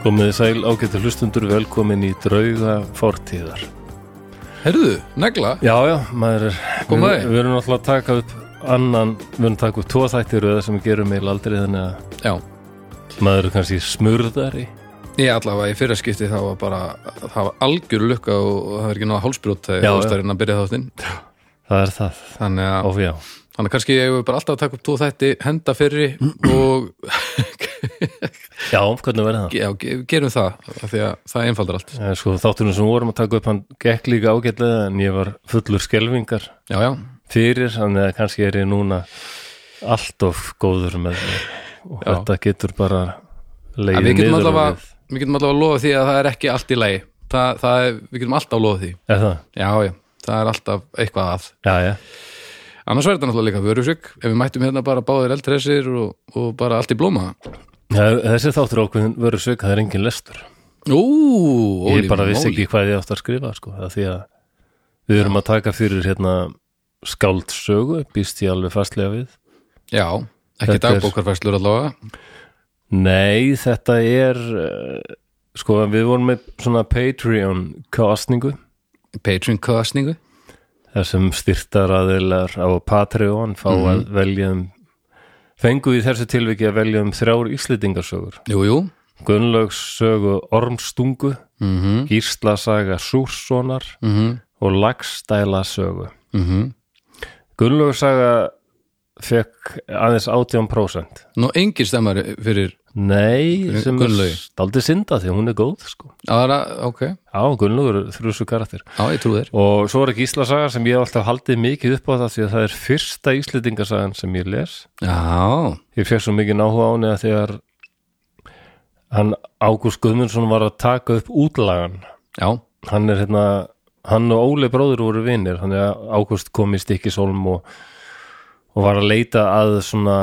Komiði sæl ágættu hlustundur velkomin í drauga fortíðar Herðu, negla Já, já, maður er Kom við, að því. við erum alltaf að taka upp annan, við erum að taka upp tvo þættir eða sem við gerum meil aldrei þannig að Já, maður er kannski smurðari ég allavega í fyrra skipti það var bara það var algjör lukka og, og það er ekki náða hálsbrjót þegar Já, þú já. varst að reyna að byrja þáttinn Það er það, þannig að, ófjá þannig að kannski ég hefur bara alltaf að taka upp tvo þætti, henda fyrri og Já, hvernig verður það? já, ge- gerum það af því að það einfaldar allt Eh, Sko þáttunum sem vorum að taka upp hann gekk líka ágætlega en ég var fullur skelvingar Já, já, fyrir, þannig að kannski er ég núna allt of góður með mig og Já. þetta getur bara en leiðið við getum niður og allavega við. við getum allavega að lofa því að það er ekki allt í lagi það, það er, við getum alltaf að lofa því Er það? Já, já, það er alltaf eitthvað að Já, já, annars verður þetta náttúrulega líka vörusök ef við mættum hérna bara báðir eldhressir og, og bara allt í blóma Já, þessi þáttur ákveðin verður sveika, það er engin lestur Ú, Ég óli bara vissi móli. ekki hvað ég átt að skrifa sko, af því að við erum að taka fyrir hérna skáldsögu, býst ég alveg fastlega við Já, ekki Þetta er- dagbókarfæslur allavega Nei, þetta er eh, sko, við vorum með svona Patreon kostningu Patreon kostningu þar sem styrtaraðilar á Patreon fá að velja um fengu í þessu tilviki að velja um þrjár íslendingasögur Jú, jú Gunnlaugs Ormstungu, mm -hmm, Gísla saga Súrssonar mm og Lagstæla sögu mhm. Gunnlaugur saga fekk aðeins 18% Nú, engin stemmar fyrir Nei, sem Gunnlaugi. er staldið synda því að hún er góð sko. aðra, ok, Já, Gunnlaugur er þrjúsu karakter já, ég trú þér og svo er ekki Íslasaga sem ég hef alltaf haldið mikið upp á það því að það er fyrsta Íslendingasagan sem ég les Já, ég fekk svo mikið náhuga á henni að þegar hann Ágúst Guðmundsson var að taka upp útlagan já, hann er hérna hann og Óli bróður voru vinnir þannig að Ágúst kom í stikkisólm og, og var að leita að svona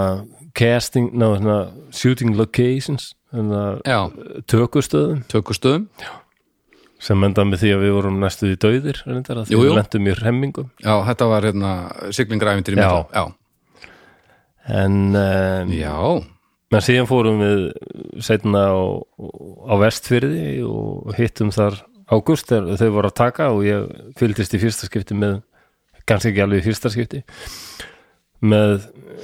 casting, ná, svona shooting locations hérna, já tökustöðum Tökustöðum, sem endaði með því að við vorum næstuð í döðir reyndar, að því Jú, jú. við lentum í hremmingum já, þetta var hérna siglingræfindir í Já. mitt Já, en, um, já, en síðan fórum við setna á, á vestfyrði og hittum þar Ágúst þegar þau voru að taka og ég fylgdist í fyrsta skipti með kannski ekki alveg í fyrsta skipti með eh,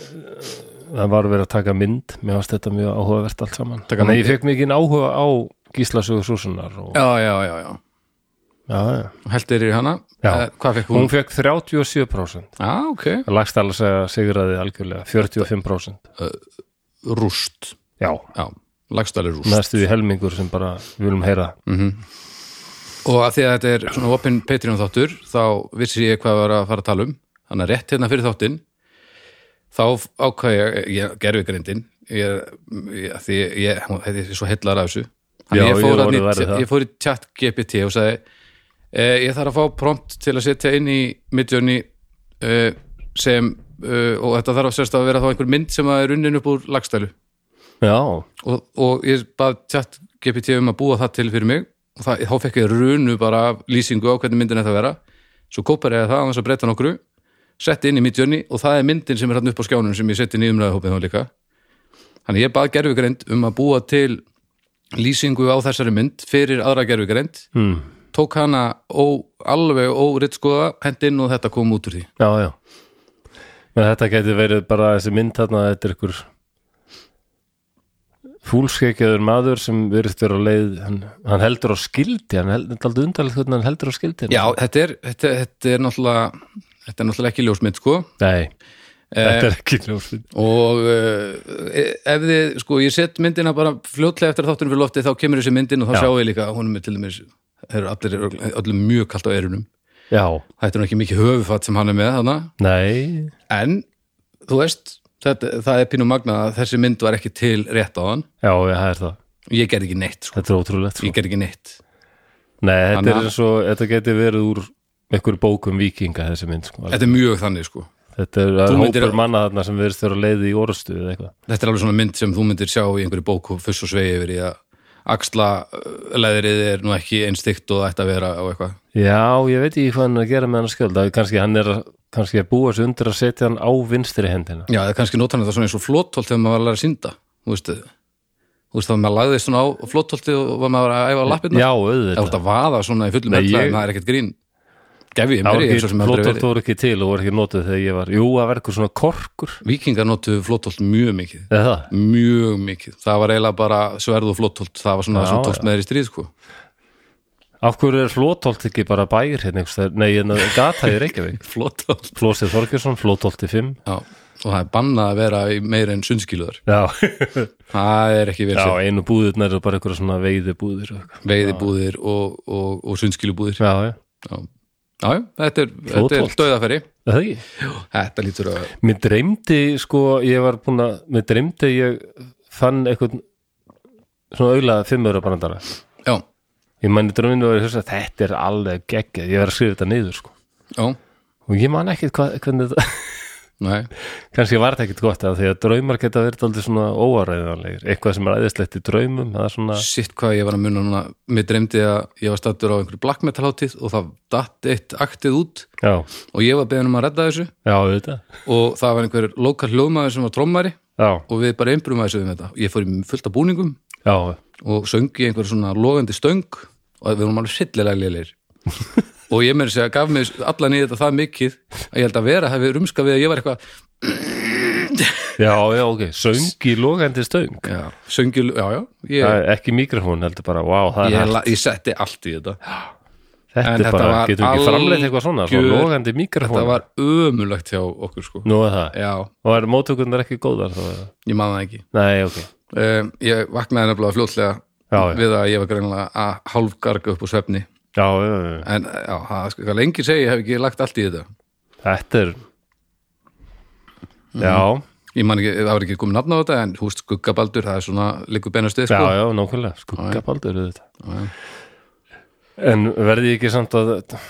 það var verið að taka mynd mér varst þetta mjög áhugavert allt saman Taka þannig að mynd. ég fekk mikið áhuga á Gíslasögu Súsunar og, já, já, já, já. já, já. Heldir í hana, Já. Eh, hvað fekk hún? hún fekk 37% Já, ok, lagstæla segja sigraði algjörlega 45% rúst já, Já, lagstæli rúst næstu við helmingur sem bara við viljum heyra Og að því að þetta er svona opinn Patreon þáttur þá vissi ég hvað var að fara að tala um þannig að rétt hérna fyrir þáttin þá ákvað ég, ég gerfi grindin ég, ég, því ég, ég, þetta er svo heillar af þessu Já, Þannig ég ég fór, var þarna orðið verri í, það. ég fór í chat GPT og sagði e, ég þarf að fá prompt til að setja inn í midjónni e, sem e, og þetta þarf að sérst að vera þá einhver mynd sem að er unnin upp úr lagstælu já, og, og ég bað tjátt GPT um að búa það til fyrir mig og það, þá fekk ég runu bara af lýsingu á hvernig myndin þetta vera svo kópar ég það annars að breyta nokkru setti inn í mitt jönni og það er myndin sem er hann upp á skjánum sem ég setti inn í umræðahópið þá líka þannig ég bað gerfugreind um að búa til lýsingu á þessari mynd fyrir aðra gerfugreind hmm. tók hana ó, alveg óritt skoða hendinn og þetta kom út úr því já, já menn þetta gæti verið bara þessi mynd þarna þetta er ykkur fúlskeikjaður maður sem virðist vera á leið hann, hann heldur á skildi, hann heldur aldrei undarlegt hvernig hann heldur á skildi Já, þetta er, þetta, þetta er náttúrulega þetta er náttúrulega ekki ljósmynd sko Nei, þetta er ekki ljósmynd og uh, ef þið, sko, ég set myndina bara fljótlega eftir að þáttunum fyrir lofti þá kemur þessi myndin og þá Já. sjáum við líka að honum er til dæmis, þeir eru allir, örugglega- öllum mjög kalt á erunum, Já, þetta er nú ekki mikið höfufatt sem hann er með þarna, nei en þú veist, þetta, það er pínum magna að þessi mynd var ekki til rétt á hann Já, já, það er það, ég gerði ekki neitt, sko, þetta er ótrúlegt sko. ég gerði ekki neitt Nei, þetta Þannig er að- eins og, þetta geti verið úr einhverjum bókum vikinga þessi mynd sko. þetta er mjög þannig, sko Þetta er það er Þú hópur myndir- manna þarna sem verðist vera leiði í orðstu eða eitthvað þetta er alveg svona mynd sem þú myndir sjá í einhverju bók og fuss og svei yfir í að axla eh, leðrið er nú ekki einstikt og ætti að vera og eitthvað Já, ég veit ekki hvað hann er að gera með hann skjöld að kannski hann er að- kannski að búa sig undir að setja hann á vinstri hendina já, það er kannski notan þetta svona eins og flótholt þegar maður var að læra að synda þú veist, þú veist þá maður lagðist svona á flótholti og var maður að æfa á lappirna Já, það voru auðvitað að vaða svona í fullum Nei, öllu ég- en það er ekkert grín gef ég Það mér voru í eins og ekki, sem aldrei flótort verið voru ekki til og voru ekki notuð þegar ég var Jú, að vera eitthvað svona korkur vikingar notu flótholt mjög mikið Eða það? mjög mikið, það var eiginlega bara sverð og flótholt, það var svona Já, það sem tókst já. með þér í stríð sko. Af hverju er flótolt ekki bara bæir hérna einhvers staðar? Nei, hérna gata í Reykjavík flótholt Flósið Þorgjörsson, flótolti 5 Já, og það er bannað að vera í meira en sundskiluðar. Já, Það er ekki verið já sér. einu búðirnar eru bara eitthvað svona veiði búðir Veiðibúðir og, og, og sundskilubúðir. Já, Já, já, já, já þetta er, þetta er Flotholt. döðafæri. Er það ekki Þetta lítur að... Mér dreymdi sko, ég var búin að mér dreymdi að ég fann eitthvað svona auðlega fimmöra brandara Já, ég manni drömminu og ég hugsa þetta er alveg geggjað, ég var að skrifa þetta niður sko já, og ég man ekkit hvað, hvernig þetta nei, kannski var þetta ekkit gott af því að draumar geta verið aldrei svona óaræðanlegir eitthvað sem er æðislegt í draumum það er svona, sitt hvað ég var að muna núna. Mér dreymdi að ég var stattur á einhverju black metal hátíð og það datt eitt aktið út já, og ég var beðin um að redda þessu já, þetta og það var einhver lokal hljóðmaður sem var trommari já, og við bara einbrum að þessu við með þetta. Ég fór í fullt af búningum já, og söng í einhver svona logandi stöng og við vorum alveg sillilega lélir og ég meður segja gaf mér allan í þetta það mikið að ég held að vera hefði rumska við að ég var eitthvað já, já, ok söng í logandi stöng já, söngil, já, já, ég, Það er ekki mikrofón, heldur bara, wow, það ég, er hægt la- ég setti allt í þetta þetta en er þetta bara, var getum við ekki framleitt eitthvað svona, svona algjör- logandi mikrofón það var ömulegt hjá okkur sko Nú er það, já, og er móttökurnar ekki góðar þá? eða? ég man það ekki Nei, ok, um, ég vaknaði nefnilega fljótlega Já, já. við að ég var greinlega að hálfgarga upp úr svefni já, já, já. en já, það sko, hvað lengi segi, ég hef ekki lagt allt í þetta þetta er Mhm. Já, ég man ekki, það var ekki komið nafn á þetta en húst skuggabaldur, það er svona líku beinast við sko. já, já, nákvæmlega skuggabaldur auðvitað En verði ég ekki samt að eh,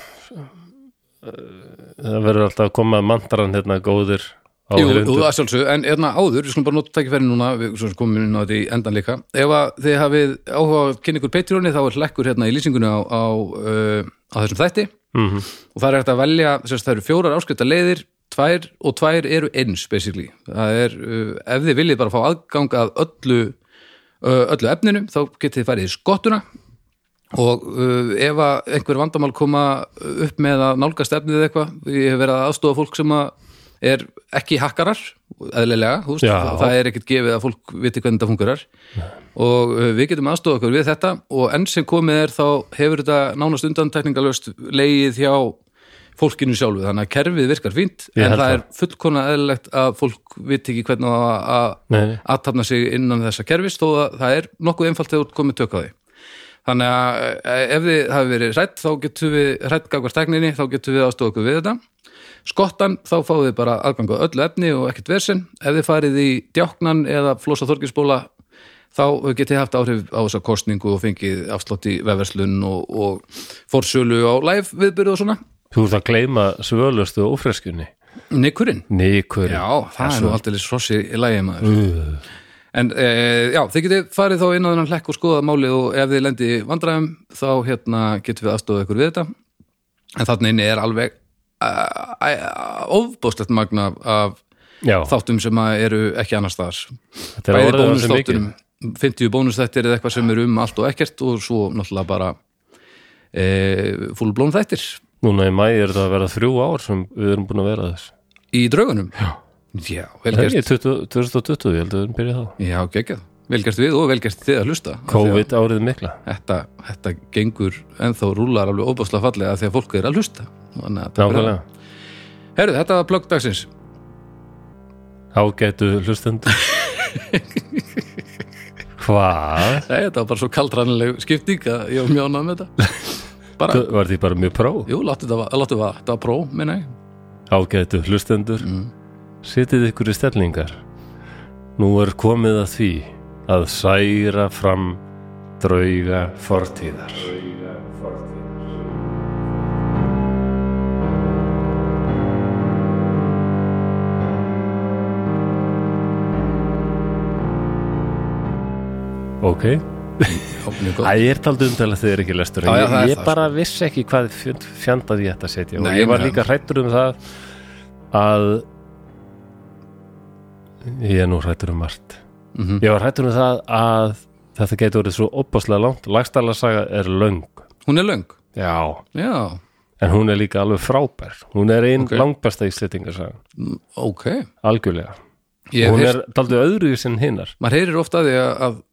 það verður alltaf að koma mantran hérna góðir á Jú, jú, hrindu að sjálfsögðu, en hérna áður, við skulum bara nota tækifæri núna, við svo sem komum inn á þetta í endan líka. Ef að þið hafið áhuga á að kynna ykkur Patreoni, þá er hlekkur hérna í lýsingunni á, á, uh, á þessum þætti Mhm. og það er hægt að velja, sérst, það eru fjórar áskrifta leiðir, tvær og tvær eru eins, basically. Það er, uh, ef þið viljið bara fá aðgang að öllu, uh, öllu efninu, þá getið þið farið í skottuna og uh, ef að einhver vandamál koma upp með að nálgast efnið eða eitthvað, ég hef verið að aðstofa fólk sem að er ekki hakkarar eðlilega, þú veist, Já. það er ekkert gefið að fólk viti hvernig þetta fungerar og uh, við getum aðstofa okkur við þetta og enn sem komið er þá hefur þetta nánast undantekningalöst leið hjá fólkinu sjálfu, þannig að kerfið virkar fínt Ég en held það það. er fullkona eðlilegt að fólk viti ekki hvernig á að- að Nei, nei. aðtapna sig innan þessa kerfis þó að það er nokkuð einfalt þegar þú ert komið tök á því þannig að eh, ef þið hafi verið hrætt þá getum við hrætt gagvart tegninni, þá getum við aðstofa okkur við þetta skottan, þá fáið þið bara aðgang á öllu efni og ekkert versin ef þið farið í djáknan eða flosa þorginsbóla þá getið þið haft áhrif á þessa kostningu og fengið afslátt í vefverslun og, og forsölu á live viðbyrðu og svona Þú ert að gleyma svölustu og ófreskunni Nikurinn Nikur Já, það er nú aldrei hrossi í lægi maður En e, já, þið getið farið þá inn á þennan hlekk og skoðað málið og ef þið lendi vandræðum þá hérna getum við aðstofað ykkur við þetta en þarna inni er alveg uh, uh, ofbóðslegt magna af Já, þáttum sem að eru ekki annars staðar þetta er Bæði orðið sem mikið bónusþáttunum, 50 bónusþættir eða eitthvað sem eru um allt og ekkert og svo náttúrulega bara e, fullblón þættir Núna í mæ er þetta að vera þrjú ár sem við erum búin að vera að þessu í draugunum Já, já vel Það gert er 20 2020, ég held að við erum byrjað þá Já, geggjað. Velgert við og velgert þið að hlusta. Af því COVID árið mikla að Þetta, þetta gengur ennþá rúlar alveg óbáslega fallega þegar fólk er að hlusta. Þannig að þetta er Nákvæmlega Herðu, þetta var plögg dagsins ágætu hlustund hvað? Nei, þetta var bara svo kaldrannileg skipting að ég var mjánað með þetta Bara, Þú- var því bara mjög pró jú, láttu þetta va- láttu það, þetta var pró, minna ég ágætu hlustendur Mm. setið ykkur í stellingar nú er komið að því að særa fram drauga fortíðar ok Já, mjög gott. Það er taldi umtalið þegar ekki lestur Já, já, Ég, það er ég það, sko. bara vissi ekki hvað fjönd- fjandað ég ætti að setja og Nei, ég var nei. líka hrættur um það að ég er nú hrættur um margt Mhm. Ég var hrættur um það að þetta getur orðið svo opaslega langt Lagstæla saga er löng Hún er löng, Já já, En hún er líka alveg frábær Hún er ein Ok. langbesta íslendingarsagan ok Algjörlega Ég hef Hún heyrt, er taldi öðru sem hinnar maður heyrir ofta því að, að,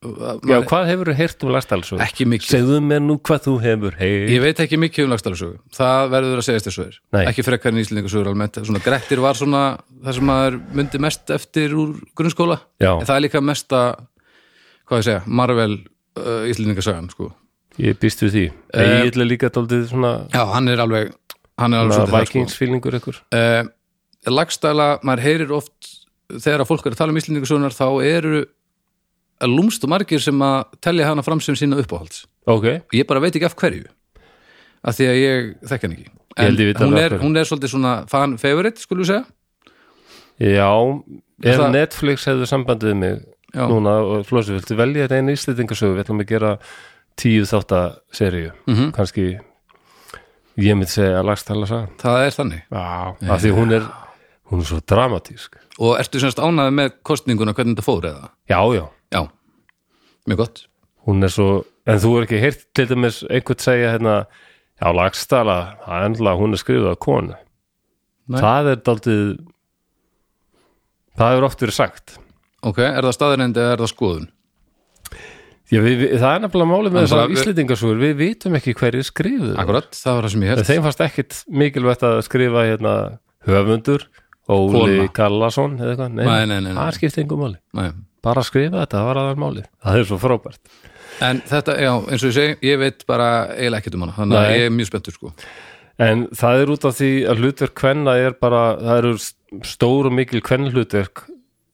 Já, að maður- hvað hefur þú heyrt um lagstæla svo? ekki mikið Segðu mér nú hvað þú hefur heyrt Ég veit ekki mikið um lagstælusögu, það verður að segja þessu sögur, Nei. ekki frekar en íslendingasögur almennt, svona Grettir var svona það sem maður myndi mest eftir úr grunnskóla, Já. en það er líka mesta hvað ég segja, Marvel uh, íslendingasagan, sko. Ég býst við því uh, Ég ætla líka daldið svona, Já, hann er alveg hann er Eh, alveg svona svolítið þar, sko. vikingsfílingur ykkur uh, lagstæla, maður heyrir oft þegar að fólk er að tala um íslendingasögunar þá eru lúmst og margir sem að telja hana fram sem sína uppáhalds Ok, ég bara veit ekki af hverju af því að ég þekki hann ekki Ég held ég viti hún, alveg af er, hverju. hún er svolítið svona fan favorite skulum við segja já Ef Það- Netflix hefðu sambandið mig Já. núna og flósi viltu velja þetta einu íslendingasögu við ætlum að gera tíu þáttaseríu mm Mhm. -hmm. kannski ég myndi segja að lagstæla sá það er þannig af því hún er hún er svo dramatísk og ertu semst ánæði með kostninguna hvernig þetta fór eða Já, já, já, mjög gott hún er svo en þú er ekki heyrt til dæmis einhvern segja hérna, já lagstæla það er ennlega hún er skrifuð á konu Nei. það er daldið það hefur oft verið sagt ok, er það staðarendi eða er það skoðun Já, við, við, það er nefnilega málið með En þessar það- íslendingasúr við vitum ekki hverju skrifuðu þær. akkurat, það var það sem ég En held þeim fannst ekkit mikilvægt að skrifa hérna, höfundur Óli Kona. Kallason eða eitthvað, nei, Nei, nei, nei, nei. það skipti engum máli Nei. bara skrifa þetta, það var aðal máli það er svo frábært en þetta, já, eins og ég segi, ég veit bara eiginlega ekkert um hana, þannig Nei. að ég er mjög spenntur sko en það er út af því að hlutverk kvenna er bara, það eru st- stór og mikil kvennhlutverk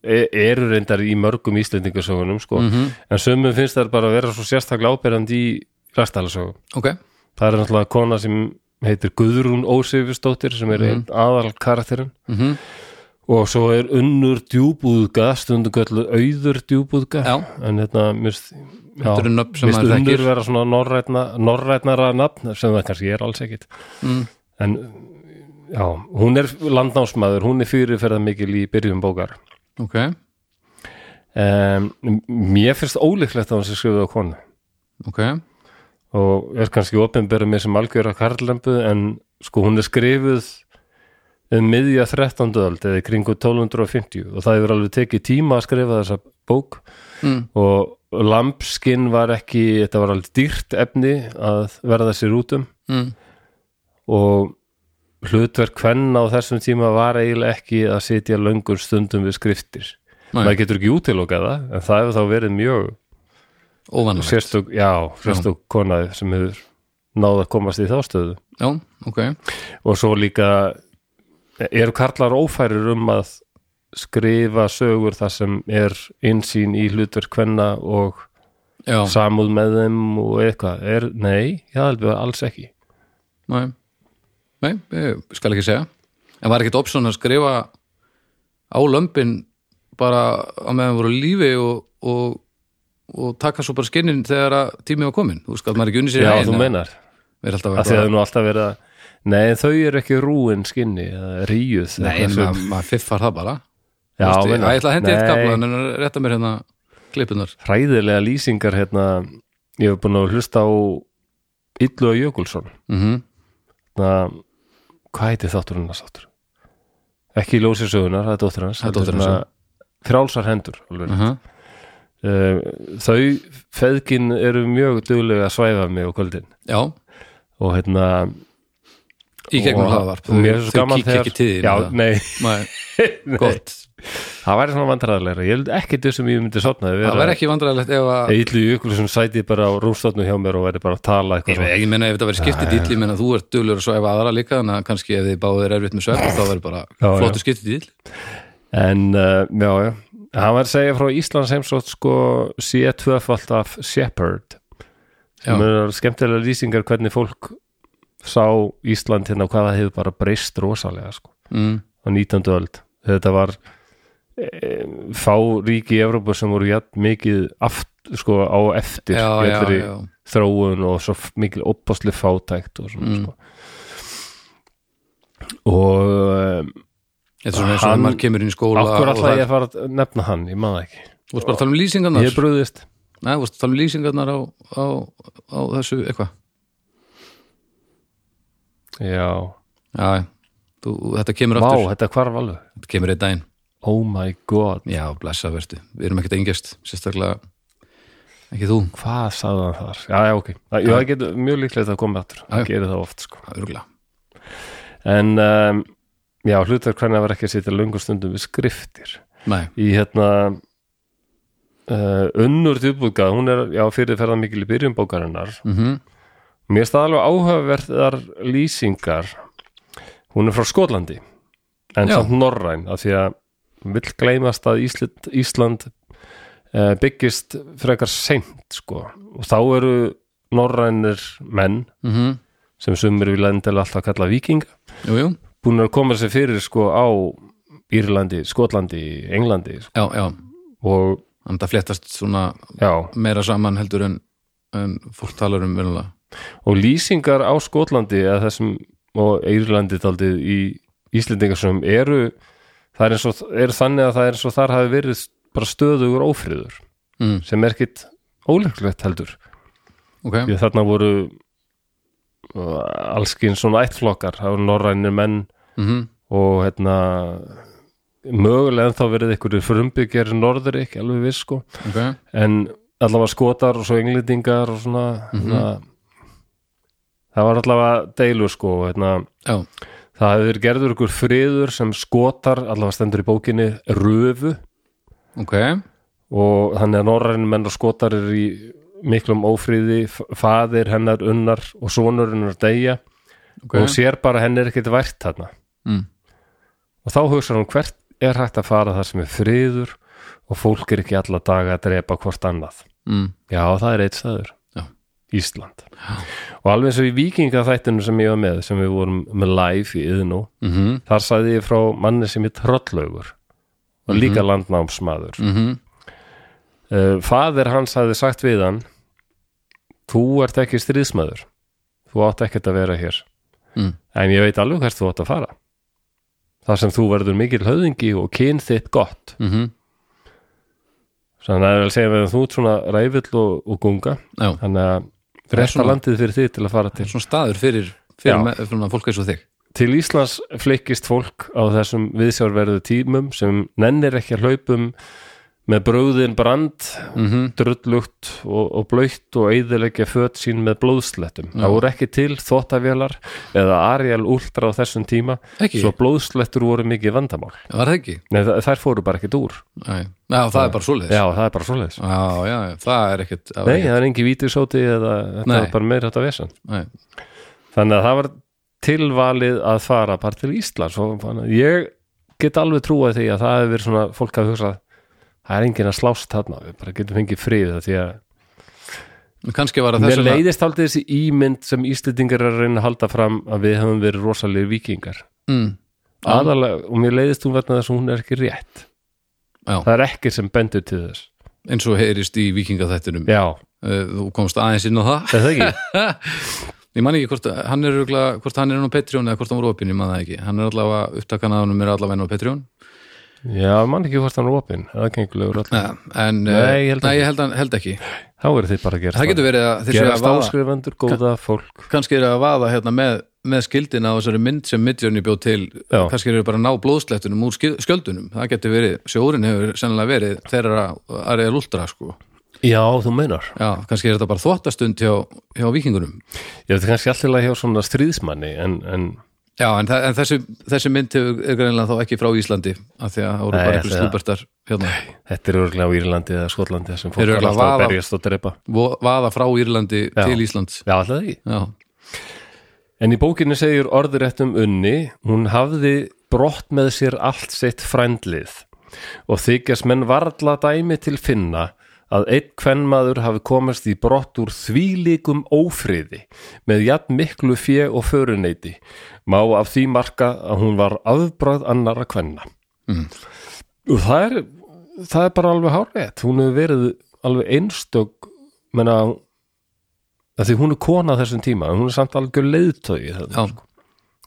e- eru reyndar í mörgum íslendingasögunum sko. en sömum finnst það bara að vera svo sérstaklega ábyrjandi í lastælasögum ok, það er náttúrulega kona sem heitir Guðrún Ósefistóttir sem er einn aðal karakterin Mhm. og svo er unnur djúbúðga stundum göllu auður djúbúðga Já. en hérna mist, já, Þetta eru nöfn sem mist maður unnur þekkir. vera svona norrætna, norrætnara nafn sem það kannski er alls ekkit Mm. en já, hún er landnámsmaður, hún er fyrirferða mikil í byrjum bókar ok um, mér finnst ólíklegt að hún sé skrifuð á konu ok, og er kannski opinberið mér sem algjör að karlembu en sko hún er skrifuð um miðja 13. öld eða í kringu 1250 og það hefur alveg tekið tíma að skrifa þessa bók mm. og lampskinn var ekki þetta var alveg dýrt efni að verða sér út um Mm. og hlutverk hvenna á þessum tíma var eiginlega ekki að sitja löngum stundum við skriftir Nei. maður getur ekki útilokað það en það hefur þá verið mjög óvanlega sérstök, já, sérstök kona sem hefur náð að komast í þá stöðu já, ok, og svo líka eru karlar ófærir um að skrifa sögur þar sem er innsýn í hlutverk kvenna og já, samúð með þeim og eitthvað, er, nei, ég held við alls ekki Nei, nei, ég skal ekki segja En var ekkert opsjón að skrifa á lömbin bara á meðan voru á lífi og, og, og taka svo bara skinnin þegar að tími var komin Þú veist að maður ekki unni sér já, í haginn, þú eða? meinar, Mér er alltaf af að því að það er nú alltaf verið að nei, en þau eru ekki rúin skinni eða ríuð eða Nei, eitthvað en sem- maður, maður fiffar það bara já, Þú ég, meinar. að ég ætla að hendi eitt Nei. kapla en að rétta mér hérna klippunar hræðilega lýsingar hérna, ég hef búin að hlusta á Illu og Jökulsson mm -hmm. hérna, hvað heitir þátturinn hans þáttur? Ekki ljósið sögunar, það er dóttir hans Það er dóttir hans, hérna, frjálsar hendur alveg. uh -huh. Uh, þau feðgin um eru mjög duglega að svæfa mig á kvöldin Já, og hérna í gegnum Og hlaðvarp mér er svo Þau gaman kíkja ekki til þín já, eða? nei, Nei, gott það væri svona vandræðarlegra ég held ekki þessum ég myndi sopna það væri ekki vandræðilegt ef að Eitlu í ykkur sem sæti bara á rúmstofnu hjá mér og væri bara að tala Ég, eitthvað veit, ég meina ef þetta verið skiptið dýll, ég meina þú ert duglur að svæfa aðra líka, þannig að kannski ef þið báðir erfitt með svefn, þá verður bara já. flottur skiptið dýll. En uh, já, já Hann var að segja frá Íslands heimsótt sko sé tvöfald af Shepard sem Já. eru skemmtilega lýsingar hvernig fólk sá Ísland hérna og hvað það hefur bara breyst rosalega sko Mm. á 19. öld þetta var e, fá ríki í Evrópu sem voru jafn mikið aft, sko, á eftir Já, í já, allri já. þróun og svo f- mikil oppásli fátækt og Mm. svona sko. og um, Þetta er svona eins og Hann- þegar maður kemur inn í skóla af hverju og alltaf það ég að fara að nefna hann, ég maður ekki Þú veist bara að tala um ég lýsingarnar er brúðist Nei, þú veist að tala um lýsingarnar á, á, á þessu eitthvað já, Já, þú, þetta kemur vá, aftur þetta hvarf alveg Þetta kemur einn daginn oh my god, Já, blessa verðu, við erum ekkert engjast sérstaklega ekki þú, hvað sagði hann þar já, já, ok, það, já, það getur mjög líklegt að koma aftur, Já, já. það gerir það oft sko örgulega en um, já, hlutar hvernig var ekki að sitja löngu stundum við skriftir Nei, í hérna uh, unnur djúbúka, hún er já, fyrirferða mikil í byrjun bókarinnar mm mér staði alveg áhugaverðar lýsingar hún er frá Skotlandi en Já. samt norræn af því að hún vill gleymast að Ísland, Ísland uh, byggist frekar seint sko og þá eru norrænir menn sem sumir við lendilega alltaf kalla vikinga mhm. jú, jú, búin að koma sér fyrir sko á Írlandi, Skotlandi, Englandi sko. já, já og Þannig að það fléttast svona já, meira saman heldur en, en fólk talar um verulega og lýsingar á Skotlandi eða þessum og Írlandi daldið í Íslendingarsum eru það er eins og er þannig að það er eins og þar hafi verið bara stöðugur ófriður mm, sem er ekkit óleiklegt heldur Ok, því að þarna voru uh, allskinn svona ættflokkar það voru norrænir menn mm og hérna mögulega en þá verið einhverju frumbyggjar norðurik, alveg viss sko ok en allavega skotar og svo englendingar og svona mm það var allavega deilur sko hérna, Já, það hefur verið gerður ykkur friður sem skotar allavega stendur í bókinni röfu ok, og þannig að norræn menn og skotar er í miklum ófríði faðir hennar unnar og sonur hennar deyja ok og hún sér bara að henni er ekkert vært þarna mm. og þá hugsar hún hvert er hægt að fara þar sem er friður og fólk er ekki alla daga að drepa hvort annað Mm. Já, það er eitt staður Já. Ísland Og alveg eins og í vikingaþættinu sem ég var með sem við vorum með live í yðnú Mm -hmm. þar sagði ég frá manni sem er tröllaugur og Mhm. líka landnámsmaður Mm uh, Fadir hans hafði sagt við hann Þú ert ekki stríðsmaður Þú átt ekkert að vera hér Mm. En ég veit alveg hvert þú átt að fara Þar sem þú verður mikil höfðingi og kyn þitt gott Mhm. Þannig að það er að segja með að þú ert svona ræfill og, og gunga Já, þannig að er resta svona- landið fyrir þið til að fara til svona staður fyrir, fyrir Já. með, svona fólk eins og þig til Íslands flikkist fólk á þessum viðsjárverðu tímum sem nennir ekki að hlaupum með bröðin brand mm -hmm. drullugt og, og blöytt og eiðilegja föt sín með blóðslettum það voru ekki til þóttavélar eða Ariel Ultra á þessum tíma Ekki, svo blóðslettur voru mikið vandamál var það ekki? Nei, þa- þær fóru bara ekkert úr Nei, Ná, það er bara svoleiðis já, það er bara svoleiðis Já, já, já, það er ekkert það var Nei, ekkert- það er engi vítisóti eða þetta Nei. er bara meira þetta vesen Nei. þannig að það var tilvalið að fara bara til Íslands og þannig að ég get alveg trúað því að það hefur verið svona fólk að hugsa það er enginn að slást þarna, við bara getum fengið frið það því að En kannski var það mér þess að leiðist aldrei þessi ímynd sem Íslendingar er að reyna að halda fram að við höfum verið rosalegir vikingar mm, aðalega, og mér leiðist hún verðna þess að hún er ekki rétt Já. það er ekki sem bendur til þess eins og heyrist í vikingaþættinum já, Eh, þú komst aðeins inn á það er það ekki? ég man ekki hvort hann er, örugglega- hvort hann er inn á Patreon eða hvort hann voru opinn, ég man það ekki hann er allavega, upptakan að honum er allavega inn á Patreon já, mann ekki hvort hann er opinn það gengulegur all, Nei, en, Nei, eh, ég held nei, ekki. ég held, hann- held ekki þá eru þið bara að gera það getur verið að þeir séu að gerast vaða áskrifendur, góða fólk kannski eru að vaða hérna með, með skildina á þessari mynd sem Midjourney bjóð til Já. kannski eru bara að ná blóðslettunum úr skil- skjöldunum það getur verið, sjórin hefur sennilega verið þeirra að reyða lúltra sko. já, þú meinar já, kannski er þetta bara þvottastund hjá, hjá vikingunum Ég veit kannski allir að hjá svona stríðsmanni en, en Já, en, þa- en þessi, þessi mynd hefur, er greinlega þá ekki frá Íslandi af því að það voru Nei, bara eitthvað þegar- slúbertar hérna, Þetta er örgulega á Írlandi eða Skotlandi sem fólk Þeir eru er alltaf örugglega að vaða- berjast og drepa vo- vaða frá Írlandi Já. til Íslands Já, alltaf ekki Já, En í bókinni segir orðurétt um unni, hún hafði brott með sér allt sitt frændlið og þykjast menn varla dæmi til finna að einn kvenmaður hafi komast í brott úr þvílíkum ófriði með jafn miklu fje og föruneyti má af því marka að hún var afbröð annara kvenna. Og það er, það er bara alveg hárétt. Hún hefur verið alveg einstök, menna, að því hún er kona á þessum tíma, en hún er samt algjör leiðtögi. já,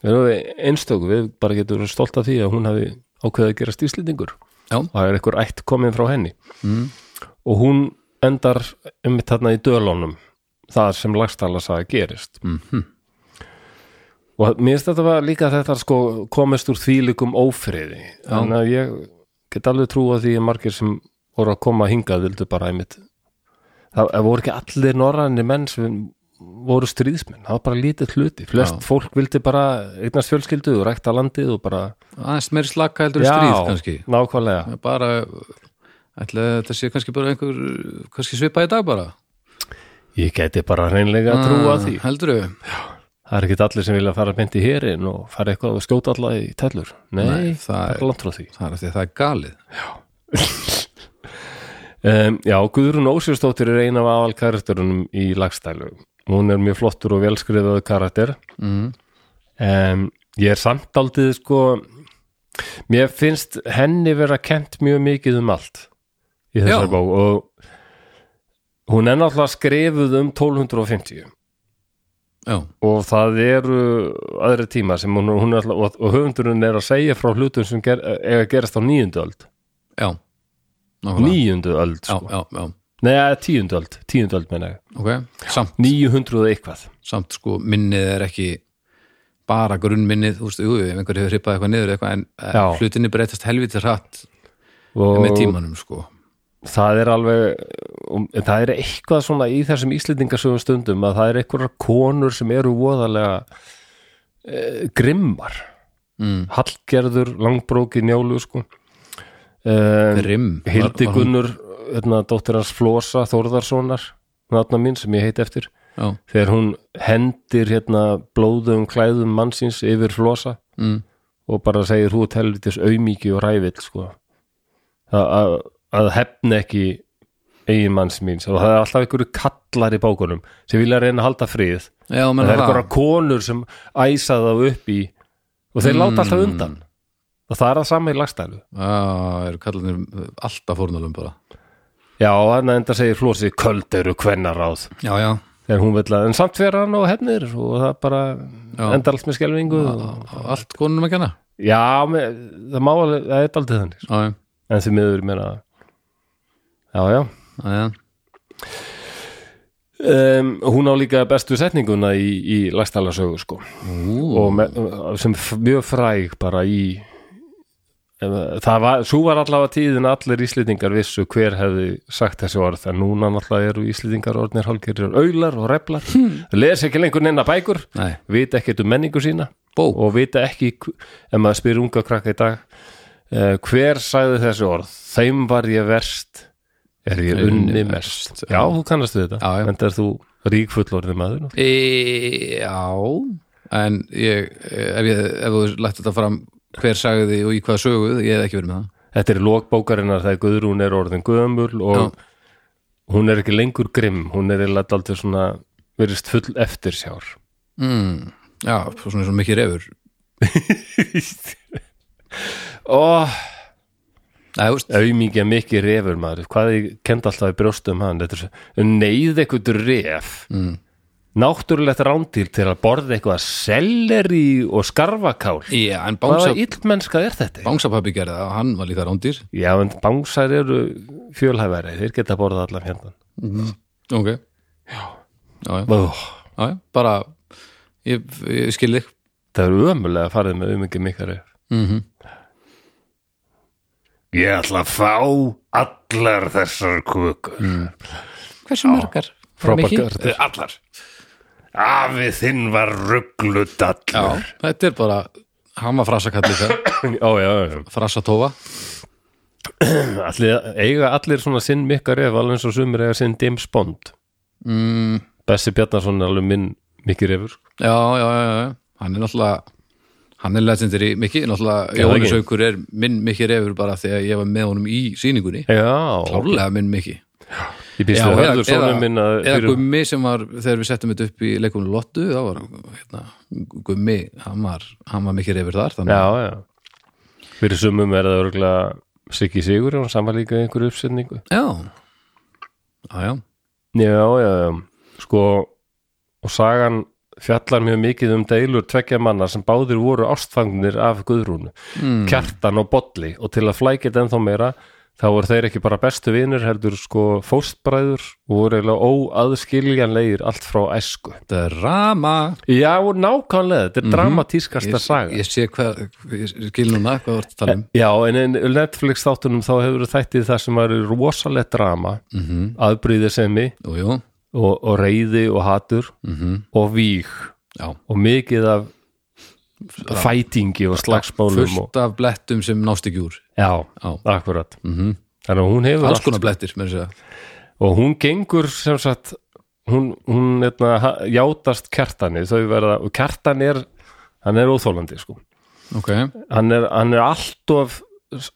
Við erum við einstök, við bara getum verið stolt af því að hún hafi ákveðið að gera stíslendingur já, og það er einhver ætt komin frá henni Mm. og hún endar einmitt þarna í dölunum það sem lagstalasaga gerist mm Mhm. -hmm. og mér finnst þetta var líka þetta sko komist úr þvílikum ófriði þannig að ég get alveg trú að því að margir sem voru að koma hingað vildu bara einmitt það það voru ekki allir norrænir menn sem voru stríðsmenn, það var bara lítið hluti flest Já. fólk vildi bara eignast fjölskyldu og rækta landið og bara aðeins meiri slaka heldur en stríð kannski nákvæmlega bara, ætla þetta sé kannski bara einhver, kannski svipa í dag bara Ah, Ég geti bara reynlega að trúa því. Heldur við? Það er ekkit allir sem vilja fara beint í herin og fara eitthvað og skjóta alla í tellur. Nei, Nei, það það er- er langt frá því. Það er af því að það er galið Um, já, Guðrún Ósjöstóttir er ein af aðal karakterunum í lagstælu. Hún er mjög flottur og velskrifaðu karakter. mm. Um, ég er samt aldrei, sko, mér finnst henni vera kent mjög mikið um allt í Já. þessari bók og hún er náttúrulega skrifuð um 1250. Já, og það eru aðri tíma sem hún, hún er alltaf, og, og höfundurinn er að segja frá hlutum sem ger, eiga að gerast á níundu öld já Nákvæmlega. níundu öld, Já, sko. já, já, nei, ja, tíundu öld tíundu öld meina ég, ok Samt, 900 og eitthvað samt sko, minnið er ekki bara grunnminnið, þú veist, jú, ef einhver hefur hippað eitthvað niður eitthvað, en já. Já. hlutinni breytast helviti hratt með og tímanum, sko það er alveg um, það er eitthvað svona í þessum íslendingasöfum stundum að það er einhverjar konur sem eru voðalega e, grimmar Mm. Hallgerður, Langbróki, Njálu sko e, Rimm, Hildi Gunnur, hérna, dóttir hans Flosa Þórðarssonar, náttúrulega mín sem ég heiti eftir, Já, þegar hún hendir hérna blóðum klæðum mannsins yfir Flosa mm, og bara segir hú telvitis auðmíki og rævill sko að, að, að hefna ekki eigin manns míns og það er alltaf einhverju kallar í bókunum sem vilja reyna að halda frið já, en það menna er það einhverja konur sem æsa þá upp í og þeir láta alltaf undan og það er það sama í lagstælu Já, eru kallanir alltaf fórnulum bara Já, þannig enda segir Flósi köld eru kvennaráð Já, já, þegar hún vill að, en samt fyrir hann og hefnir og það bara enda allt með skelfingu og, allt konunum að kenna Já, með, það má alveg, það er aldrei þannig sko. Já, já, en því miður meina Já, já já, já um, Hún á líka bestu setninguna í, í lagstælasögu sko Ú, og með, sem f- mjög fræg bara í eða- það var, svo var allavega tíðin að allir íslendingar vissu hver hefði sagt þessi orð en núna náttúrulega eru íslendingar orðnir hálfgerður aular og replar hmm. les ekki lengur neina bækur Nei, vita ekkert um menningu sína bók og vita ekki, hv- ef maður spyr unga krakka í dag eh, hver sagði þessi orð þeim var ég verst er ég unni mest já, þú kannast við þetta, Já, já. en það er þú rík fullorðið maður náttúrulega. E, já, en ég, ef, ég, ef þú lætt þetta fram hver sagði því og í hvað söguð, ég hef ekki verið með það. þetta er lokbókarinnar þegar Guðrún er orðin gömul og hún er ekki lengur grimm hún er eiginlega aldrei svona verist full eftir sjár Mm, já, svona svona mikið refur. og Nei, þú veist, auðmingja mikið refur maður hvað ég kenda alltaf í brjóstum hann þetta er svo neyð eitthvað ref Mm. náttúrulegt rándýr til að borða eitthvað selleri og skarfakál já, en hvaða bánsa, illmennska er þetta? bánsapappi gerði það og hann var líka rándýr. já, en bangsar eru fjölhæfæri þeir geta borða allan hérna. fjöndan Ok, já, já, oh, já, já bara, ég, ég skil þig. það eru ömulega farið með auðmingja mikið ref Mm -hmm. Ég ætla að fá allar þessar kökur. Hversu margar? Propaganda. Allar. Eh, Afi þinn var ruggludallur þetta er bara, hann var frasakall líka, Ó, já, já, já. frasatófa Allir, eiga allir svona sinn mikka ref alveg eins og sumir eiga sinn James Bond mm, Bessi Bjarnason er alveg minn mikki refur sko. já, já, já, já, hann er náttúrulega hann er legendary mikið, náttúrulega Já, Jóhannes ekki. Haukur er minn mikið refur bara þegar ég var með honum í sýningunni Já, klárlega minn mikið ég býst Já, við eða- höldur svona minn að eða fyrir, gummi sem var, þegar við settum þetta upp í leikunum Lottu, þá var hérna, gummi, hann var, hann var mikið reyfur þar, þannig Já, já Fyrir sumum er það örgulega Siggi Sigur og saman líka einhverju uppsetningu já, já, já. Já, já, já Sko, og sagan fjallar mjög mikið um deilur tveggja manna sem báðir voru ástfangnir af Guðrúnu Mm. kjartan og bolli og til að flækja þetta ennþá meira þá voru þeir ekki bara bestu vinir heldur sko fóstbræður og voru eiginlega óaðskiljanlegir allt frá æsku. drama Já, og nákvæmlega, þetta er dramatískasta saga. Mhm. ég sé hvað, ég skil núna hvað þú ert að tala um Já, en en Netflix þáttunum þá hefur þættið það sem eru rosalegt drama, mm -hmm. Mhm. aðbrýðisemi jú, jú, og, og reyði og hatur Mhm. og víg já, og mikið af fætingi og slagsmálum og, fullt af blettum sem nást ekki úr Já, Já. Mhm. akkurat. -hmm. Þannig að hún hefur alls konar blettir, mér að segja og hún gengur sem sagt hún, hún etna, játast kjartani þau verða, og kjartan er hann er óþólandi sko ok, hann er, hann er alltof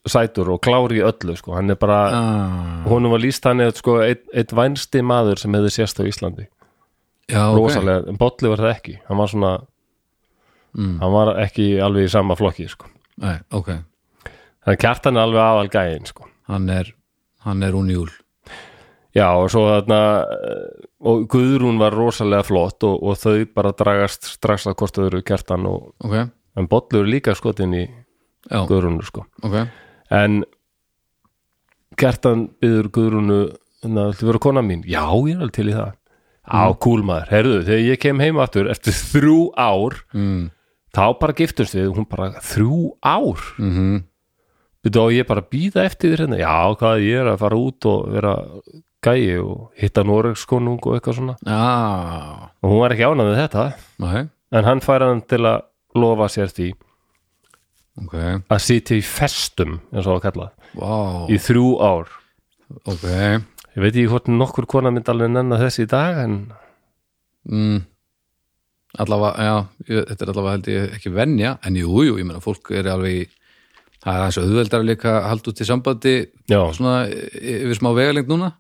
sætur og klár í öllu sko hann er bara, ah, honum var líst hann eða sko eitt, eitt vænsti maður sem hefði sést á Íslandi, já, ok rosalega en Bolli var það ekki, hann var svona Mm. hann var ekki alveg í sama flokki sko, Nei, ok, þannig að kjartan er alveg aðal gæin sko hann er hann er unjúl Já og svo þarna eh, og Guðrún var rosalega flott og, og þau bara dragast strax að hvort öðru kjartan og ok, en Bollur er líka skotin í já, Guðrúnu sko ok en kjartan byður Guðrúnu þannig að þú vera kona mín, já ég er alveg til í það á kúlmaður, heyrðu þegar ég kem heim aftur eftir þrjú ár mm. þá bara giftumst við, hún bara þrjú ár Mm Byrðu á ég bara að býða eftir þér hérna Já, hvað ég er að fara út og vera gæi og hitta Noregskonung og eitthvað svona Já, og hún var ekki ánað með þetta nei, en hann fær hann til að lofa sér því ok, að sitja í festum eins og að kalla vá, í þrjú ár ok, Ég veit ekki hvort nokkur kona myndi alveg nennan þessi í dag en mm. allavega, já, ég, þetta er allavega held ég ekki venja, en jú, jú, ég meina fólk er alveg, í- það er aðeins auðveldar líka að halda út í sambandi já, svona y- yfir smá vegalengt núna,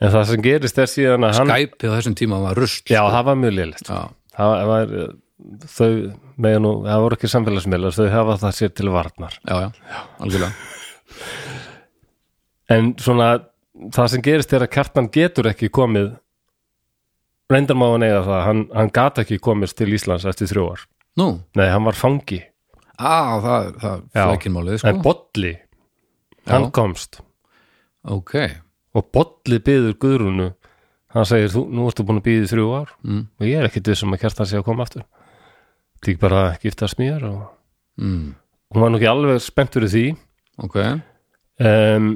en það sem gerist er síðan að hann Skype á þessum tíma var rusl, Já, það var mjög lélegt já, það var, eh, þau mega nú, það voru ekki samfélagsmiðlar þau hafa það sér til varnar já, já, algjörlega, en svona það sem gerist er að kjartan getur ekki komið reyndar má hann eiga það hann, hann gat ekki komist til Íslands eftir þrjú ár nú, nei, hann var fangi á, það, það Já. flækinmálið, sko, en Bolli, hann komst ok, og Bolli byður Guðrúnu hann segir, þú, nú ertu búin að býða þrjú ár Mm. og ég er ekkit vissum að kjartan sé að koma aftur lík bara að giftast mér og mm. hún var nú ekki alveg spennt fyrir því ok, um,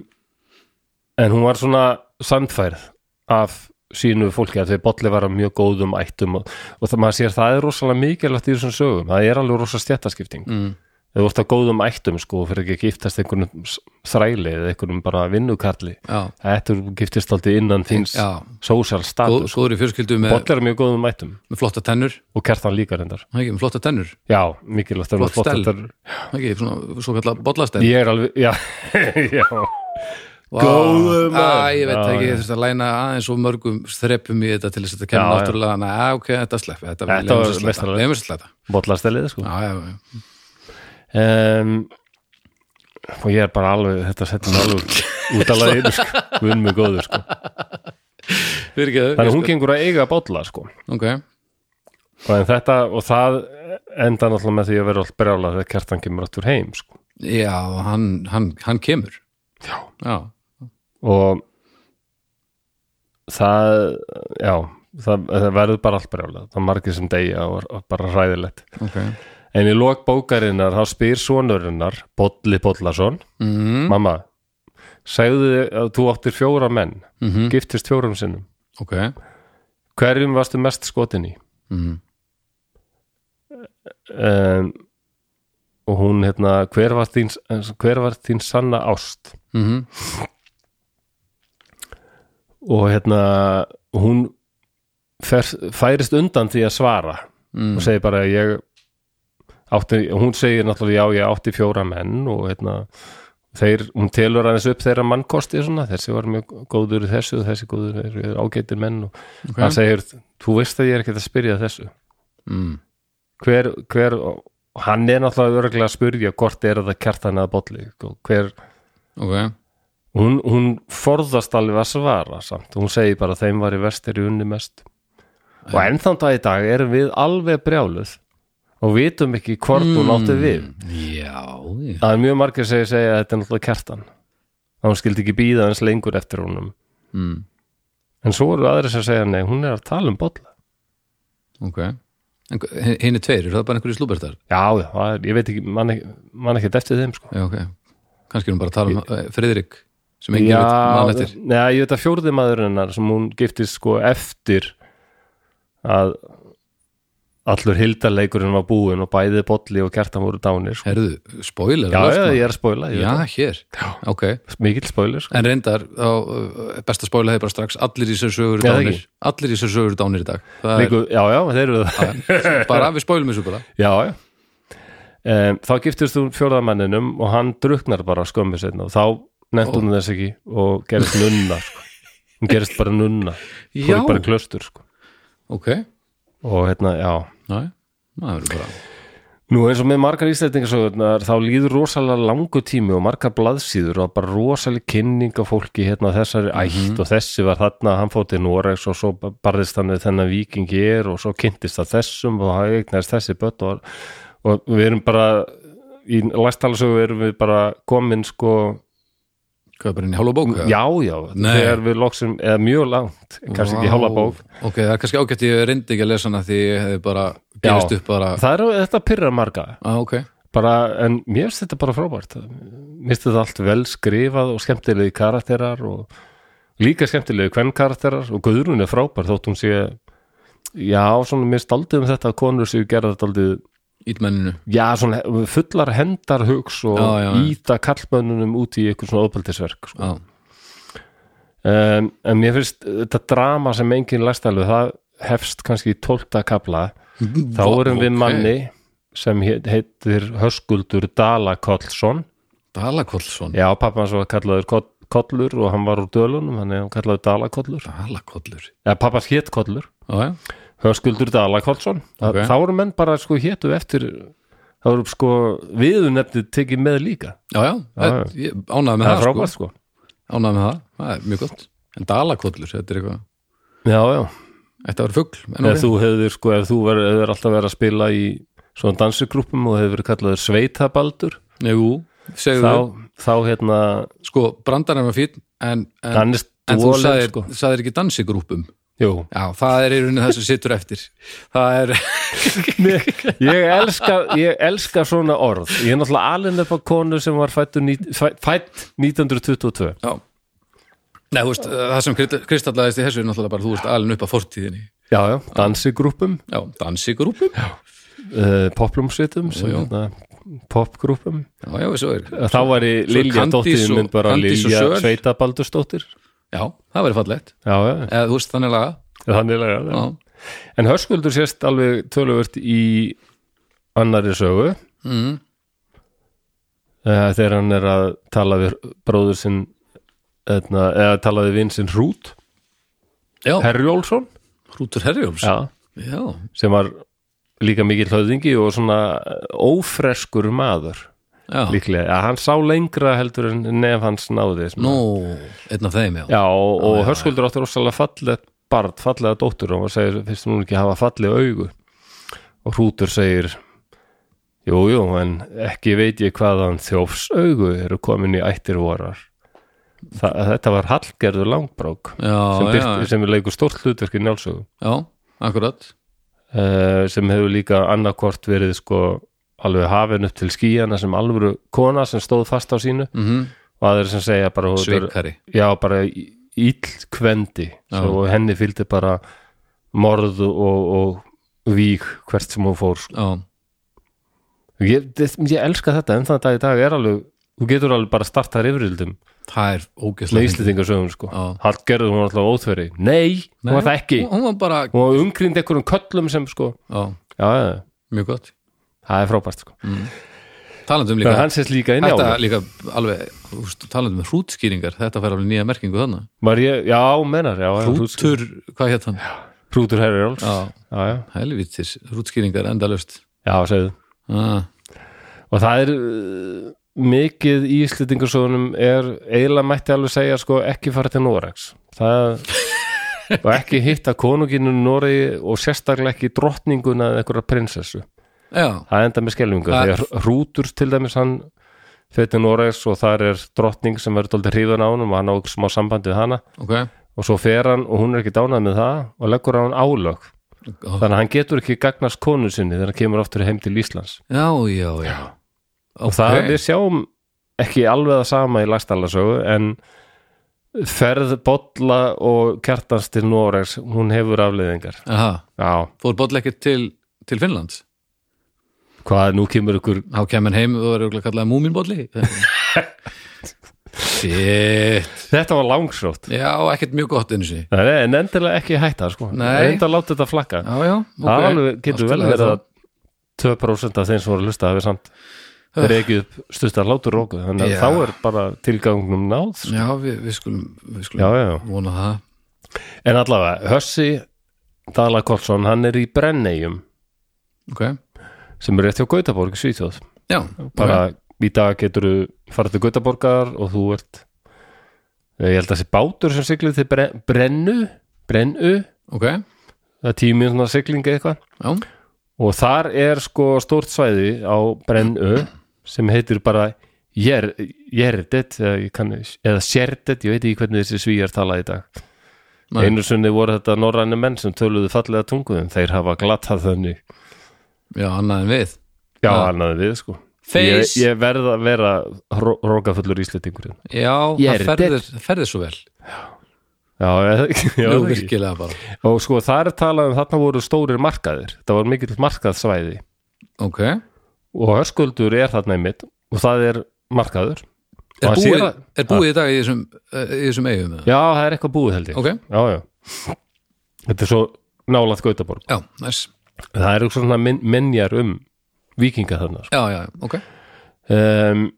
en hún var svona sandfærð af sínu fólki að þau bolli var af mjög góðum ættum og, og það maður sér það er rosalega mikilvægt í þessum sögum, það er alveg rosa stjættaskipting mm. þau vort að góðum ættum sko fyrir ekki að giftast einhvernum s- þræli eða einhvernum bara vinnukarli já, þetta er- giftist aldrei innan þins já, eh, social góð, status, góður í fjölskyldu með, bolli er af mjög góðum ættum með flotta tennur, og kertan líka reyndar það ekki, með flotta tennur, já, mikilvægt það er nú Flott flott stel. þetta er- það ekki, svona, svo kallar bollastæn ég er alveg, já, já Vá, Góður maður. Æ, ég veit Já, ekki, já. ég þurfti að læna aðeins og mörgum þreppum í þetta til þess að þetta Já, kemur já. náttúrulega, þannig að ok, þetta slepp þetta Þetta var meistarlegt. leifum sér slæta bollastelið sko já, já, já, um, og ég er bara alveg þetta setjum mig alveg út að laginu sko, vinn mig góður sko fyrir þannig ekki að hún gengur að eiga bátla sko ok, og, en þetta, og það enda náttúrulega með því að vera allt brjála þegar kertan kemur áttur heim sko já, hann, hann, hann kemur já, já, og það, já það, það verður bara allt brjála það er margir sem deyja og, og bara hræðilegt ok en í lok bókarinnar þá spyr sonurinnar Bolli Bollason mm, mamma, segðu þið að þú áttir fjóra menn Mhm. giftist fjórum sinnum ok, hverjum varstu mest skotin í Mhm. um, og hún hérna, hver var þín hver var þín sanna ást Mhm. og hérna hún fer, færist undan því að svara Mm. og segir bara að ég átti, hún segir náttúrulega já ég átti fjóra menn og hérna þeir, hún telur aðeins upp þeirra mannkosti svona, þessi var mjög góður í þessu og þessi góður er, er ágætur menn og Ok. hann segir, þú veist að ég er ekkert að spyrja að þessu Mm. hver, hver og hann er náttúrulega örgulega að spyrja hvort er það kjartan eða bolli og hver, ok, hún, hún forðast alveg að svara samt hún segir bara þeim var í vestir í unni mest og ennþann dag í dag erum við alveg brjáluð og vitum ekki hvort hún átti við já, já. það er mjög margir segir segja að þetta er náttúrulega kertan að hún skildi ekki býða hans lengur eftir honum Mm. en svo eru aðrir sem segja nei, hún er að tala um bolla ok En hva- hin- hinn er tveir, eru það bara einhverju slúbertar já, já, það er, ég veit ekki, mann ekki, man ekki eftir þeim sko já, ok, kannski erum bara að tala um eh, Friðrik, sem engin veit mann Já, eftir neða, ég veit að fjórði maðurinnar sem hún giftist sko eftir að allur hildarleikurinn var búinn og bæði bolli og kertan voru dánir sko. herðu, spoiler Já, alert, já, maður. ég er að spoila, ég já, veit hér, ok það. mikill spoiler sko. en reyndar, þá, eh, besta spoiler hefur bara strax allir í sér sögur Já, það dánir allir í sér sögur dánir í dag það Líku, Já, já, þeir eru það er bara við spoilum þessu bara Já, já um, Þá giftist hún fjórðamanninum og hann druknar bara skömmu seinna og þá nefnt hún þess ekki og gerist nunna sko. hún gerist bara nunna Já. fór í bara klöstur sko. ok, og hérna, já næ, maður verður bara Nú eins og með margar íslendingasögurnar þá líður rosalega langu tími og margar blaðsýður og bara rosalega kynning af fólki hérna þessari Mhm. ætt og þessi var þarna, hann fótt í Noregs og svo barðist hann við þennan viking hér og svo kynntist það þessum og hann eignast þessi börn og, og við erum bara í læstalasögu erum við bara komin sko, hvað er bara inn í hálfa bók eða? já já Nei. þegar við loksum, eða mjög langt kannski ekki Vá. hálfa bók ok, það er kannski ágætt ég reyndi ekki að lesa hana því ég hefði bara Já. gefist upp bara það er, þetta pyrrar marga ah, ok, bara, en mér finnst þetta bara frábært mér finnst þetta allt vel skrifað og skemmtilegi karakterar og líka skemmtilegi hvern karakterar og Guðrún er frábær þótt hún sé já, svona mér staldið um þetta að konur séu gerða þetta aldrei, ítmenninu já, svona fullar hendar hugs og Já, já, já. íta kallmönnunum út í eitthvað svona ópaldisverk sko. já, um, en mér finnst þetta drama sem enginn læst alveg, það hefst kannski í tólta kapla þá Va- erum við ok. manni sem hét- heitir Höskuldur Dalakollsson Dalakollsson Já, pappa hans var kallaður Koll- Kollur og hann var úr Dölunum, hann er kallaður Dalakollur. Dalakollur Eða pappans hétt Kollur, já, já, Höskuldur Dalakollsson. Ok. Okay. Þá eru menn bara sko hétu eftir, þá eru sko viðunefnið tekið með líka. já, já, Já, já. það- ég ánæði með Það það, er frábært sko. sko ánæði með það, það er mjög gott en Dalakollur, þetta er eitthvað Já, já. þetta var fugl, en Ef ok þú hefðir sko, ef þú verður hefðir alltaf verið að spila í svona dansugrúpum og hefur verið kallaður Sveitabaldur, jú, segðu þá, þá... þá hérna, sko, brandarinn var fín en, en, hann er en þú stólið sagðir, sko. sagðir ekki dansigrúpum Jú. já, það er í rauninni það sem situr eftir það er, ég elska, ég elska svona orð ég er náttúrulega alinn upp á konu sem var fætt, fætt 1922 já Nei, þú veist, það sem kristall- kristallaðist í þessu er náttúrulega bara, þú veist, alin upp að fortíðinni já, já, dansigrúpum Já, dansigrúpum Já, uh, poplumsvitum Jú, jú. popgrúpum já, svo er þá var ég Lilja Candice dóttir og- minn bara Candice og Lilja Söl. Sveitabaldursdóttir Já, það væri fallegt já, já, Eða, þú veist, þannig laga þannig lega Já, en Hörskuldur sést alveg töluvert í annari sögu mm, uh, þegar hann er að tala við bróður sinn eðna, eða tala við vinn sinn Hrút já Herjólfsson Hrútur Herjóms já. já sem var líka mikill höfðingi og svona eh, ófreskur maður já, líklega, að hann sá lengra heldur en nef hans náði sem- Nú, einn af þeim, já, já, og, og hörskuldur átti rosalega fallet barn, fallega dóttur og hann segir, finnst hún ekki hafa fallega augu og hrútur segir jú, jú, en ekki veit ég hvaðan þjófs augu eru komin í ættir vorar Þa, þetta var Hallgerður Langbrók Já, sem, já, byrt, sem leikur stórt hlutverk í njálsögu já, akkurat eh, sem hefur líka annarkvort verið sko alveg hafin upp til skíjana sem alvöru kona sem stóð fast á sínu mm og aðeir sem segja bara hún- Svikari já bara í- ill kvendi Já. Svo og henni fylgdi bara morð og, og vík hvert sem hún fór sko. já, ég, ég, ég elska þetta en þann dag í dag er alveg þú getur alveg bara að starta rifrildum það er með ógeðslega fyndið. íslendingarsögum sko Já. Hallgerður hún var alltaf óþveri nei, Nei, hún var það ekki hún- hún var bara, hún var umgrind einhverjum köllum sem sko já, já, já, já, mjög gott það er frábært sko talandum þannig líka að hann sést líka inn í Þetta álum líka alveg, úst, talandi um hrútskýringar, þetta fær alveg nýja merkingu þannig. Var ég, já, menar, já, já hrútskýr- Hrútur, hvað hétt hann? Hrútur herri Rolls Já, já, já, helvítis, hrútskýringar endalaust. já, segðu Ah, og það er uh, mikið í Íslendingarsögunum er eiginlega mætti alveg segja sko ekki fara til Noregs það og ekki hitta konunginu Noregi og sérstaklega ekki drottninguna eða einhverja prinsessu já, það enda með skelfingu Það- þegar Hrútur til dæmis hann fyrir til Noregs og þar er drottning sem verður dálítið hrifun á honum og hann á ekki smá sambandi við hana ok. og svo fer hann og hún er ekki dánað með það og leggur á hann álög Já, þannig að hann getur ekki gagnast konu sinni þegar hann kemur aftur heim til Íslands já, já. og það við sjáum ekki alveg það sama í lagstalasögu en ferð Bolla og Kjartans til Noregs hún hefur afleiðingar Aha, já, fór boll ekkert til, til Finnlands? hvað nú kemur ykkur Þá kemur hann heim og verður örugglega kallaði múminbolli. Shit. þetta var langsótt Já, ekkert mjög gott einu sinni. Nei, nei, en endilega ekki hætta sko Nei. reynda að láta þetta flakka Já, já, ok. það alveg Allt getur í vel lagi verið þá. að 2% af þeim sem voru að hlusta hafi samt Ugh. reikið upp stuttar látur róku þannig að Öh. Já. þá er bara tilgangnum náð sko. Já, við, við skulum, við skulum já, já, já vona það. En allavega, Hössi Dalakolsson, hann er í Brenneyjum Ok, sem er rétt hjá Gautaborg í Svíþjóð já. bara í dag getur þú farið til Gautaborgar og þú ert ég held að þessi bátur sem siglið til Bre- Brennu Brennu, Ok, ok. það er tíu mínúna siglingi eitthvað Já, og þar er sko stórt svæði á Brennu sem heitir bara Jer- Jerdet eða, ég kann- eða Sjerdet, ég veit ekki hvernig þessi svíjar tala í dag Nei. einu sunni voru þetta norræni menn sem töluðu fallega tunguðum, þeir hafa glattað þannig já annað en við Já, Já. hann hafði við sko ég, Face, ég verð að vera hró- rókafullur íslendingur hérna. já, Ég það er ferðir, ferðir svo vel Já, eða- já Jú, það ekki. virkilega bara Og sko þar er talað um þarna voru stórir markaðir Það var mikill markaðsvæði Ok, Og hörskuldur er þarna einmitt Og það er markaður Og er hann búið, sér að- er búið í dag í þessum, eh, í þessum eigum eða? Já, það er eitthvað búið held ég Ok, Já, já Þetta er svo nálaðt Gautaborg já, næs Það eru svona min minjar um Víkinga þarna sko. Já, já, ok, um,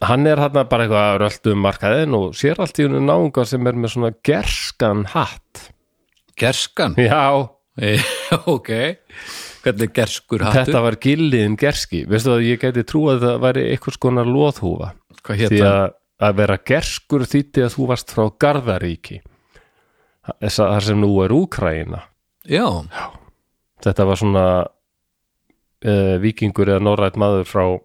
Hann er þarna bara eitthvað að röltu um markaðin og sér allt í hennu náunga sem er með svona gerskan hatt gerskan Já, Eh, Ok, hvernig er gerskur hattur Þetta var gilliðin gerski Veistu að ég gæti trú að það væri einhvers konar loðhúfa Hvað hétt Því það? að, að vera gerskur þýtti að þú varst frá Garðaríki Þess að þar sem nú er Úkraína Já, Þetta var svona uh, vikingur eða norrætt maður frá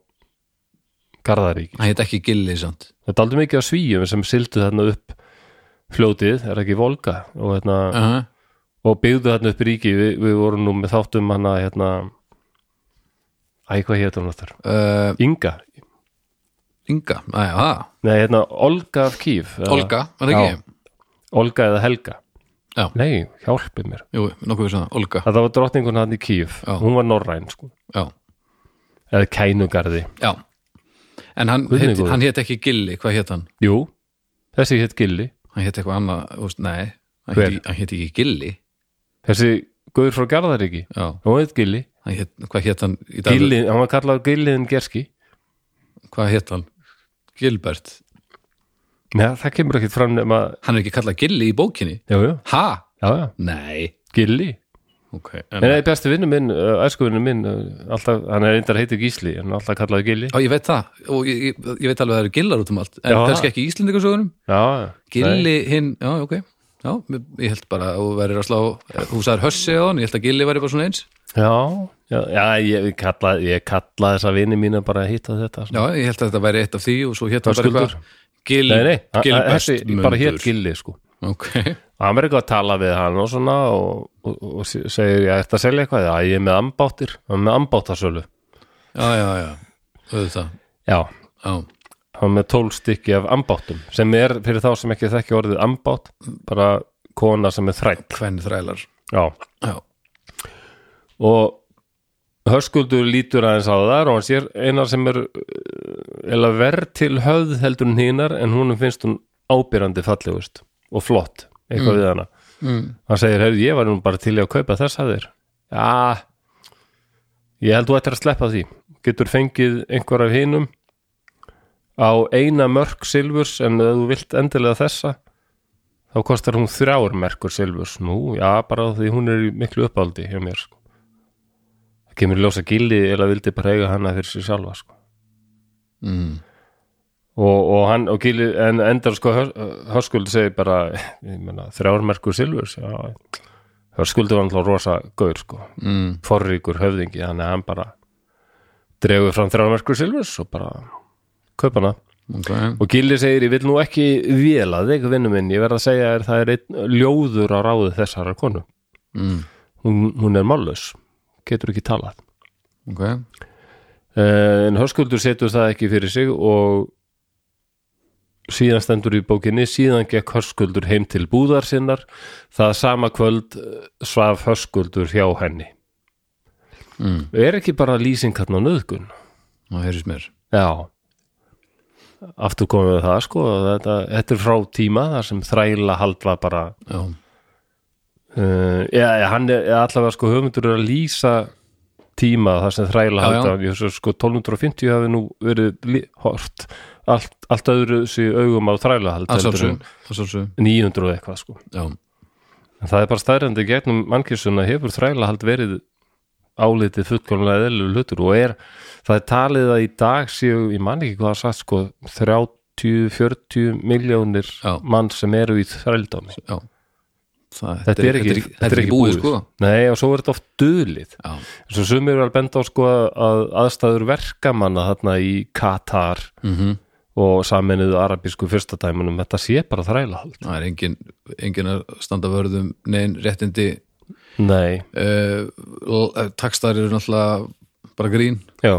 Garðaríki hann hétt ekki gilli samt Þetta er aldrei mikið á svíjum sem sildu þarna upp fljótið, er ekki volga og, hérna, Aha. og byggðu þarna upp ríki Vi, Við vorum nú með þáttum hana hérna, Æ, hvað hétt hún áttur? Eh, Inga, Inga, aðja, Nei, hérna, Olga af Kýf eða- Olga, var það Já. ekki? Olga eða Helga Já. Nei, hjálpi mér Jú, nokkuð við svona, Olga Það var drottningun hann í Kýf Já. Hún var norræn, sko Já, Eða kænugarði já En hann Guð minn hétt- góður. hann hétt ekki gilli, hvað hétt hann? Jú, þessi hétt Gilli hann hétt eitthvað annað, þú veist, nei hann Hver? hétt, hann hétt ekki Gilli Þessi Guður frá Garðaríki já, Hún hétt Gilli hann hétt, hvað hétt hann í dag Gilli, hann var kallað Gilliðin Gerski hvað hétt hann, Gilbert Nei, það kemur ekkert fram nema hann er ekki kallað Gilli í bókinni Já, já, ha, já, já, nei Gilli ok, En en, það er bestu vinnu minn, uh, æskuvinnu minn uh, alltaf, Hann er reyndar heitir Gísli En alltaf kallaði Gilli á, ég veit það og ég, ég, ég veit alveg að það eru gillar út um allt en Já. kannski ekki í Íslendingasögunum, Já, nei. Gilli hinn já, ok, já, mér- ég held bara að þú verður að slá, þú sagðir hössi á hann ég held að Gilli væri bara svona eins Já, já, já ég kalla, ég kalla þessa vini mína bara að hitta þetta sko. já, ég held að þetta væri eitt af því og svo hétt hann bara Höskuldur. eitthvað Gil, Nei, nei, a- a- Gilbert þessi bara hétt Mundur. Gilli sko ok, Og hann er eitthvað að tala við hann og svona og, og, og se- segir, ég ætti að selja eitthvað já, ég er með ambáttir, hann er með ambáttasölu já, já, já auðvitað, Já, já hann er með tól stykki af ambáttum sem er, fyrir þá sem ekki þekki orðið ambátt bara kona sem er þræll hvern þrælar já. Já. og höskuldur lítur aðeins á þar og hann sér einar sem er uh, eða verð til höfð heldur en hínar en hún finnst hún ábyrrandi fallegust og flott, eitthvað við hana Mm. hann segir, heyrðu, ég var nú bara til í að kaupa þess að þér já ég held þú ættir að sleppa því getur fengið einhver af hinum á eina mörk silfurs en ef þú vilt endilega þessa þá kostar hún þrjár merkur silfurs nú, já, bara því hún er í miklu uppáldi hjá mér sko. það kemur í ljósa gildi eða vildi bara eiga hana fyrir sér sjálfa sko. Mm. og, og hann og gildi, en endar sko Hör- Höskuldur segir bara ég meina, þrjármerkur silfurs já. Höskuldur var alltaf rosa gaur sko, Mm. forríkur höfðingi þannig að hann bara dregur fram þrjármerkur silfurs og bara kaupa hana ok og Gilli segir ég vil nú ekki véla þig vinnu minn, ég verð að segja þér það er einn ljóður á ráðu þessarar konu mm. hún, hún er mállaus, getur ekki talað ok Eh, en Höskuldur setur það ekki fyrir sig og síðan stendur í bókinni síðan gekk Höskuldur heim til búðar sinnar það sama kvöld eh, svaf Höskuldur hjá henni mm. er ekki bara lýsing hann á nöðgun það heyrðist mér já aftur komum við það sko að þetta, þetta er frá tíma þar sem þræla hald var bara já, uh, já, já, hann er eða allavega sko höfundur er að lýsa tíma þar sem þræla Já, já. halda ég hugsa sko 1250 hafi nú verið lí- hort allt, allt öðru sér augum á þræla halda að heldur en sjálfsög að sjálfsög 900 og eitthvað sko já, en það er bara stærrendi gegnum mannkjössuna hefur þræla hald verið álitið fullkomlega eðlur hlutur og er það er talið að í dag séu ég man ekki hvað það er sagt sko 30-40 miljónir Já. mann sem eru í þrældómi já. Það, þetta er ekki, þetta er ekki búið, sko nei og svo er þetta oft duðlið já, Svo sumir eru að benda á sko að aðstæður verkamanna þarna í Katar mm og saminuðu arabísku fyrstadæmunum, þetta sé bara þrælahald. það er engin, engin að standa vörðum neinn réttindi Nei, uh, takstar eru náttúrulega bara grín já,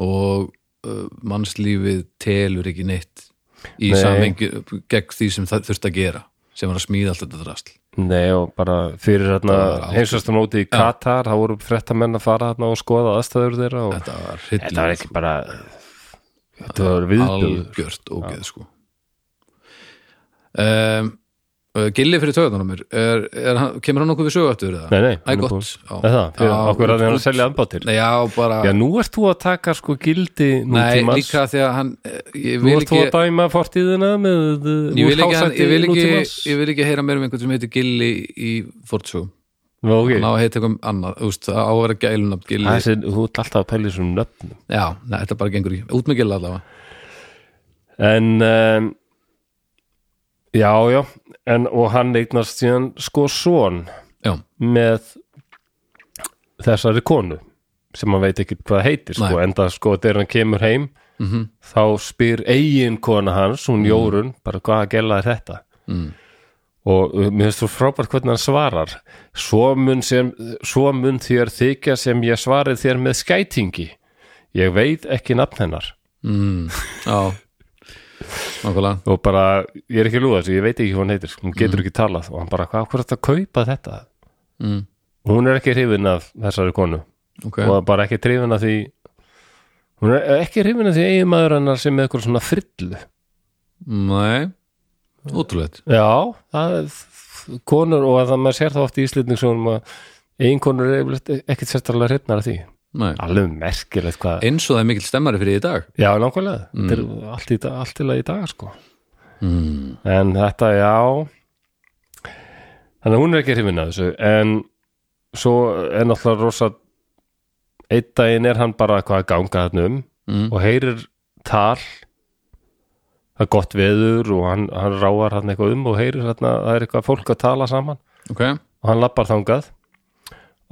og uh, mannslífið telur ekki neitt í Nei. samhengi gegn því sem það þurft að gera sem var að smíða allt þetta drasl nei og bara fyrir þarna Það var allt- heimsvæstum móti í Katar, þá voru frettamenn að fara þarna og skoða aðstæður þeirra og þetta var þetta var hryllilega ekki bara, þetta var viðbjöður. algjört ógeð sko um, uh, Gilli fyrir töðan á mér er, er, hann- kemur hann okkur við sögu aftur Nei, nei, Æ, hann er gott búinn. Já. Eða, fyrir Já, okkur að út- þeirra út- selja anbátir. Nei, já, bara Já, nú ert þú að taka sko gildi Nei, nútímans. líka því að hann eh, ég Nú vil ert þú ekki, að dæma fortíðina með uh, ég úr vil, ekki, hann, ég, hásætti vil ekki nútímans. ég vil ekki heyra meir um einhvern sem heitir Gilli í Fortsjóum Nú, ok. hann á að heita eitthvað annað, þú veist, það á að vera gælunafn Gilli, Þessi, þú ert alltaf að pæla í svona nöfnum já, nei, þetta bara gengur ekki út með Gilli allavega, En um, Já, já en, Og hann eignast síðan sko son já, með þessari konu sem hann veit ekki hvað heitir sko, Nei. enda sko þegar hann kemur heim Mhm. þá spyr eigin kona hans hún Jórun, bara hvað að gela er þetta Mm. og uh, mér finnst þú frábært hvernig hann svarar svo mun, sem, svo mun þér þykja sem ég svarið þér með skætingi ég veit ekki nafn hennar mm, já nákvæmlega, og bara, ég er ekki að lúða þessu, ég veit ekki hvað hann heitir hún getur Mhm. ekki talað og hann bara, hvað, hvað er þetta að kaupa þetta Mm. hún er ekki hrifin af þessari konu ok og bara ekki hrifin af því hún er ekki hrifin af því eiginmaður hennar sem með eitthvað svona frillu nei, ótrúlegt já, það er konur og að það maður sér þá oft í íslitningssjónum að eiginkonur er yfirleitt ekkit sérstaklega hrifnar af því nei. alveg merkilegt hvað Mm. eins og það er mikill stemmari fyrir í dag já, nákvæmlega, þetta er allt í, dag- allt í lagi í dag sko mm. En þetta, já Þannig að hún er ekki hrifin að þessu En svo er náttúrulega rosa Einn daginn er hann bara eitthvað að ganga þarna um Mm. Og heyrir tal Það er gott veður Og hann, hann ráar hann eitthvað um Og heyrir þarna, að það er eitthvað fólk að tala saman ok, og hann lappar þangað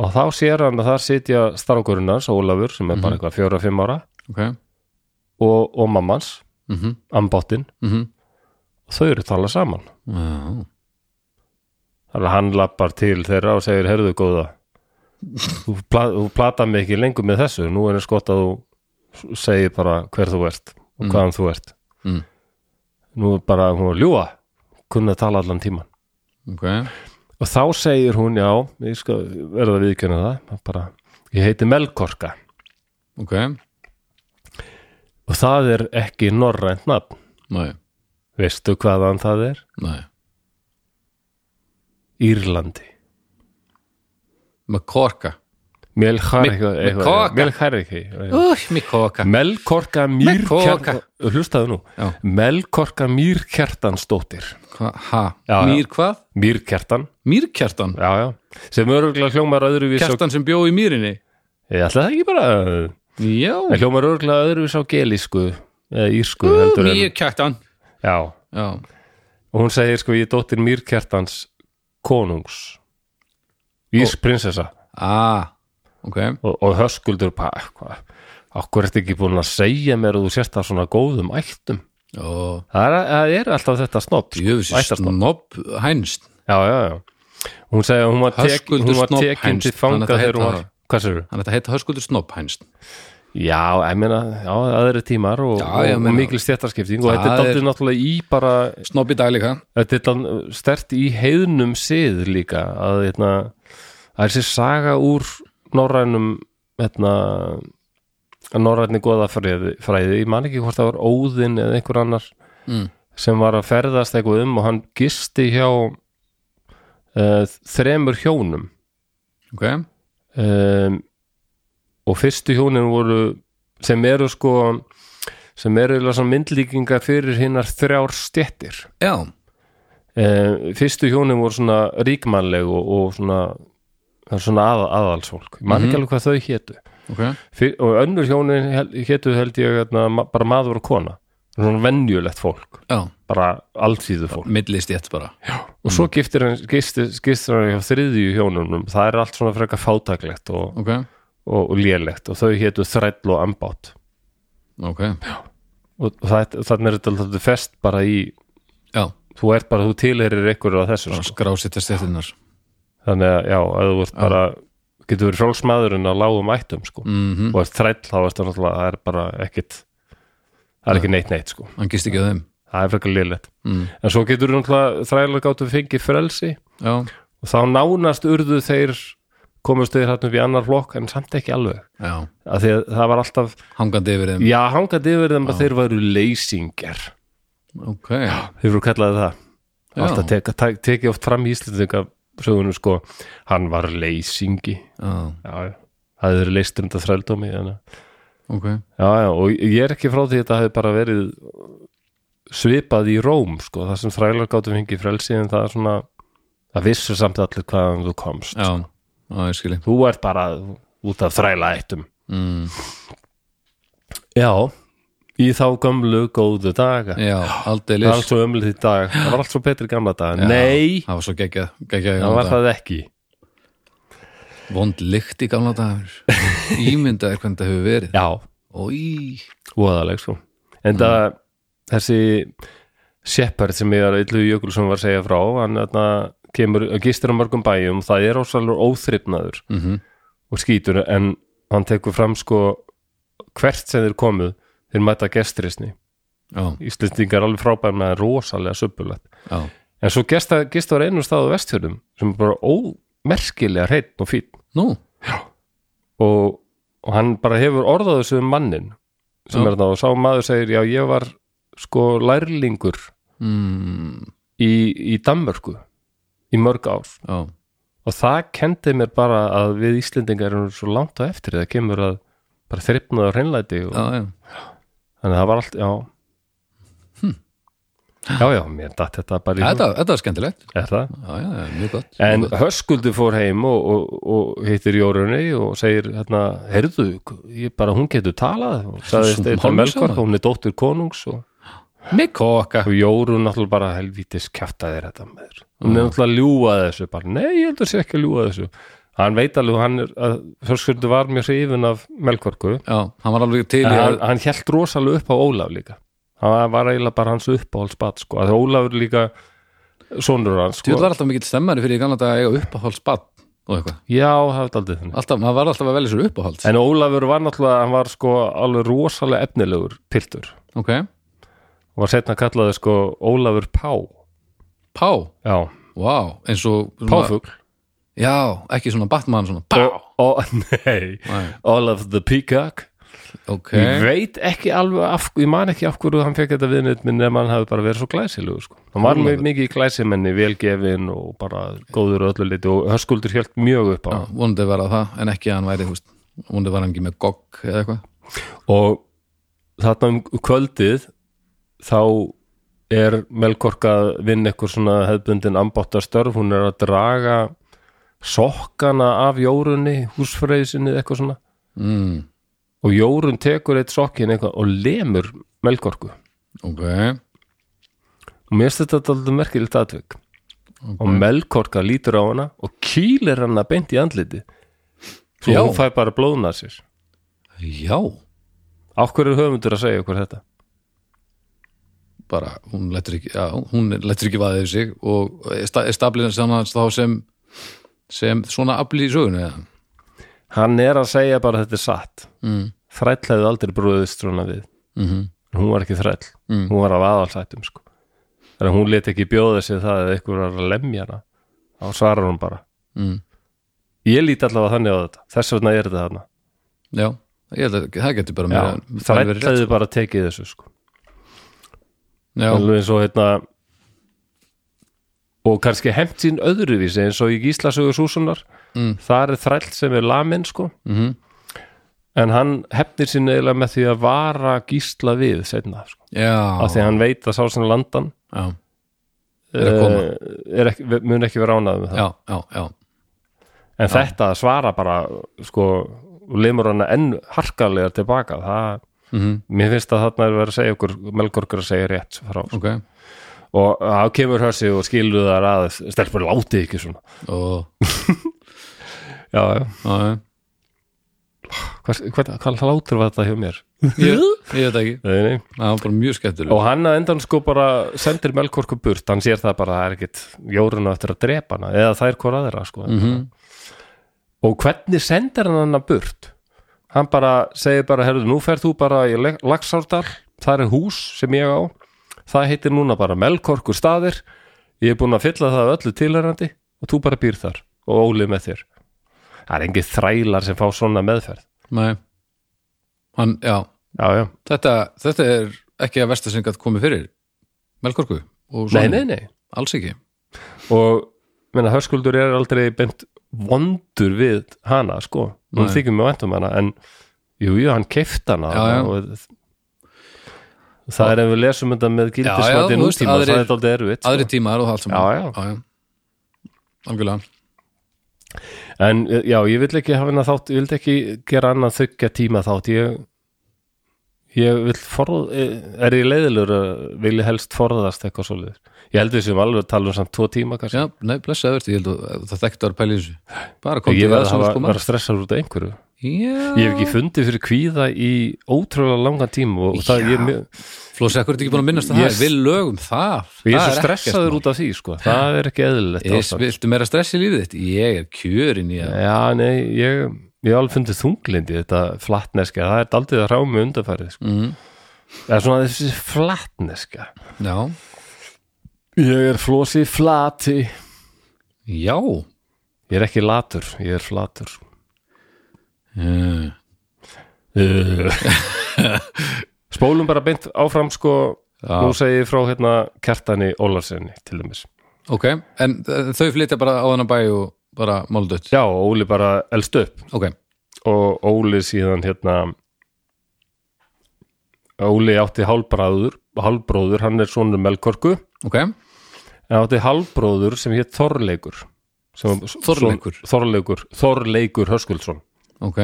og þá sér hann að þar sitja strákurinn hans, Ólafur, sem er bara eitthvað fjóra-fimm ára ok og, og mammans, mm -hmm. ambottin Mm og þau eru að tala saman já, Þannig að hann lappar til þeirra og segir, herðu góða, þú, pla þú plata mig ekki lengur með þessu, nú er skott að þú segir bara hver þú ert og hvaðan þú ert. Mm. Nú er bara hún að ljúa, kunna að tala allan tíman. ok og þá segir hún já, ég skal verða að viðkjöna það bara, ég heiti Melkorka ok, og það er ekki norrænt nafn næ, veistu hvaðan það er? næ Írlandi McCorka Mi- Melkorka. Melkorka uh, McCorka Melkorka Melkorka. Mýrkjartan hlustaðu nú, Já. Melkorka Mýrkjartansdóttir ha, Já, já. mýr hvað? Mýrkjartan, Mýrkjartan? já já sem öruglega hljómar öðruvís og... Kjartan sem bjó í mýrinni? ég ætla það ekki bara eh, Já, Það hljómar örgulega öðruvís á gelísku eða írsku heldur en mýrkjartan já, Já, og hún segir sko ég er dóttir mýrkjartans konungs Írsprinsessa ah, ok og, og höskuldur pa, hva, okkur ertu ekki búin að segja mér að þú sért það svona góðum ættum Ó, það er, það er alltaf þetta snopp sko, Jöfisir ættasnobb. snobb hænst já, já, já hún segir að hún var, tek, Höskuldur hún var snobb tekin til hænst, þannig fanga að það þegar hún heita var það. hvað sér Hann ætti að heita Höskuldur snobb hænst Já, ég meina, já, aðri tímar og, Já, ég og, og meina- mikil stjættarskipting og Það þetta er er- daldið náttúrulega í bara Snobb í dag líka þetta er dan- stert í heiðnum sið líka að hérna, það er sér saga úr norrænum hérna, norrænni goðafræði fræði, ég man ekki hvort það var Óðinn eða einhver annar Mm. sem var að ferðast eitthvað um og hann gisti hjá uh, þremur hjónum Ok, um, og fyrstu hjónin voru sem eru sko sem eru eiginlega svona myndlíkingar fyrir hinnar þrjár stjettir já, Eh, fyrstu hjónin voru svona ríkmannleg og, og svona það er svona aða, aðalsfólk, ég man ekki alveg hvað þau hétu ok Fyr, og önnur hjónin hel- hétu held ég hérna, ma- bara maður og kona svona venjulegt fólk, Já, bara alltíðu fólk millist ég bara og svo giftir hann, gistir, gistir hann hjá þriðju hjónunum, það er allt svona frekar fátæklegt og, Ok, og, og lélegt og þau hétu þræll og ambát ok og það, þannig er þetta alltaf fest bara í Já, þú ert bara, þú tilherir einhverju að þessu sko. skrásita stjættinnar þannig að já, að þú ert bara getur verið frálsmaðurinn á lágum ættum sko. Mhm. og ert þræll þá er það náttúrulega það er bara ekkit það er ekki neitt neitt sko. Hann gist ekki að þeim það er frekar lélegt Mm. en svo getur þú náttúrulega þræla gáttu fengið frelsi Já, og þá nánast urðu þeir komust þeir hann upp í annar flokk en samt ekki alveg já, af því að það var alltaf, hangandi yfir þeim já hangandi yfir þeim að þeir væru leysingjar Ok, já, Þeir voru kallaði það Já. Alltaf teka, te, tekið oft fram í Íslendinga sögunum sko, hann var leysingi já, já, það hefur leystur undan þrældómi þannig að- ok já, já, og ég er ekki frá því að þetta hefði bara verið svipað í Róm sko, það sem þrælar gátum hengið frelsi en það er svona það vissu samt allir hvaðan þú komst Já, já, ég skilji þú ert bara út af þræla eittum mm. já, í þá gömlu góðu daga Já, aldrei það var allt svo ömlu því dag það var allt svo betri gamla dag, Já, nei Það var svo geggjað, geggjað í það gamla var daga. það ekki Vond lykt í gamla dagar Ímyndaðir hvernig það hefur verið já, Ói, voðaleg sko en það þessi Shepard sem ég er illu Jökulsson var að segja frá hann þarna, kemur, gistir á mörgum bæjum það er ósalur óþrifnaður mm og skítur en hann tekur fram sko hvert sem þeir komuð þeir mæta gestrisni já, Íslendingar alveg frábær með rosalega söpulegt já, en svo gesta, gista á einu stað á vestfjörðum sem er bara ómerkilega hreitt og fín nú og, og hann bara hefur orðað þessu um mannin sem Já. er það og sá maður segir já ég var sko lærlingur mm, í, í Danmörku í mörg ár Já, og það kendi mér bara að við Íslendingar erum svo langt á eftir það kemur að bara þrifnaðu hreinlæti og, já, já, þannig að það var allt, já já já, mér datt þetta bara í hug. Hm. þetta, þetta er skemmtilegt er það Já, já, já, mjög gott En Höskuldur fór heim og, og, og hittir Jórunni og segir hérna, heyrðu, ég bara hún getur talað og sagði Svona þetta hálfur melkvark saman. hún er dóttur konungs og, Mig koka og Jórun náttúrulega bara helvítis kjaftaði þetta með þér hún er náttúrulega að ljúga þessu bara, nei, ég heldur sér ekki að ljúga þessu hann veit alveg, hann er, að Höskuldur var mjög hrifin af melkvarku Já, hann var alveg til í en að hann, hann held rosalega upp á Ólaf líka hann var eiginlega bara hans uppáhaldsbat sko, að Ólafur líka sonur hans Þú sko. var alltaf mikill stemmari fyrir í gamla daga að eiga uppáhaldsbad og eitthvað já, það er aldrei þannig Alltaf, maður var alltaf að velja sér uppáhalds En Ólafur var náttúrulega, hann var sko alveg rosalega efnilegur piltur Ok, og var setna kallaði sko Ólafur Pá pá, Já, ó, wow, eins og svona- Páfugl já, ekki svona Batman svona, og, pá, og, Nei, Nei. Olaf the Peacock ok Ég veit ekki alveg af, ég man ekki af hverju hann fekk þetta viðnit minn ef hann hafi bara verið svo glæsilegur sko. hann var mjög mikið í glæsimenni, velgefin og bara góður öllu liti og höskuldur hjælt mjög upp á hann. vonandi var það það, en ekki að hann væri þú veist, vonandi var hann ekki með gogg eða eitthvað og þarna um kvöldið þá er Melkorka að vinna eitthvað svona hefðbundin ambáttarstörf, hún er að draga sokkana af jórunni húsfreyðsinni eitthvað svona mm, og jórun tekur eitt sokkin eitthvað og lemur Melkorku ok, og mér finnst þetta alltaf merkilegt atvik og melkorka lítur á hana og kýlir hana beint í andliti svo Já. hún fæ bara blóðna sér já á hverju höfundur að segja okkur þetta bara, hún lettur ekki já, hún lettur ekki vaðið yfir sig og er sta- er stablinn sem hann þá sem sem svona afli í sögunu eða hann er að segja bara að þetta er satt mm, þræll hefði aldrei brúðist svona við mm en hún var ekki þræll, Mm. hún var af aðalsætum sko. þannig að hún leti ekki bjóða sig það eða eitthvað var að lemja hana þá svarar hún bara mm, ég líti allavega þannig á þetta, þess vegna er þetta þarna já, ég held að það getur bara meira- Já, bara þræll verið rétt, hefði bara tekið þessu sko. sko. já, alveg eins og hérna og kannski hefnt sín öðruvísi eins og í Gíslasögu Súsunar Mm. þar er þræll sem er lamin sko mhm, en hann hefnir sín eiginlega með því að vara Gísla við setna sko. já, af því að hann veit að sá sem landan já Er að koma. eh, er ekki, mun ekki vera ánað með það já, já, já, en þetta að svara bara sko, og lemur hana enn harkalega tilbaka það, mhm, mér finnst að þarna er verið að segja okkur Melgorgur að segja rétt frá sko. ok og þá kemur hörsi og skilur það að stelpur láti ekki svona og, já, já já, já hvað, hvað, hvað hlátur var þetta hjá mér ég, ég veit það ekki, nei, nei. það var bara mjög skemmtileg og hann að endan sko bara sendir melkorku burt, hann sér það bara að það er ekkit jórun á eftir að drepa hana eða það er hvort aðra sko Mhm. og hvernig sendir hann hana burt hann bara segir bara herrðu, nú ferð þú bara í Le- Laxárdal það er hús sem ég á það heitir núna bara melkorku staðir ég er búin að fylla það af öllu tilhörandi og þú bara býr þar og ólið með þér það er engin þrælar sem fá svona meðferð Nei Hann, já, já, já. þetta, þetta er ekki að versta sem gætt komið fyrir Melkorku og nei, svona, nei, nei alls ekki og menna, hörskuldur er aldrei beint vondur við hana sko, hún Nei. þykir mjög vænt um hana en jú, jú, hann keift hana Já, já. og það er ef við lesum þetta með Já, já, gildismati þú veist, nútíma, aðrir- það er þetta aldrei erfitt sko. Aðri tímar og allt saman Já, já. já, já. Algjörlega, en eh, já, ég vil ekki hafa hana þátt, ég vil ekki gera annað þykja tíma þátt ég ég vil forð eh, er ég leiðilur að vilja helst forðast eitthvað svoleiðis, ég held við sem alveg að tala um samt tvo tíma kannski, já, nei, blessaði verði Ég held að það þekktu að pæla í þessu Bara kom ég til verð það að sem hafa- sko vera stressar út af einhverju Ég hef Já, ekki fundið fyrir kvíða í ótrúlega langan tíma og það ég, er mjög- Flósi, ekkur er ekki búin að minnast að Ég- það Við lögum það ég er Það svo stressaður út af því sko. það er ekki eðlilegt Ég, ástand. viltu meira stress í lífið þitt? Ég er kjörin í að Já, nei, ég ég hef alveg fundið þunglindi þetta flatneska, það er daldið að rámi undanfærið sko. mm, það er svona þessi flatneska Já, Ég er flosi flati já Ég er ekki latur, ég er flatur mm. Eh. Spólum bara beint áfram sko Já. nú segi ég frá hérna kertani Ólarsenni til dæmis Ok, en eh, þau flytja bara á þannig bæ og bara máldött Já, Óli bara elst upp Ok, og Óli síðan hérna Óli átti hálbráður hálbróður, hann er sonur Melkorku ok, en átti hálbróður sem hétt Þorleikur sem, Þorleikur? son, Þorleikur, Þorleikur Höskuldsson ok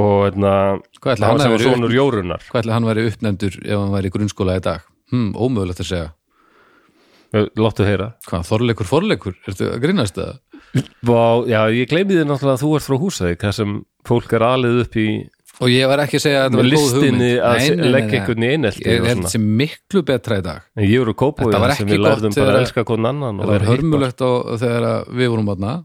og hérna Hvað ætli hann hann sem var hafi verið sonur Jórunar Hvað ætli hann væri uppnefndur ef hann væri í grunnskóla í dag? Hmm, ómögulegt að segja Eh, láttu heyra Hvað, þorleikur, forleikur? Ertu að grínast það? Vá, já, ég gleymi þér náttúrulega að þú ert frá húsæði hvað sem fólk er alið upp í Og ég var ekki að segja að þetta var góð hugmynd listinni að Nei, se- nei, nei, leggja nei. einhvern í einelti Ég og held svona. þessi miklu betra í dag en ég eru kópói Þetta var sem ekki við lærðum gott bara að þegar- elska hvern annan og Það var vera hitt bara. hörmulegt á, þegar að við vorum aðna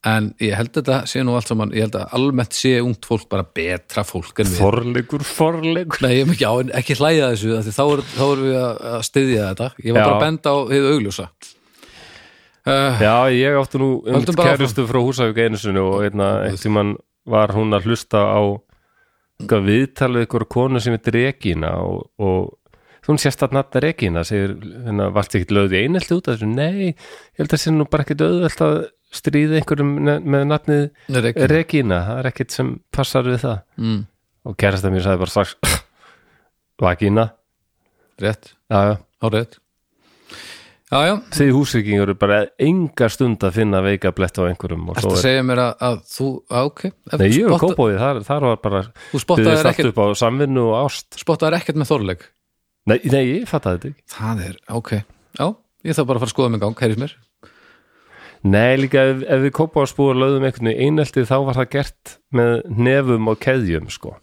En ég held þetta sé nú allt saman Ég held að almennt sé ungt fólk bara betra fólk en við Þorleikur, Þorleikur Nei, ég er ekki á, en ekki hlæja að þessu af því þá er- þá erum við að, að styðja þetta Ég var Já. bara að benda á hið augljósa uh, Já, ég átti nú um Höldum bara kærustu frá Húsavík einu sinni og einna eitt tímann var hún að hlusta á eitthvað viðtal við ykkur konu sem heitir Regína og, og hún sést að natta Regína segir, hérna, varst ekki lögð í einelti út af þessu? Nei, ég held að sé nú bara ekkit auðvelt að stríða einhverjum ne- með nafnið Regína. Regína, það er ekkit sem passar við það mm, og kærasta mér sagði bara strax Vagina, Rétt, já, já hárið Já, já, Þið húsvíkingur eru bara enga stund að finna veika blett á einhverjum og ertu svo að er segja mér að, að þú, á, ok Ef Nei, þú ég er spotta- kópóið, þar, þar var bara Þú spottaðir byggðist allt ekkert, upp á samvinnu og ást spottaðir ekkert með þorleik Nei, nei ég fattaði þetta ekki Það er, ok Já, ég þarf bara að fara að skoða mig gang, heyrðis mér Nei, líka ef, ef við kópóið spúið lögðum einhvern veginn eineltið þá var það gert með nefum og keðjum sko.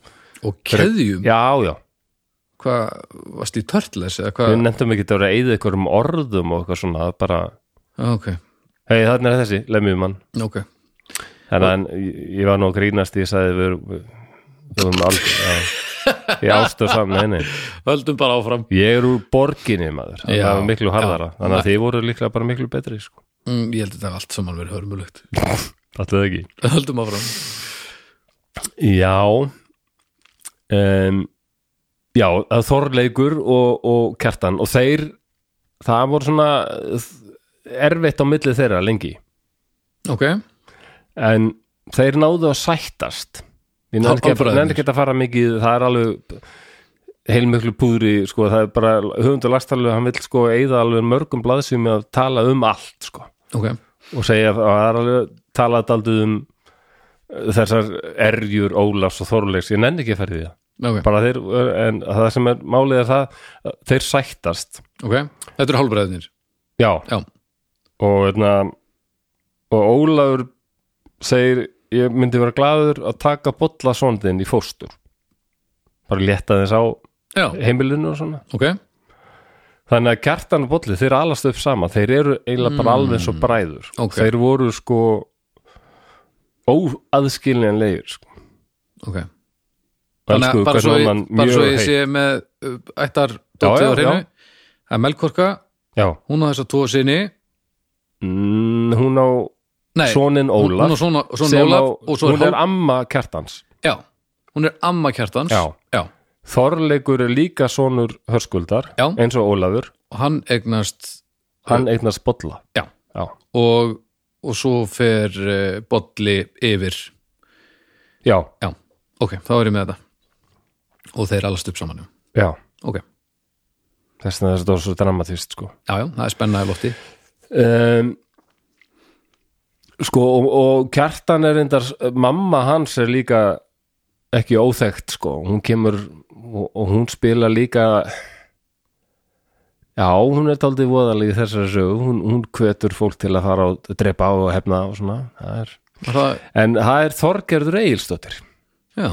Og keðjum, Já, já, hvað, varst í törtles eða við hvað, nefndum ekki að vera að eyða einhverjum orðum og eitthvað svona það bara, Já, ok, hei, þarna er þessi, lemjum mann ok Þannig að ég- ég var nú að grínast ég sagði við erum, við erum aldrei já. Ég ástu saman, nei, nei Höldum bara áfram Ég er úr borginni maður, það Já, var miklu harðara já. Þannig að þið voru líklega bara miklu betri sko. mm, Ég held að þetta hafi allt saman verið hörmulegt Fattu það ekki Höldum áfram Já um, Já, að Þorleikur og, og Kjartan og þeir það voru svona eh, erfitt á milli þeirra lengi Ok, en þeir náðu að sættast ég nefnir ekki, Hálfbræðurnir. að- nenni ekki að fara mikið það er alveg heilmiklu púðri sko, það er bara höfundu lastalegu hann vill sko eyða alveg mörgum blaðsum að tala um allt sko ok og segja að það er alveg talað aldrei um uh, þessar erjur Ólafs og Þorleiks ég nenni ekki að fara í því Ok, bara þeir, uh, en það sem er málið er það, þeir sættast ok, þetta eru hálfbræðinir já, Já, og veitna og Ólafur segir, ég myndi vera glaður að taka bolla sondin í fóstur bara létta þess á já, heimilinu og svona ok þannig að kjartan og bolli, þeir alast upp sama þeir eru eiginlega bara alveg eins og bræður Ok. þeir voru sko óaðskiljanlegir sko. Ok, þannig að Elskuðu bara hvern svo, ég, annan bara svo mjög ég heitt. sé með uh, ættar Já, dótið á já, hreinu að Melkorka, já, hún á þess að tvo sinni mm, hún á Nei, soninn hún- Ólaf hún á svona, svona sem Ólaf á- og svo er hún er hálf amma kjartans Já, hún er amma kjartans Já. já Þorleikur er líka sonur hörskuldar Já. eins og Ólafur, og hann eignast hann eignast bolla Já, já, og, og svo fer uh, bolli yfir já, Já, ok, þá er ég með þetta og þeir allast upp saman já. já. Ok, já, þess að þetta er svo dramatist sko já, það er spennaði lofti um, sko og, og kjartan er reyndar mamma hans er líka ekki óþekkt sko hún kemur og, og hún spila líka já hún er daldið voðalegi þessari sögu hún, hún hvetur fólk til að fara og drepa á og hefna og svona það er, Var það, en það er Þorgerður Egilsdóttir Já,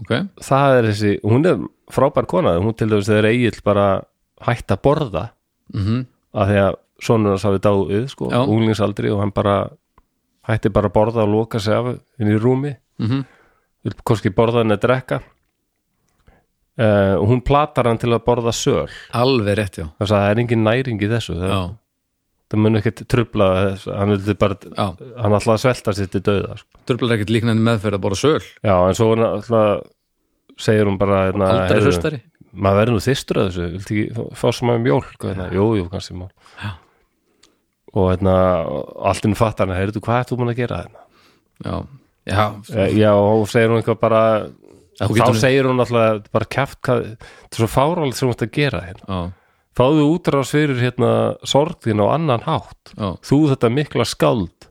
ok það er þessi, hún er frábær kona hún til dæmis þegar Egil bara hætt að borða mm að því að sonur hans hafi dáið sko, Já. unglingsaldri og hann bara hætti bara að borða og loka sig af inn í rúmi, Mhm. vil hvorki borða hann að drekka uh, og hún platar hann til að borða söl Alveg rétt, já þess að það er engin næring í þessu það, Já, það mun ekkert trubla þess, hann vildi bara, já, hann alltaf að svelta sér til döða sko. dröflar ekkert líknandi meðferð að bora söl já, en svo hann alltaf segir hún bara hérna, Aldrei heyrðu, hlustari maður verður nú þystur að þessu, viltu ekki fá- fá sem að mjólk og hérna, jú, jú, kannski mál Já. og hérna, allt inn fattar hann, heyrðu, hvað ert þú búin að gera hérna? Já, já, E, Já, og segir hún eitthvað bara Já, þú þá getur- segir hún alltaf, bara kjaft hvað, þetta er svo fáralegt sem hún ert að gera hérna. já, fáðu útrás fyrir hérna sorgðin á annan hátt já, þú þetta mikla skáld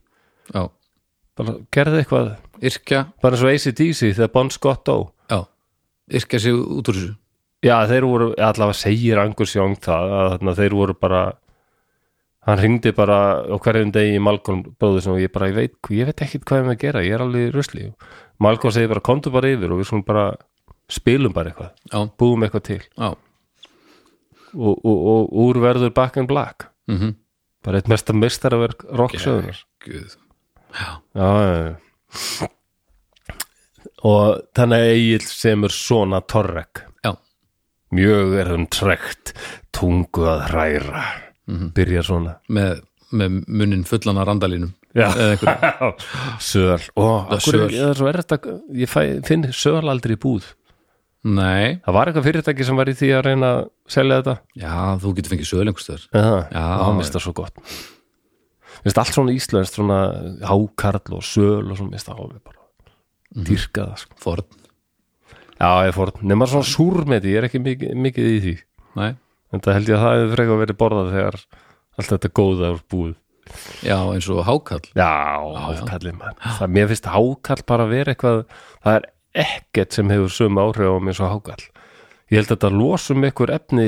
já. bara gerði eitthvað, Yrkja, bara eins og ACDC þegar Bon Scott dó já Yrkja sig út úr þessu Já, þeir voru, allavega segir Angus Young það, að þarna, þeir voru bara hann hringdi bara á hverjum degi í Malcolm bróður sem ég bara, ég veit, ég veit ekkit hvað ég með að gera ég er alveg í rusli Malcolm segi bara, komdu bara yfir og við svona bara spilum bara eitthvað, Já, búum eitthvað til já, og, og, og úr verður Back in Black mhm bara eitt mesta mestaraverk rocksöðunar Guð Já, já, já og þannig að Egil semur svona torrek Já, mjög er hann trekt tungu að hræra byrja svona með, með munnin fullan að randalínum Já. eða einhver söl Ó, Það er af hverju söl. er- það er svo erfitt að, ég fæ, finn söl aldrei í búð Nei, það var eitthvað fyrirtæki sem var í því að reyna að selja þetta já, þú getur fengið söl einhverstöðar Já, Já, já hann mista svo gott Vist allt svona íslenskt svona hákarl og söl og svona mista alveg bara dýrka það sko. Forn, Já, ég fór, nema svona súrmeti ég er ekki mikið, mikið í því nei, en það held ég að það hefur frekar verið borðað þegar allt þetta góða er búið já, eins og hákall Já, hákallið maður það, Mér finnst hákall bara vera eitthvað það er ekkert sem hefur sömu áhrif á mér svo hákall Ég held að þetta losum ykkur efni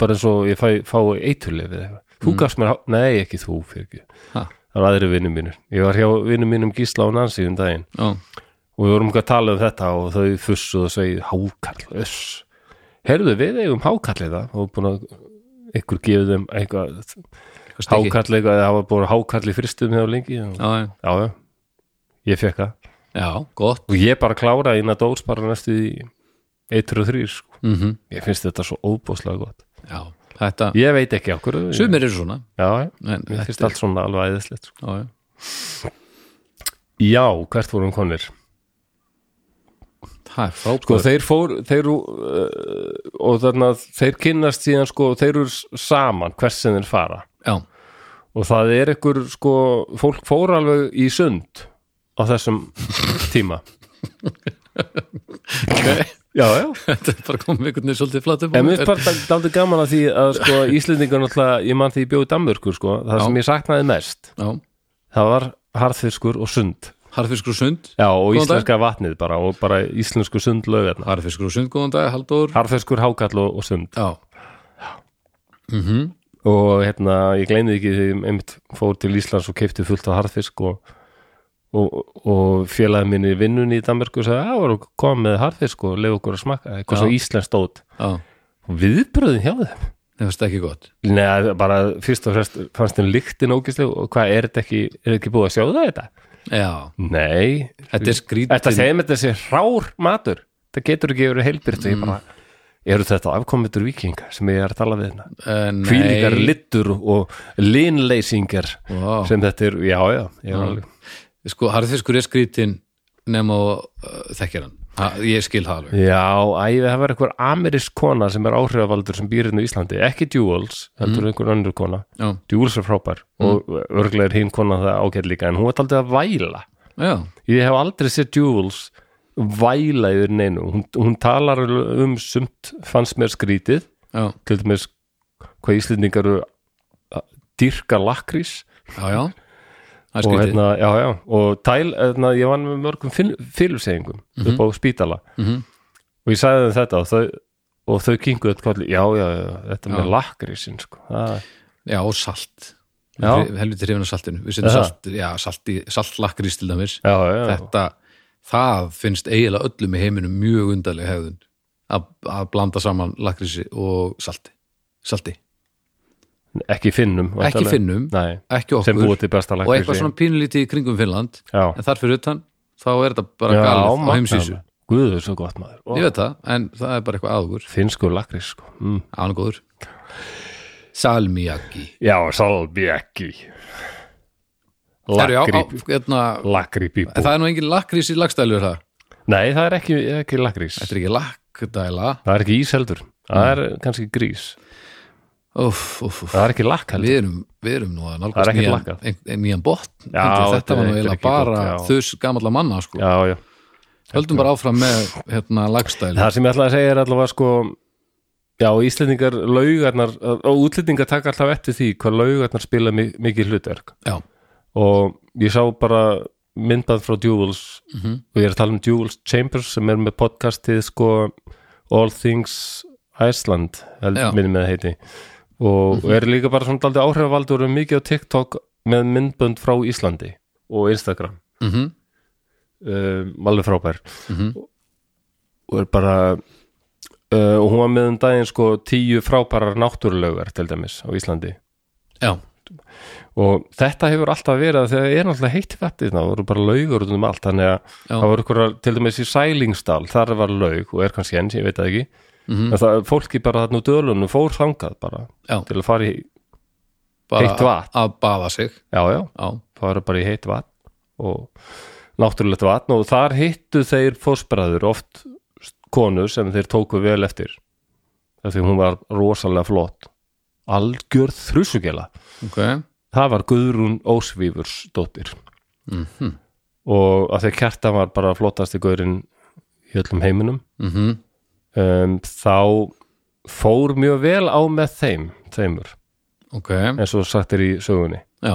bara eins og ég fæ, fá eiturlið við eitthvað Þú gafst mér, há- nei ekki þú fyrir ekki Ha, það var aðri vinnum mínur ég var hjá vinnum mínum Gísla og Nansi um daginn já, og við vorum eitthvað að tala um þetta og þau fussuð og segið hákarl öss, heyrðu við eigum hákarl það og búin að ykkur gefið þeim eitthvað eitthvað stykki hákarl eitthvað, það var búin hákarl í fristum hjá lengi og, já, já. já, já, ég fekk það já, gott og ég bara kláraði inn að dós bara næstu í 1 og 3 sko. mm ég finnst þetta svo óbúslega gott Já, þetta, ég veit ekki okkur já, sumir eru svona já, en, mér þetta finnst er- allt svona alveg æðislegt sko. já, já. já, hvert vorum konir? Það er Sko frábæð þeir fór, þeir uh, og þarna þeir kynnast síðan sko, þeir eru s- saman hvers sem þeir fara Já, og það er ekkur sko, fólk fór alveg í sund á þessum tíma Já, já þetta er bara komið einhvern veginn svolítið flatum En mér finnst bara daldi gaman að því að sko, Íslendingar náttúrulega, ég man því ég bjóði Danmörku sko, það sem ég saknaði mest Já, það var harðfiskur og sund Harðfiskur og Sund Já, og Góðan dag. íslenska vatnið bara og bara íslensku sundlaugarna Harðfiskur og Sund, góðan dag, Halldór Harðfiskur, hákall og, og sund Já, og hérna, ég gleyndi ekki því einmitt fór til Íslands og keipti fullt af harðfisk og, og, og félagið minni í vinnunni í Danmarku og sagði, að voru komið með harðfisk og leið okkur að smakka, eitthvað Já. svo Íslands stóð já, og viðbröðin hjá þeim það varst ekki gott Nei, bara fyrst og fremst fannst þeim lyktin ógisleg og hvað, er þetta ekki er þetta ekki búið að sjóða þetta? Já, Nei, þetta er skrítin þetta segir mér þessi hrár matur þetta getur ekki verið heilbyrt mm. bara, eru þetta afkomendur vikinga sem ég er að tala við hérna? Eh, nei. kvílingar littur og linleysingar Vá. sem þetta er, já, já, já. alveg Sko, Harðfiskur er skrítin nema og uh, þekkir hann ha, Ég skil það alveg já, æ, það var einhver amerisk kona sem er áhrifavaldur sem býr hérna í Íslandi ekki Jules, heldur einhver önnur kona Já, Jules er frábær og örglega er hinn kona það ágætt líka en hún var aldrei að væla já, ég hef aldrei séð Jules væla yfir neinu hún, hún talar um sumt fannst mér skrítið já, til dæmis hvað Íslendingar eru að dýrka lakrís já, já. Það er og skrítið hérna, já, já, og tæl hérna, ég vann með mörgum fylfsegingum upp á spítala Mhm. og ég sagði þeim þetta og þau, og þau kinguðu þetta kalli, já, já, já, þetta með Já. lakrísin sko. það, Já, og salt Já. Helviti hrifin af saltinu Við setjum Eða? salt, já, salt í, saltlakrís til dæmis já, já, já, þetta, það finnst eiginlega öllum í heiminum mjög undarleg hefðun að, að blanda saman lakrísi og salti, salti. ekki finnum ekki væntanlega. finnum, Nei, ekki sem okkur búið til besta og eitthvað lakrísi svona pínlítið í kringum Finnland já, en þar fyrir utan, þá er þetta bara galið á já, heimsísu, guður svo gott maður Ó, ég veit það en það er bara eitthvað aðugur, finnskur lakrís sko. mm. angóður salmiakki já, salbi ekki Herru, já, á, lakrí hérna, lakríbíbú en það er nú engin lakrís í lagstælu er það, nei, það er ekki, ekki lakrís þetta er Mm. ekki lakdæla það er ekki ís heldur það er kannski grís óf, óf, óf Það er ekki lakk heldur. við erum, við erum nú að Það nálgast er ekkert nýjan, lakkað. ein, ein, nýjan botn Já, Heldur, þetta þetta var er- nú þetta er eiginlega ekki gott, bara já. þus gamalla manna sko. Já, já. höldum bara áfram með hérna lagstæl Það sem ég ætlaði að segja er allavega sko Já, Íslendingar laugarnar og útlendingar taka alltaf eftir því hvað laugarnar spila mi- mikið hlutverk já, og ég sá bara myndbað frá Jules og ég er að tala um Jules Chambers sem er með podcastið sko All Things Iceland Já. minni með það heiti og er líka bara svona daldið áhrifavaldur og er mikið á TikTok með myndbönd frá Íslandi og Instagram mm um, alveg frábær og er bara uh, og hún var með um daginn sko tíu frábærar náttúrulögar til dæmis á Íslandi já, og þetta hefur alltaf verið að þegar er náttúrulega heitt fættið það voru bara laugur út um allt þannig að Já. það voru ykkur til dæmis í Sælingsdal þar var laug og er kannski enn, ég veit það ekki en það fólki bara þarna úr dölunum fór þangað bara Já. til að fara í Heitt vatn. að baða sig já, já, já, fara bara í heitt vatn og náttúrulegt vatn og þar hittu þeir fósbræður oft konu sem þeir tóku vel eftir af því hún var rosalega flott algjörð þrjusugela ok það var Guðrún Ósvífurs dóttir og að því að kjartan var bara flottasti gaurinn í öllum heiminum mm um, þá fór mjög vel á með þeim þeimur, ok, eins og sagt er í sögunni já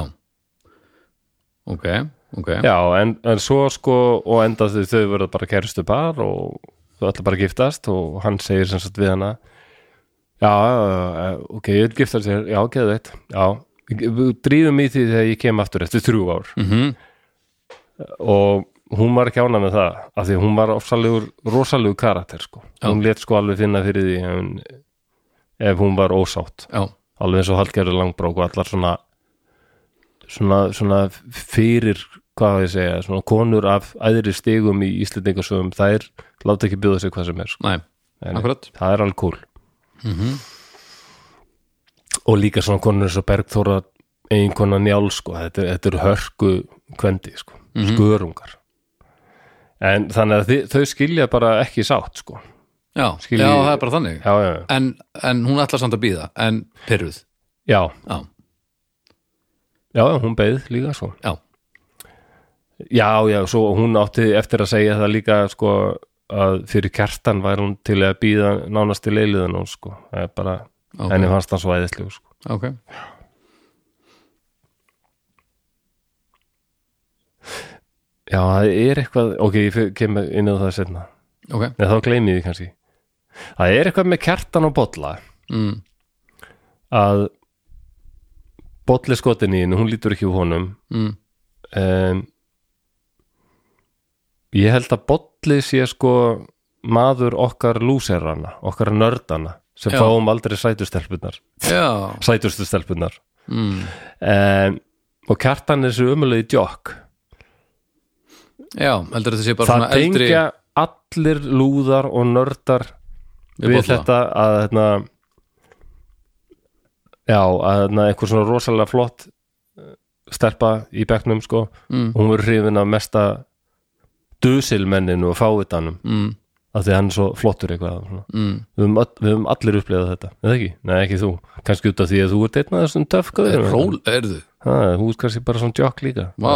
ok, ok já, en, en svo sko og enda þau, þau verða bara kæristu par og þau ætla bara að giftast og hann segir sem sagt við hana já, eh, ok, ég vil giftast þér já, geðu þeitt, já Við drífum í því þegar ég kem aftur eftir þrjú ár Mhm. og hún var ekki ánað með það af því að hún var ofsalegur, rosalegur karakter sko. hún let sko alveg finna fyrir því ef hún, ef hún var ósátt já, alveg eins og Hallgerður Langbrók og allar svona svona, svona fyrir hvað á ég að segja, svona konur af æðri stigum í Íslendingasöfum þær láta ekki bjóða sig hvað sem er sko. næ, Nei, nei. akkurat það er alveg cool og líka svona konur eins og Bergþóra eiginkona njál sko, þetta, er- þetta eru hörku kvendi sko, skörungar en þannig að þi, þau skilja bara ekki sátt sko já, Skilji- já, það er bara þannig já, já, já, en, en hún ætlar samt að býða en pyrruð, já, já, já, já, hún beið líka sko já Já, já, svo hún átti eftir að segja það líka sko að fyrir kertan var hún til að býða nánast til eiliðan hún sko það er bara, Ok. henni fannst hann svo æðislega sko. ok, Já, það er eitthvað, ok, ég fer- kem inn á það setna, ok nei þá gleymi ég því kannski Það er eitthvað með kertan og bolla mm. að bolli skotin í henni, hún lítur ekki úr honum Mm. um, Ég held að bolli sé sko maður okkar lúserana, okkar nördana sem Já. fáum aldrei sætustelpunar já, sætustu stelpunar mm. um, og kjartan er svo umulegi djokk já heldur þetta sé bara það svona eldri tengja allir lúðar og nördar Við við bolla. þetta að hérna, já, að hérna, einhver svona rosalega flott eh, stelpa í bekknum sko Mm. og hún verður hrifin af mesta dusilmenninu og fávitanum mm. af því að hann er svo flottur eitthvað svona. Mm. við höfum, all, við höfum allir upplegað þetta eða ekki? Nei, ekki þú, kannski út af því að þú ert einn af þessum töfkaður ról, erðu þú ert kannski bara svona djokk líka Vá,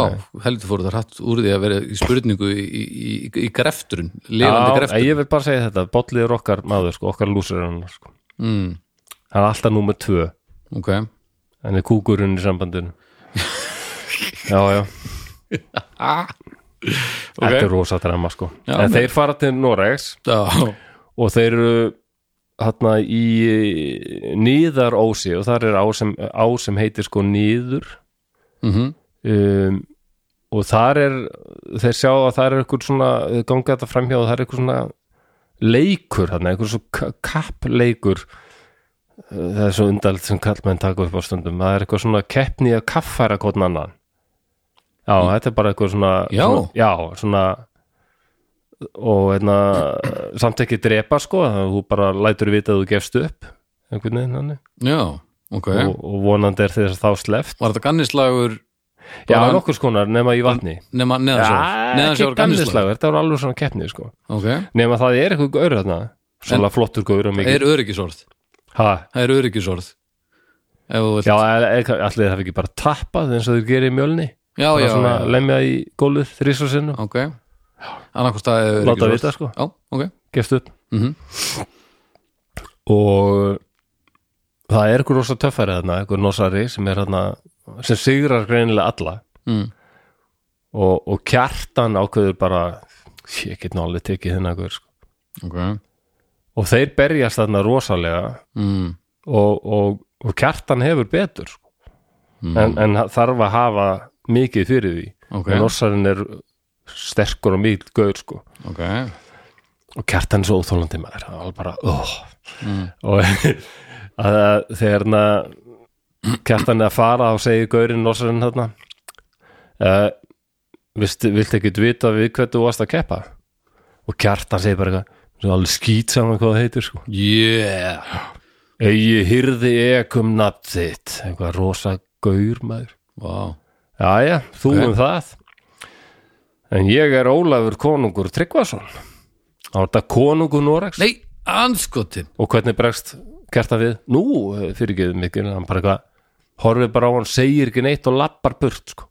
heldur fóru það rætt úr því að vera í spurningu í, í, í, í grefturinn, lifandi Já, grefturinn ég vil bara segja þetta, Bolli er okkar maður sko, okkar lúsir hann sko. mm, hann er alltaf númer tvö, Ok, hann er kúkurinn í sambandinu Já, já, þetta er rosa drama sko Já, en men- þeir fara til Noregs já, og þeir eru hérna í nýðarósi og þar er á sem, á sem heitir sko nýður mm um, og þar er þeir sjá að það er einhver svona þau ganga þetta framhjá og það er einhver svona leikur, þarna, einhver svo kappleikur Uh, það er svo undald sem kallmenn taka upp á stundum það er eitthvað svona keppni að kaffæra hvort annan já, þetta er bara eitthvað svona Já. svona, já, svona og einna, samt ekki drepa sko, það- þú bara lætur vita að þú gefst upp einhvern veginn hann já, ok og, og vonandi er þess að þá sleft Var þetta gannislagur já, Bara- nokkur skonar nema í vatni nema Já, neðansjór, ekki neðansjór gannislagur gamlislagur, þetta var alveg svona keppni sko. Ok, nema það er eitthvað gaur þarna svona flottur gaur og það mikið er öryggisorð ha, Það er öryggisorð Ef þú vilt já, e- allir það ekki bara tappað eins og þeir gerir í mjölni já, bara já, svona já, lemja í gólfið þrísa sinnum, ok Annarkvort það er láta öryggisorð vita sko, Já, ok, gefst upp Mhm. og það er eitthvað rosa töffæri þarna, eitthvað nosari sem er þarna, sem sigrar greinilega alla mm. og, og kjartan ákveður bara ég get nú alveg tekið þennan gaur sko. ok og þeir berjast þarna rosalega mm. og, og, og kjartan hefur betur sko. en, en þarf að hafa mikið fyrir því Ok, en orsarinn er sterkur og mikið gaur sko. ok og kjartan er svo óþólandi maður það var bara oh. og að, að, þegar na, kjartan er að fara og segir gaurinn orsarinn þarna uh, viltu, viltu ekki vita við hvernig þú varst að keppa og kjartan segir bara eitthvað svo alveg skýt saman hvað það heitir sko Yeah Egi hyrði ekum nafn um þitt eitthvað rosa gaur maður Vá. Jæja, þú Ok. um það En ég er Ólafur konungur Tryggvason Þá er þetta konungur Norex Nei, anskotin Og hvernig bregst kertan við? Nú, Eh, fyrir ekki mikil, hann bara eitthvað Horfið bara á hann, segir ekki neitt og lappar burt sko.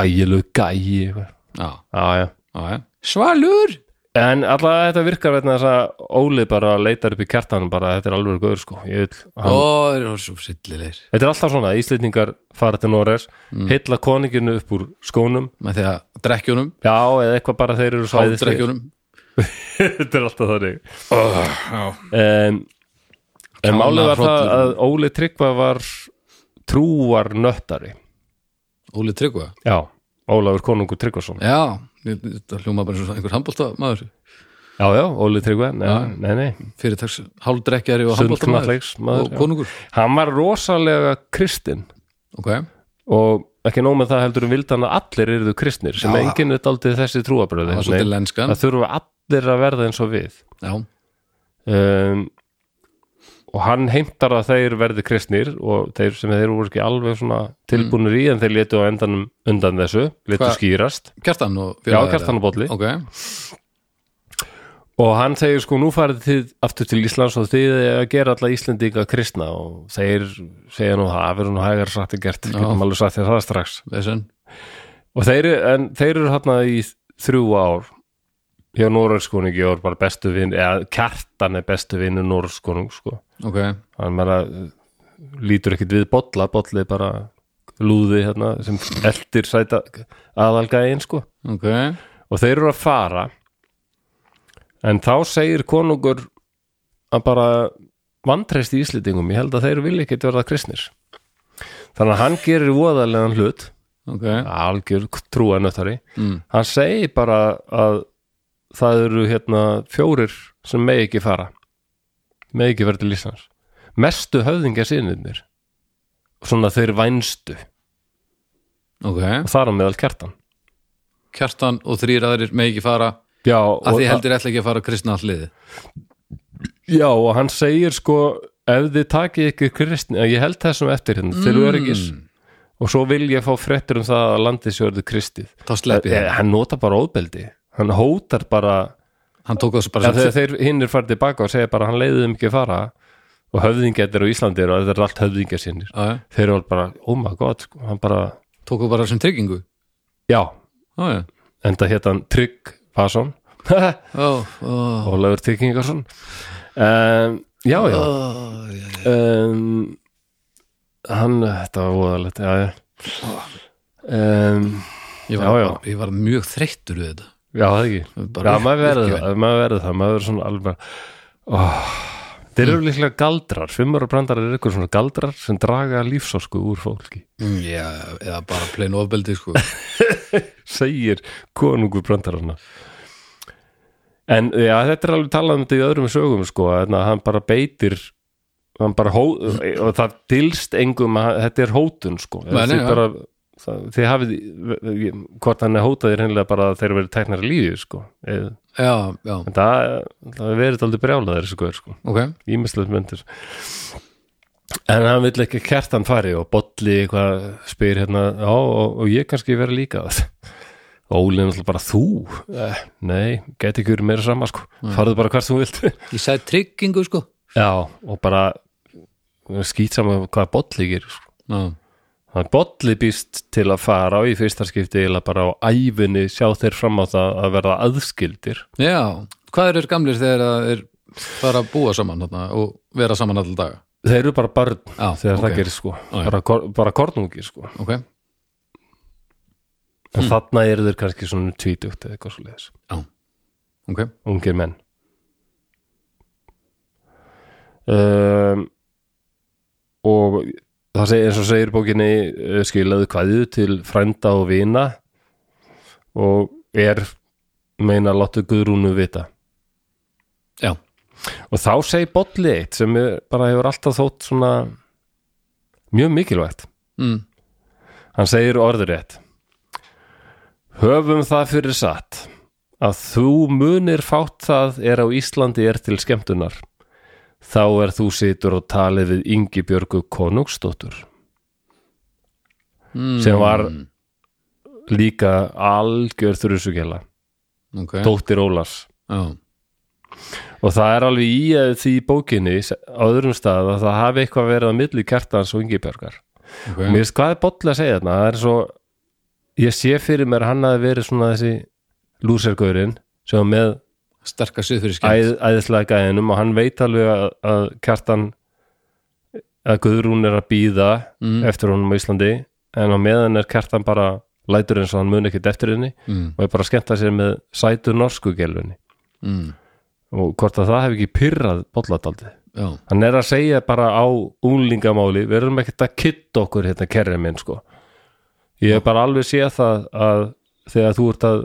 Ægilegu gæi eitthvað. Já, Jæja já, já. Svalur En allavega þetta virkar vegna þess að Óli bara leitar upp í kertanum bara þetta er alveg gauður sko Ég vil, hann, Ó, það er svo sillilegir Þetta er alltaf svona, Íslendingar fara til Noregs mm. heilla koninginu upp úr skónum Með því að drekkjunum, Já, eða eitthvað bara þeir eru svæðislegir hálfdrekkjunum Þetta er alltaf þannig oh, En, en Kjána málið var það hrollur. að Óli Tryggva var trúar nöttari Óli Tryggva Já, Ólafur konungur Tryggvason Já, þetta hljóma bara eins og einhver handbóltamaður Já, já, Óli Tryggva, nei, nei, nei Fyrirtaks hálfdrekkjari og handbóltamaður Sundknattleiksmaður, Og já. konungur Hann var rosalega kristinn Ok, og ekki nóg með það heldur um vildan að allir eruðu kristnir sem Já. enginn er daldið þessi trúabröði það var svolítið lenskan það þurfa allir að verða eins og við Já, um, og hann heimtar að þeir verði kristnir og þeir sem þeir voru ekki alveg svona tilbúnir í en þeir letu á endanum undan þessu, letu Hvað- skýrast Kjartan og já, félagar, kjartan og bolli Ok, og hann segir sko nú farið þið aftur til Íslands og þið eigið að gera alla Íslendinga kristna og þeir segja nú það verður nú hægar sagt að gert, getum alveg sagt þér það strax vesen og þeir, en þeir eru hérna í þrjú ár hjá Noregskonungi og er bara bestu vinn eða kjartan er bestu vinnu Noregskonung sko. Ok, hann bara uh, lítur ekkit við bolla bolli er bara lúði hérna sem eldir sæta aðalgæin sko ok og þeir eru að fara en þá segir konungur að bara vantreyst í Íslendingum, ég held að þeir vilja ekkit verða kristnir þannig að hann gerir voðalegan hlut Ok, algjör trúanöttari Mm. hann segi bara að það eru hérna fjórir sem megi ekki fara megi ekki vera til Íslands mestu höfðingja sinniðnir svona þeir vænstu ok og þar á meðal kertan Kjartan og þrýr aðrir með ekki fara já og, að því heldur ætla ekki að fara að kristna alliði já og hann segir sko ef þið takið ykkur kristni ég held þessum eftir hérna til öryggis og svo vil ég fá fréttur um það að landið sér þið kristið þá sleppi Eh, það, hann nota bara óbeldi hann hótar bara hann tók þessu bara Já, sem þegar þeir hinnir farið tilbaka og segja bara hann leiði þeim ekki að fara og höfðingjættir á Íslandi eru og þetta er allt höfðingja sinnir Já, já. þeir eru alveg bara, oh my god sko, hann bara, tók þú bara sem tryggingu já, já, já. enda hétt hann Trygg Fason og Ó, ó, Laur Tryggingarsson um, já, já ó, um, hann, þetta var voðalegt já, já um, ég, var, Já, já. ég var mjög þreyttur við þetta já, það ekki Bara já, maður verður virkilega. það, maður verður það maður verður svona alveg bara, oh, þeir Mm. eru líklega galdrar fimmur og brandarar eru ykkur svona galdrar sem draga lífsorku úr fólki Mm, já, eða bara plain ofbeldi sko. segir konungur brandararna en já, þetta er alveg talað um þetta í öðrum sögum sko, þannig að hann bara beitir hann bara hó, og það tilst engum að þetta er hótun sko Nei, nei, þið já. bara það, þið hafið hvort hann er hótaðir hennilega bara að þeir verið teknar lífið sko eða já, já, en það, það verið aldrei brjálaðir þessu gaur sko, ok ímislegt myndir en hann vill ekki að kertan fari og bolli eitthvað spyr hérna, já og, og ég kannski vera líka það Óli er náttúrulega bara þú eh, nei, gæti ekki verið meira sama sko farðu bara hvert sem þú vilt ég sagði tryggingu sko já, og bara skýt saman hvað bolli gerir sko. já, hann bolli býst til að fara á í fyrsta skipti eða bara á ævinni sjá þeir fram á það að verða aðskildir já. hvað eru þeir gamlir þegar það er fara að búa saman þarna, og vera saman alltaf daga Þeir eru bara barn Já, þegar ok. það gerir sko já. bara, kor- bara kornungir sko ok, en Mm. þarna eru þeir kannski svona tvítugt eða eitthvað svo leiðis, já, ok ungir menn um, og það segir eins og segir í bókinni eh, skilaðu kvæðu til frænda og vina og er meina láttu guðrúnu vita já, og þá segir bolli eitt sem er, bara hefur alltaf þótt svona mjög mikilvægt mm. Hann segir orðurétt Höfum það fyrir satt að þú munir fátt það er á Íslandi er til skemmtunar þá er þú situr og talið við Ingi Björgu Konungsdóttur mm, sem var líka algjör þurrusugela, okay. dóttir Ólars já, og það er alveg í að því í bókinni s- á öðrum stað að það hafi eitthvað verið á milli kjartans og Ingi Björgar okay. mér veist hvað er boll að segja þarna það er svo, ég sé fyrir mér að hann hafi verið svona þessi lúsergaurinn sem var með sterkar siðfyrir skemmt æð, æðislega gæðinum og hann veit alveg að, að kjartan að Guðrún er að býða Mm. eftir honum á Íslandi en á meðan er kjartan bara lætur eins og hann mun ekkert eftir henni mm, og er bara að skemmta sér með sætu norsku gelfunni mm, og hvort að það hef ekki pyrrað bolladaldið já, hann er að segja bara á unglingamáli við erum ekkert að kitta okkur hérna kerri minn sko ég hef bara alveg séð það að þegar þú ert að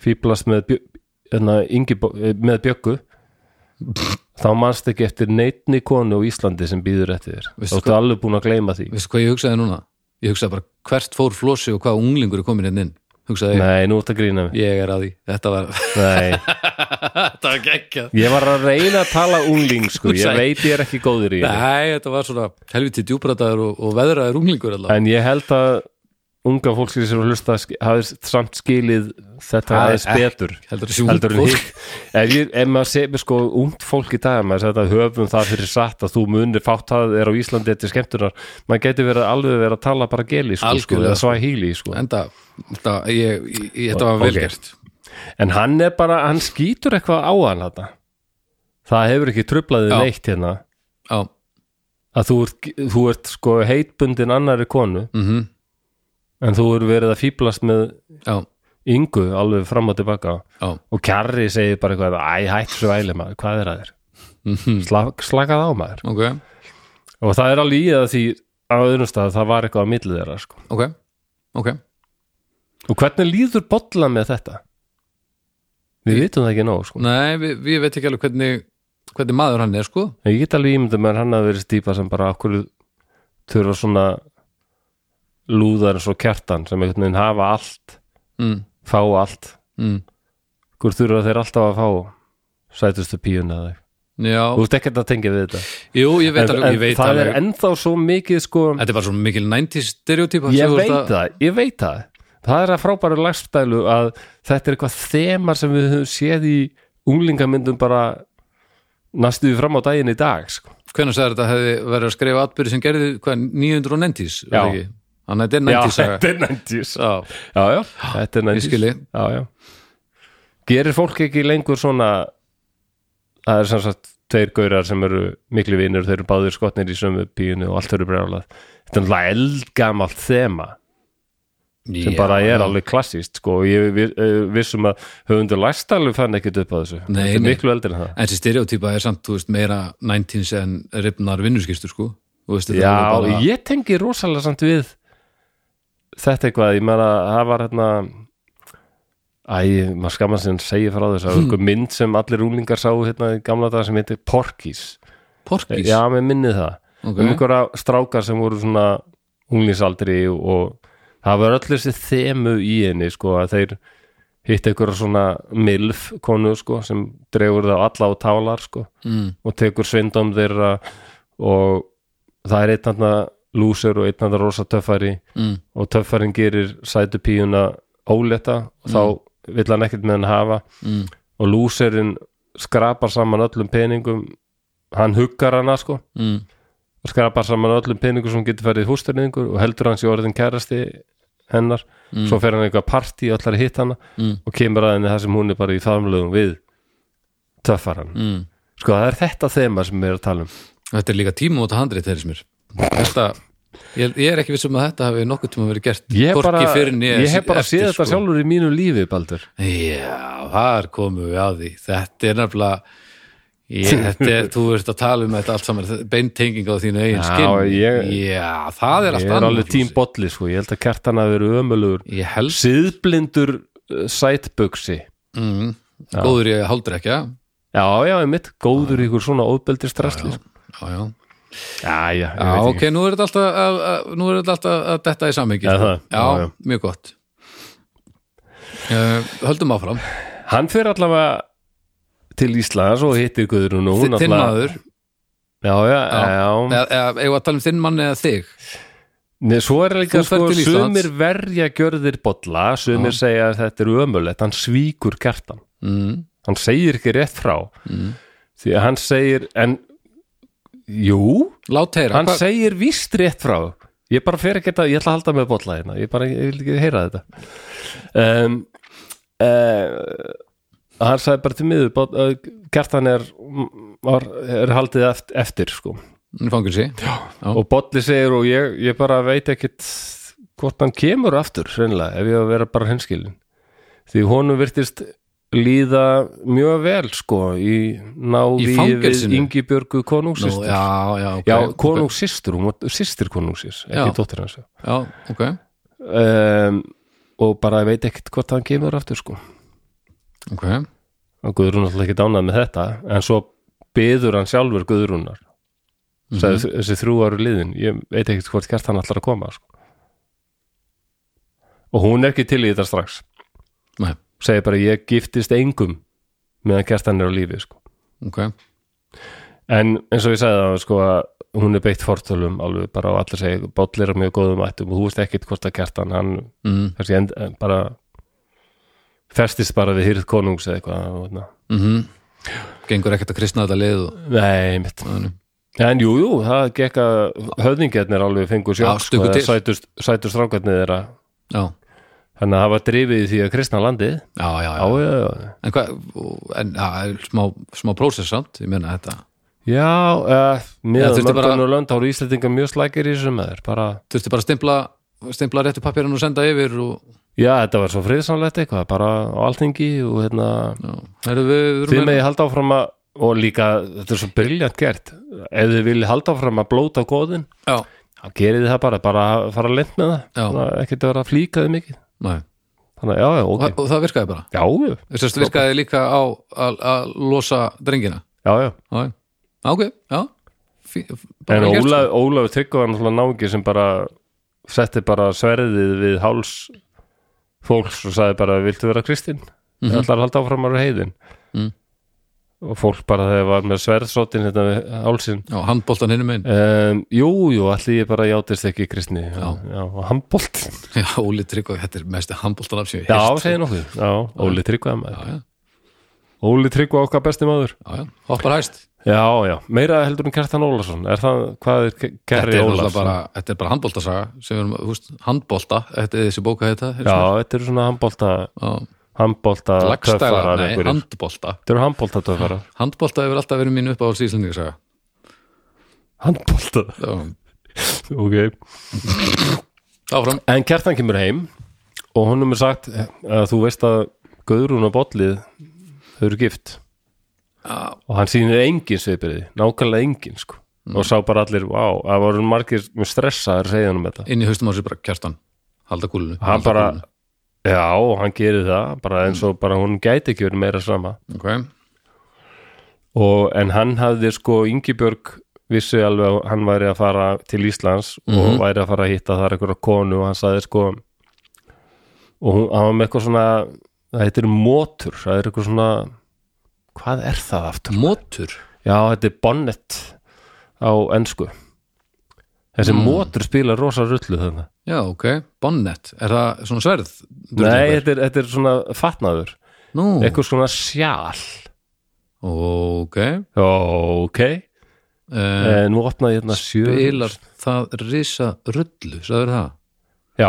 fýblast með, Bjö- hérna, Ingi, með bjöggu þá manst ekki eftir neittni konu á Íslandi sem býður eftir þér þá Veistu ertu alveg búin að gleyma því veistu hvað ég hugsaði núna ég hugsaði bara hvert fór flósi og hvað unglingur er komin hérna inn hugsaði nei, nú ert að grína mig ég, ég er að því, þetta var nei, þetta var geggjað ég var að reyna að tala ungling sko, ég Hugsaði- veit ég er ekki góður í því nei, þetta var svona helviti djúbrataður og, og veðraður unglingur allavega en ég held að unga fólk sem er að hlusta sk- hafi samt skilið þetta Það er aðeins betur heldur þessi heldur en ungfólk. hitt ef, ég, ef maður segir sko ungt fólk í dag maður segir að höfum það fyrir satt að þú munir fátt að er á Íslandi eftir skemmtunar maður geti verið alveg verið að tala bara geli sko, sko, Algjörlega, eða sko. svahíli sko. en, enda, þetta, ég, ég, þetta var vel Ok. gert hann er bara, hann skýtur eitthvað á hann þetta það hefur ekki trublaðið Já. neitt hérna já, að þú ert, þú ert sko heitbundin annari konu mm en þú eru verið að fýblast með já, yngu alveg fram og tilbaka já og kjarri segir bara eitthvað æ, hætt svo væli maður, hvað er að þér mm Sla, slakað á maður ok, og það er alveg í að því á öðrum stað það var eitthvað á milli þeirra sko. ok, ok og hvernig líður bolla með þetta við vitum það ekki nóg sko. Nei, við, við veit ekki alveg hvernig hvernig maður hann er sko En ég get alveg ímyndum að hann hafi verið stípa sem bara okkur þurfa svona lúðar eins og kjartan sem einhvern veginn hafa allt mm, fá allt, mm, okkur þurfa þeir alltaf að fá sætustu píuna eða eitthvað. Já, þú veist ekkert að tengja við þetta jú, ég veit alveg, ég veit það alveg er ennþá svo mikið sko Þetta er bara svona mikil 90s stereotypa ég veit það, ég veit það það er að frábæru lagstælu að þetta er eitthvað þemar sem við höfum séð í unglingamyndum bara næstu við fram á daginn í dag sko. Hvernig sagði þetta hefði verið að skrifa atbyrði sem gerði hvað, 990s var Já. það ekki? Þannig að þetta er 90s saga er 90s já, Já, já, þetta er 90s skil þig. já, já. gerir fólk ekki lengur svona það er sem sagt tveir gaurar sem eru miklu vinur, þeir eru báðir skotnir í sömu píinu og allt eru brjálað þetta er náttúrulega eldgamalt þema sem Já. bara er alveg klassíst sko, og ég vi- eh, vissum að höfundur læst alveg fann ekkert upp á þessu Nei, þetta er nei. miklu eldur en það En þessi stereotypa er samt, þú veist, meira 90s en rifnar vinnuskistur sko Þú veist, þetta já, er bara- ég tengi rosalega samt við þetta eitthvað, ég meina það var hérna æ, maður skamma sem segja frá þessu, það Hmm. var einhver mynd sem allir úlingar sá hérna í gamla dag sem heitir Porkis, Porkís já, mér minnið það Ok. um einhverja strákar sem voru svona unglingsaldri og það var öll þessi þemu í henni sko, að þeir hitt einhverja svona milf konu sko, sem dregur það alla á tálar sko, mm, og tekur svindum þeirra og það er einn hann lúsur og einn hann rosa töffari mm, og töffarin gerir sætu píuna óletta og þá vill hann ekkert með hann hafa mm, og lúsurinn skrapar saman öllum peningum hann huggar hana sko mm, og skrapar saman öllum peningum sem getur færið hústurningur og heldur hans í orðin kærasti hennar, svo fer hann í eitthvað partí og allar hitt hana Mm. og kemur að henni það sem hún er bara í faðumlögum við töffar hann. mm. Sko það er þetta þema sem við erum að tala um. Þetta er líka tíma út að handrið þeirri sem er Þetta, ég, ég er ekki viss um að þetta hafi nokkuð tíma verið gert Ég, hvorki bara, fyrr né ég hef bara eftir, séð þetta sko. sjálfur í mínu lífi, Baldur. Já, þar komum við að því Þetta er nefnilega ég, þetta er, Þú veist að tala um þetta allt saman beintenging á þínu eigin Já, skinn ég- Já, það er Ég allt er annað alveg tím bolli, sko. Ég held að kertan að vera ömulugur. Ég helst Siðblindur uh, sætböksi. mm, Góður ég haldur ekki, já Já, já, ég mitt, góður í ykkur svona óbeldir stressli. sko. Já, já, Já, já, ég já veit ok, ekki. nú er þetta alltaf að, að, nú er þetta alltaf að detta í samhengi Já, sko. það. Já, já, já. mjög gott uh, Höldum áfram Hann fer allavega til Íslands og hittir Guðrún og hún Þi- Þinn allavega- maður já, já, já. eða, eða eigum við að tala um þinn mann eða þig Nei, svo er líka Þú sko, ferð til Íslands. sumir verja gjörðir bolla, sumir segja að þetta er ömulegt, hann svíkur kjartan mm. hann segir ekki rétt frá Mm. því að hann segir en, jú lát heyra, hann hvað- segir víst rétt frá ég bara fer ekki þetta, ég ætla að halda með bolla hérna ég bara, ég vil ekki heyra þetta um, uh, hann sagði bara til miður bot, uh, kjartan er, var, er haldið eft- eftir sko hann er fangilsi Já. og Bolli segir og ég, ég bara veit ekkit hvort hann kemur aftur reynilega, ef ég á að vera bara henskilin því honum virtist líða mjög vel sko í návi Í við fangelsinu? Ingibjörgu Nú, konungsýstur já, já, ok, já, ok. konungsýstur, hún var sýstir konungsýs Já. ekki dóttir hans já, ok um, og bara veit ekkit hvort hann kemur aftur sko ok, og Guðrún alltaf ekki dánað með þetta en svo byður hann sjálfur Guðrúnar Mhm. sagði, þessi þrjú áru liðin ég veit ekkert hvort kert hann allar að koma sko. og hún er ekki til í þetta strax Nei, segir bara ég giftist engum meðan kert hann er á lífi sko. ok en eins og ég sagði það sko, að hún er beitt fortölum alveg bara og allir segja bátlir á mjög góðum ættum og þú veist ekkert hvort að kert hann hann mm. kannski end, en bara festist bara við hýrð konungs eða eitthvað og, na. Mm gengur ekkert að kristna þetta lið og, nei, mitt En jú, jú, það gekk að höfðingjarnir alveg fengur Já, sjálf stukku til. sætust, sætust rákarnir þeirra já, þannig að það var drifið í því að kristna landið Já, já, já, já. já, já en hvað, og- en það er smá, smá prósessant, ég meina þetta Já, uh, Já, meðan þurfti bara- mörgun og lönd þá eru Íslendingar mjög slækir í þessum maður bara, þurfti bara að stimpla, stimpla réttu pappirinn og senda yfir og, já, þetta var svo friðsamlegt eitthvað, bara á alþingi og hérna, já, erum við þið erum hérna- við, megi halda áfram að og líka, þetta er svo briljant gert ef þið viljið halda áfram að blóta góðin já, þá gerið þið það bara, bara fara lent með Já. það Þannig að ekkert að vera að flýka þið mikið næ þannig að, já, já, og, ok, og það virkaði bara, já, já, þess að virkaði líka á að- að losa drengina já, já. já, já. Já, ok, já Fí, bara En vel gert, sko. Ólaf, Ólaf Tryggva var náttúrulega náungi sem bara setti bara sverðið við háls fólks og sagði bara viltu vera kristinn? Mm -hmm. Allar halda áfram að vera heiðin Mhm. Mm. og fólk bara þegar var með sverðsóttin hérna við hálsin já, handboltan hinum einn um, Jú, jú, allir ég bara játist ekki kristni Já. já og handbólt já, Óli Tryggva, þetta er mesti handboltan af sem ég Já, heyrt. segir nokkuð Já, Óli Tryggva maður. já, já, Óli Tryggva okkar besti maður já, já, hoppar hæst Já, já, meira heldur en Kjartan Ólason Er það, hvað er Ke- Þetta Kerri er, Ólafsson? náttúrulega bara, þetta er bara handboltasaga sem við erum, þú veist, handbolta Þetta er þessi bóka þetta Já, þetta eru svona handbólta Já, handbólta lagstæla, töffarar nei, einhverjir. handbolta Þetta eru handbólta töffarar Handbolta hefur alltaf verið mín uppáhalds íslendingasaga Handbólta, Já, ok Áfram, En Kjartan kemur heim og honum er sagt eh, að þú veist að Guðrún og Bollið þau eru gift Já. Mm. og hann sýnir engin svipirði, nákvæmlega engin sko. og sá bara allir, vá, það voru margir mjög stressaðir að segja hann um þetta inn í haustum á sér bara kjartan Halda kúlunu hann bara, já, hann gerir það bara eins og bara hún gæti ekki verið meira sama okay. og, en hann hafði sko Ingibjörg vissi alveg að hann væri að fara til Íslands og væri að fara að hitta þar einhverja konu og hann sagði sko og hún, hann var með eitthvað svona það heitir mótur, það er eitthvað svona hvað er það aftur? Mótur Já, þetta er bonnet á ensku þessi mótur spila rosa rullu þarna Já, ok, bonnet, er það svona sverð? Nei, þetta er, þetta er svona fatnaður Nú, eitthvað svona sjál ok Eh, Ok, uh, en nú opnaði ég hérna sjö Bilar það risa rullu, sagður það? Já,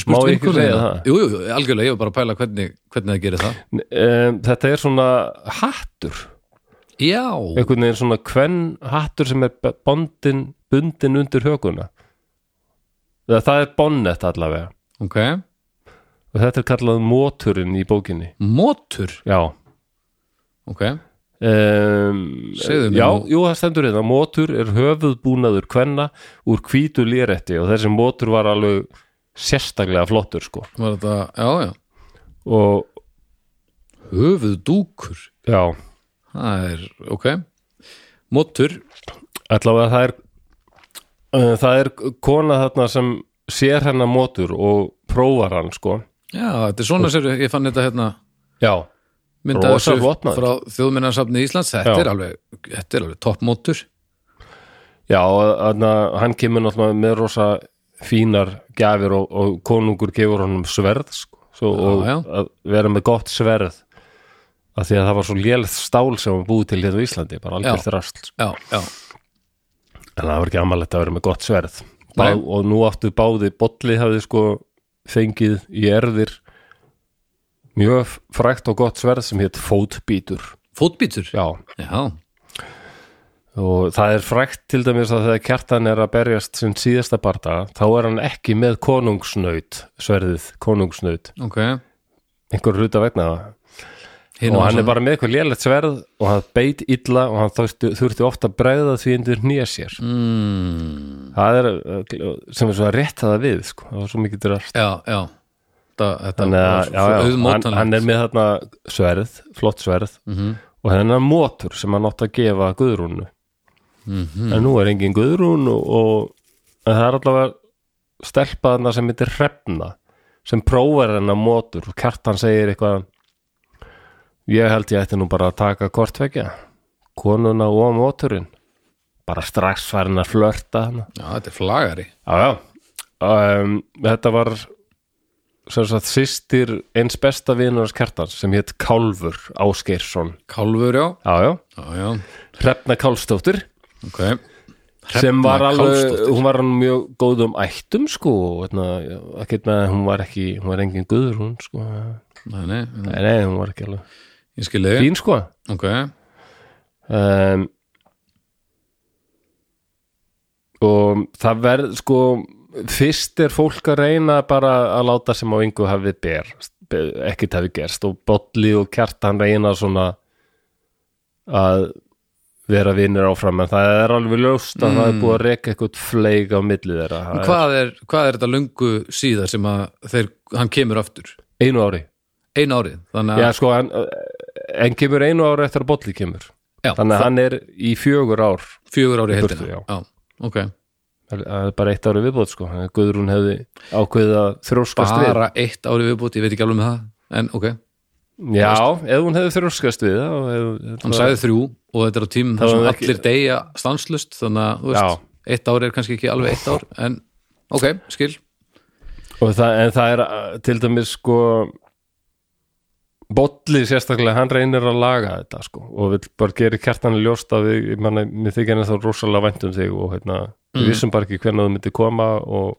Má spurt ég ekki vinkonuna? segja það? Jú, jú, jú, algjörlega, ég var bara að pæla hvernig, hvernig það gerir það um, þetta er svona hattur Já, einhvern veginn svona kvenn hattur sem er b- bondin, bundin undir höguna það, það er bonnet allavega ok og þetta er kallað móturinn í bókinni Mótur, já ok um, Segðu mér já, nú. jú, það stendur hérna mótur er höfuðbúnaður kvenna úr hvítu léretti og þessi mótur var alveg sérstaklega flottur sko Var þetta, já, já og Höfuð dúkur, já, það er, ok Mótur, allavega það er uh, það er kona þarna sem sér hennar mótur og prófar hann sko já, þetta er svona sér Ég fann þetta hérna já, mynda Rosa þessu flott, maður. frá þjóðminnarsafni Íslands Þetta Já. er alveg, þetta er alveg toppmótur Já, þarna, hann kemur náttúrulega með rosa fínar gjafir og, og konungur gefur honum sverð sko, svo, og já. að vera með gott sverð af því að það var svo lélegt stál sem var búið til hérna á Íslandi, bara algjörst rast sko. já, já, en það var ekki amalegt að vera með gott sverð Bá, Nei. og nú áttu báði bolli hafði sko fengið í erðir mjög frægt og gott sverð sem hétt fótbítur fótbítur já, já, já, og það er frækt til dæmis að þegar kjartan er að berjast sinn síðasta barða þá er hann ekki með konungsnaut sverðið, konungsnaut ok einhver ruta vegna það Hinn og var hann svona- er bara með eitthvað lélegt sverð og hann beit illa og hann þurfti, þurfti ofta að bregða því undir nýja sér mm, það er uh, sem er svo að rétta það við sko. það var svo mikið til að já, já þetta, þetta þannig að já, já, hann, auðmótanlegt hann er með þarna sverð, flott sverð Mhm. og þennan mótur sem hann átt að gefa guðrúnu en nú er engin guðrún og, og en það er allavega stelpa þarna sem heitir hrefna sem prófar hennar mótur og kjartan segir eitthvað ég held ég ætti nú bara að taka kortvekja konuna og móturinn bara strax farin að flörta hana já, þetta er flagari Já, já. Um, þetta var sem sagt sýstir eins besta vinur hans kjartans sem hétt Kálfur Áskeirsson. kálfur, já, Já, já. já, já Hrefna Kálsdóttir ok sem var Hrefna alveg, Kálfsdóttir. hún var hann mjög góðum ættum sko og þarna, ekkert með að hún var ekki, hún var engin guður hún sko. Nei, nei, nei, nei, nei, hún var ekki alveg ég skil þig fín sko. ok, um, og það verð sko fyrst er fólk að reyna bara að láta sem á yngu hafi ber ekkert hafi gerst og Bolli og Kjartan reyna svona að vera vinnir áfram en það er alveg ljóst að það er búið að reka eitthvað fleig á milli þeirra Það er hvað er, hvað er þetta lungu síðar sem að þeir, hann kemur aftur einu ári einu árið, þannig að Já, sko, en, en kemur einu ári eftir að Bolli kemur já, þannig að hann er í fjögur ár fjögur árið Burtu, heitina já. já, ok, Það er- það er bara eitt ári viðbót sko Þannig að Guðrún hefði ákveðið að þrjóskast við bara eitt árið viðbúti, ég veit ekki alveg með það en ok, Já, ef hún hefði þrjóskast við þá hefði- hann það- sagði þrjú og þetta er á tím þar var sem ekki- allir deyja stanslust þannig að, þú Já. veist, eitt ár er kannski ekki alveg eitt ár en ok, skil og það, En það er uh, til dæmis sko Bolli sérstaklega, hann reynir að laga þetta sko og vill bara gera kjartan ljóst að við, ég manna, mér þykir henni þá rosalega vænt um þig og hérna, Mhm. við vissum bara ekki hvernig þú myndir koma og,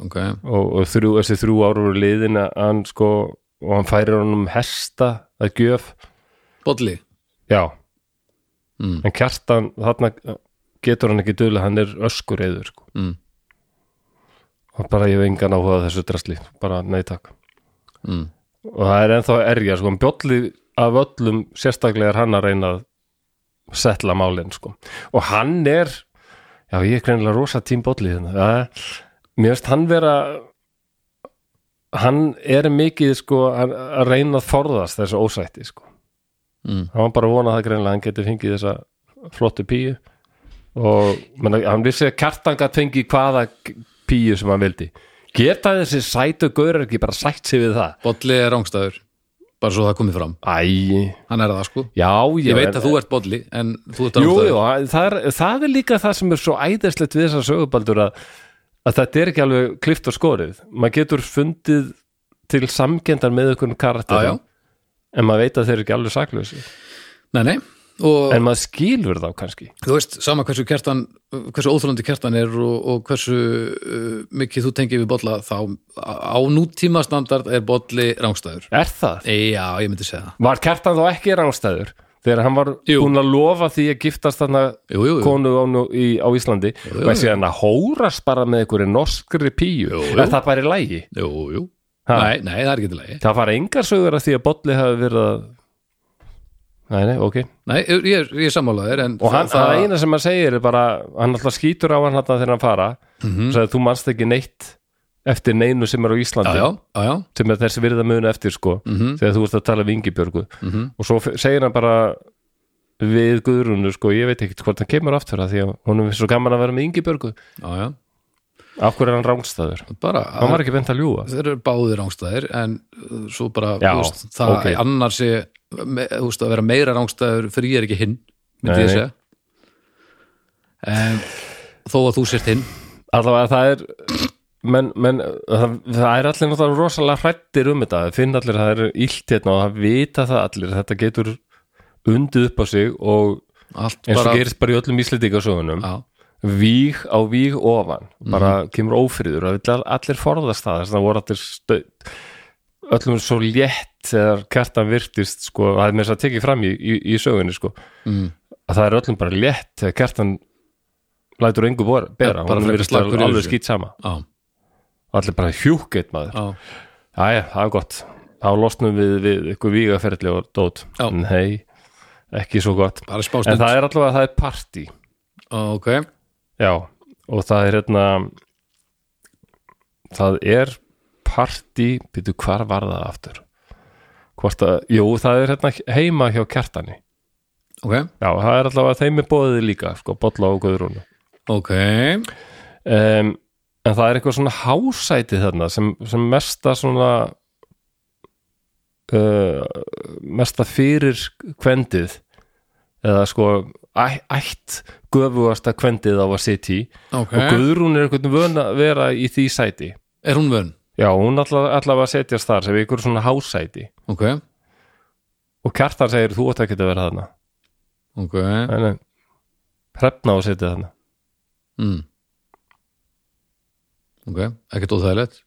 ok, og, og þrjú, þessi þrjú ára voru liðin að hann sko og hann færir honum hesta að gjöf bolli Já Mm. En kjartan, þarna getur hann ekki duðlega, hann er öskur eður sko. mm. og bara ég hef engan áhuga á þessu drasli bara nei takk Mm. og það er ennþá erja, sko, en bjólli af öllum sérstaklega er hann að reyna að setla málin, sko og hann er, já ég er greinilega rosa tím bjólli hérna ja, mér veist hann vera hann er mikið sko að að reyna að forðast þessu ósætti, sko Mm. hann var bara að vona það greinilega að hann geti fengið þessa flottu píu og menna, hann vissi að kjartan gat fengið hvaða píu sem hann vildi geta þessi sætu gaur ekki bara sætt sig við það bolli er rángstæður bara svo það komið fram, Æ, hann er það sko já, já ég veit að þú ert um bolli, en þú ert Jú, rángstæður jú, það er, það er líka það sem er svo æðislegt við þessar sögubaldur að, að þetta er ekki alveg klift og skorið maður getur fundið til samkendar með einhvern karakter já, já, en maður veit að þeir eru ekki alveg saklausi nei, nei og en maður skilur þá kannski þú veist, sama hversu kertan hversu óþrólandi kertan er og, og hversu uh, mikið þú tengir við bolla þá á nútíma standard er bolli rángstæður Er það? já, ég myndi segja það Var Kjartan þá ekki rángstæður þegar hann var Jú. búinn að lofa því að giftast þarna Jú, jú, jú. konu á, nú- í, á Íslandi jú, og þessi hann að hórast bara með einhverju norskri píu Jú, jú. er það bara í lægi? jú, jú, Ha? nei, nei, það er ekki til lagi Það fara engar sögur að því að Bolli hafi verið að Nei, nei, ok nei, ég, ég, ég sammála þér en Og hann, það, eina sem hann segir er bara hann alltaf skýtur á hann alltaf þegar hann fara mm Mhm. -hmm. sagði, þú manst ekki neitt eftir neinu sem er á já, Íslandi já, Mhm. já, já, sem er þessi virða muna eftir sko þegar þú ert að tala við Ingibjörgu Mhm. og svo f- segir hann bara við Guðrúnu sko, ég veit ekkert hvort hann kemur aftur að því að hún er svo gaman að vera með Ingibjörgu já, já. af hverju er hann rángstæður bara hann var ekki bent að ljúga þeir eru báðir rángstæðir en uh, svo bara, Já, þú veist, það ok. annars sé, me, þú veist, að vera meira rángstæður fyrir ég er ekki hinn myndi Nei, ég nei. segja um, þó að þú sért hinn allavega það er menn, menn, það, það er allir náttúrulega rosalega hrættir um þetta, það finn allir að það eru illt hérna og það vita það allir að þetta getur undið upp á sig og allt eins og bara gerist bara í öllum íslendingasögunum já, víg á víg ofan bara Mhm. kemur ófriður og vill allir forðast það, þess að voru allir stöð öllum svo létt þegar kjartan virtist sko, það er með þess að tekið fram í, í, í sögunni sko mm, að það er öllum bara létt þegar kjartan lætur engu bora- bera, bara hún frekar verðist slappur í alveg þessu. skýt sama já, og allir bara hjúkett maður já, Jæja, það er gott þá losnum við, við ykkur vígaferðli og dót Já. nei, ekki svo gott bara en spástund það er allavega, það er party ok, já, og það er hérna það er party, byrju hvar var það aftur hvort að, jú, það er hérna heima hjá kjartani ok, já, það er allavega þeim er bóðið líka sko, bolla og guðrúnu ok um, en það er eitthvað svona hásæti þarna sem, sem mesta svona uh, mesta fyrir kvendið eða sko æ, ætt göfugasta kvendið á að sitja í ok, og Guðrún er eitthvað vön að vera í því sæti er hún vön já, hún allavega allavega setjast þar sem ykkur svona hásæti ok, og kjartan segir þú átt ekki að vera þarna ok en, en, hrefna á að setja þarna mm. ok, ekkert óþægilegt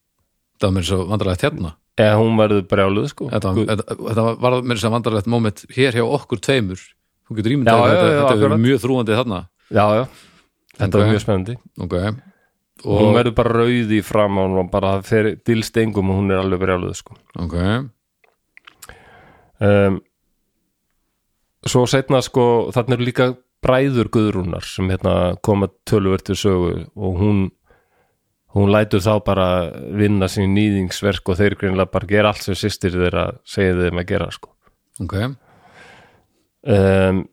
það var mér svo vandralegt hérna eða hún verður brjáluð sko þetta, Guð- þetta, þetta var mér svo vandralegt moment hér hjá okkur tveimur þú getur Já, ímyndað að já, þetta, já, þetta hefur akkurat. verið mjög þrúandi þarna já, já, þetta Ok. var mjög spennandi ok, og hún og, verður bara rauð í fram og hún bara fer dilst engum og hún er alveg brjáluð sko. ok um, svo setna sko þarna eru líka bræður guðrúnar sem hérna koma töluvert við sögu og hún hún lætur þá bara vinna sín nýðingsverk og þeir greinlega bara gera allt sem sýstir þeirra segja þeim að gera sko ok, um,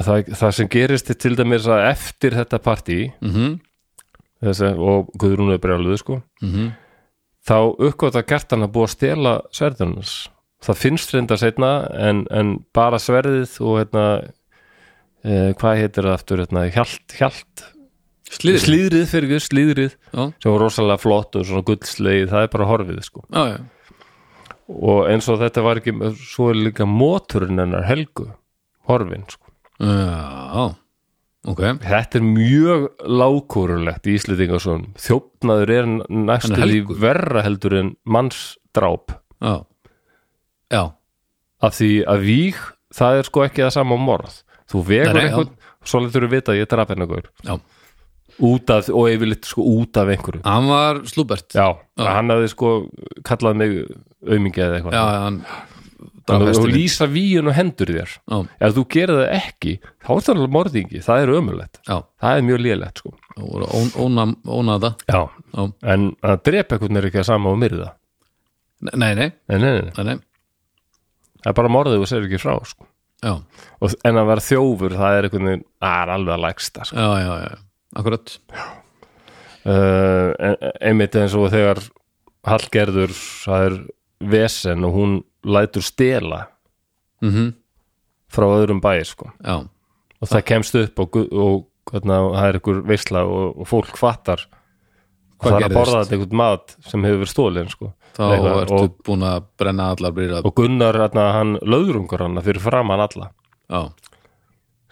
það, það sem gerist er til dæmis að eftir þetta partí mhm, þessi, og Guðrún er brjáluð sko mhm þá uppgóta kertan að búa að stela sverðunars það finnst reynda setna en, en bara sverðið og hérna eh, hvað heitir það aftur hérna, hjalt, hjalt slíðir, slíðrið fyrir guð, slíðrið já, sem var rosalega flott og svona gullslegið það er bara horfið sko já, já og eins og þetta var ekki, svo er líka móturinn hennar helgu, horfin sko Já, ok Þetta er mjög lágkórulegt í Íslendingasón. Þjófnaður er næstu Hann er því helgur. verra heldur en mannsdráp Já, já, af því að víg, það er sko ekki það sama og morð. Þú vegur Nei, nei, einhvern, svo letur við vita að ég draf hennar gaur. já Út af, og yfirleitt sko út af einhverju. Hann var slúbert Já, Já, hann hafði sko kallað mig aumingi eða eitthvað. já, hann draf Þannig að þú hestinn. lýsa víun og hendur þér. Já, Ef þú gerir það ekki, þá er það alveg morðingi. Það er ömulegt. já, Það er mjög lélegt sko. það voru ón- óna- ónaða Já, Já. en að drepa einhvern er ekki að sama og myrða. Nei, nei, nei, Nei, nei, nei, nei, nei. það er bara morðið og segir ekki frá sko. Já, og, en að vera þjófur, það er einhvern veginn það er alveg að lægsta sko. já, já, já Akkurat, uh, en- einmitt eins og þegar Hallgerður, það er vesen og hún lætur stela mhm, frá öðrum bæir sko. já og það kemst upp og, gu- og hvernig, það er einhver veisla og, og fólk fattar og Hvað það er að gerðist? borða þetta einhvern mat sem hefur verið stólin sko. Þá Eitthvað, ertu og, búin að brenna allar brýra og Gunnar, hérna, hann löðrungur hana fyrir framan alla Já,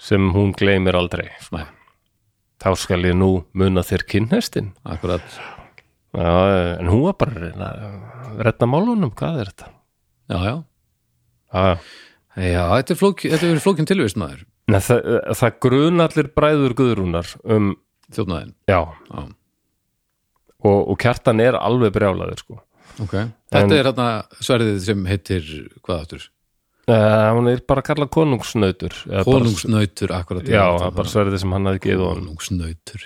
sem hún gleymir aldrei sko. nei, þá skal ég nú muna þér kynhestin akkurat Já, en hún var bara að reyna að redda málunum, hvað er þetta? Já, já Já, já. Já, þetta er flók, þetta er flókin tilvist maður Nei, það, það grun allir bræður guðrúnar um, Þjófnaðin, já, já, og, og kjartan er alveg brjálaður, sko. ok Þetta er þarna sverðið sem heitir hvað áttur? Uh, hún er bara að kalla konungsnautur. eða bara- Konungsnautur, akkurat Já, það er bara sverðið sem hann hafði geið honum. Konungsnautur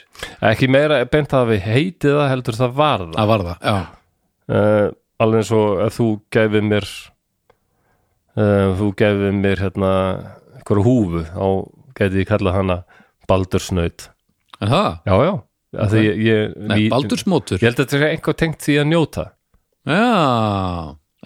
Ekki meira beint að við heitið það heldur það var það. Það var það, já, Uh, alveg eins og ef þú gæfið mér, uh, þú gæfið mér hérna einhverju húfu, þá gæti ég kallað hana baldursnaut. en það Já, já, af því ég, ég, Nei, ég, baldursmótur ég held að þetta er einhver tengt því að njóta Já,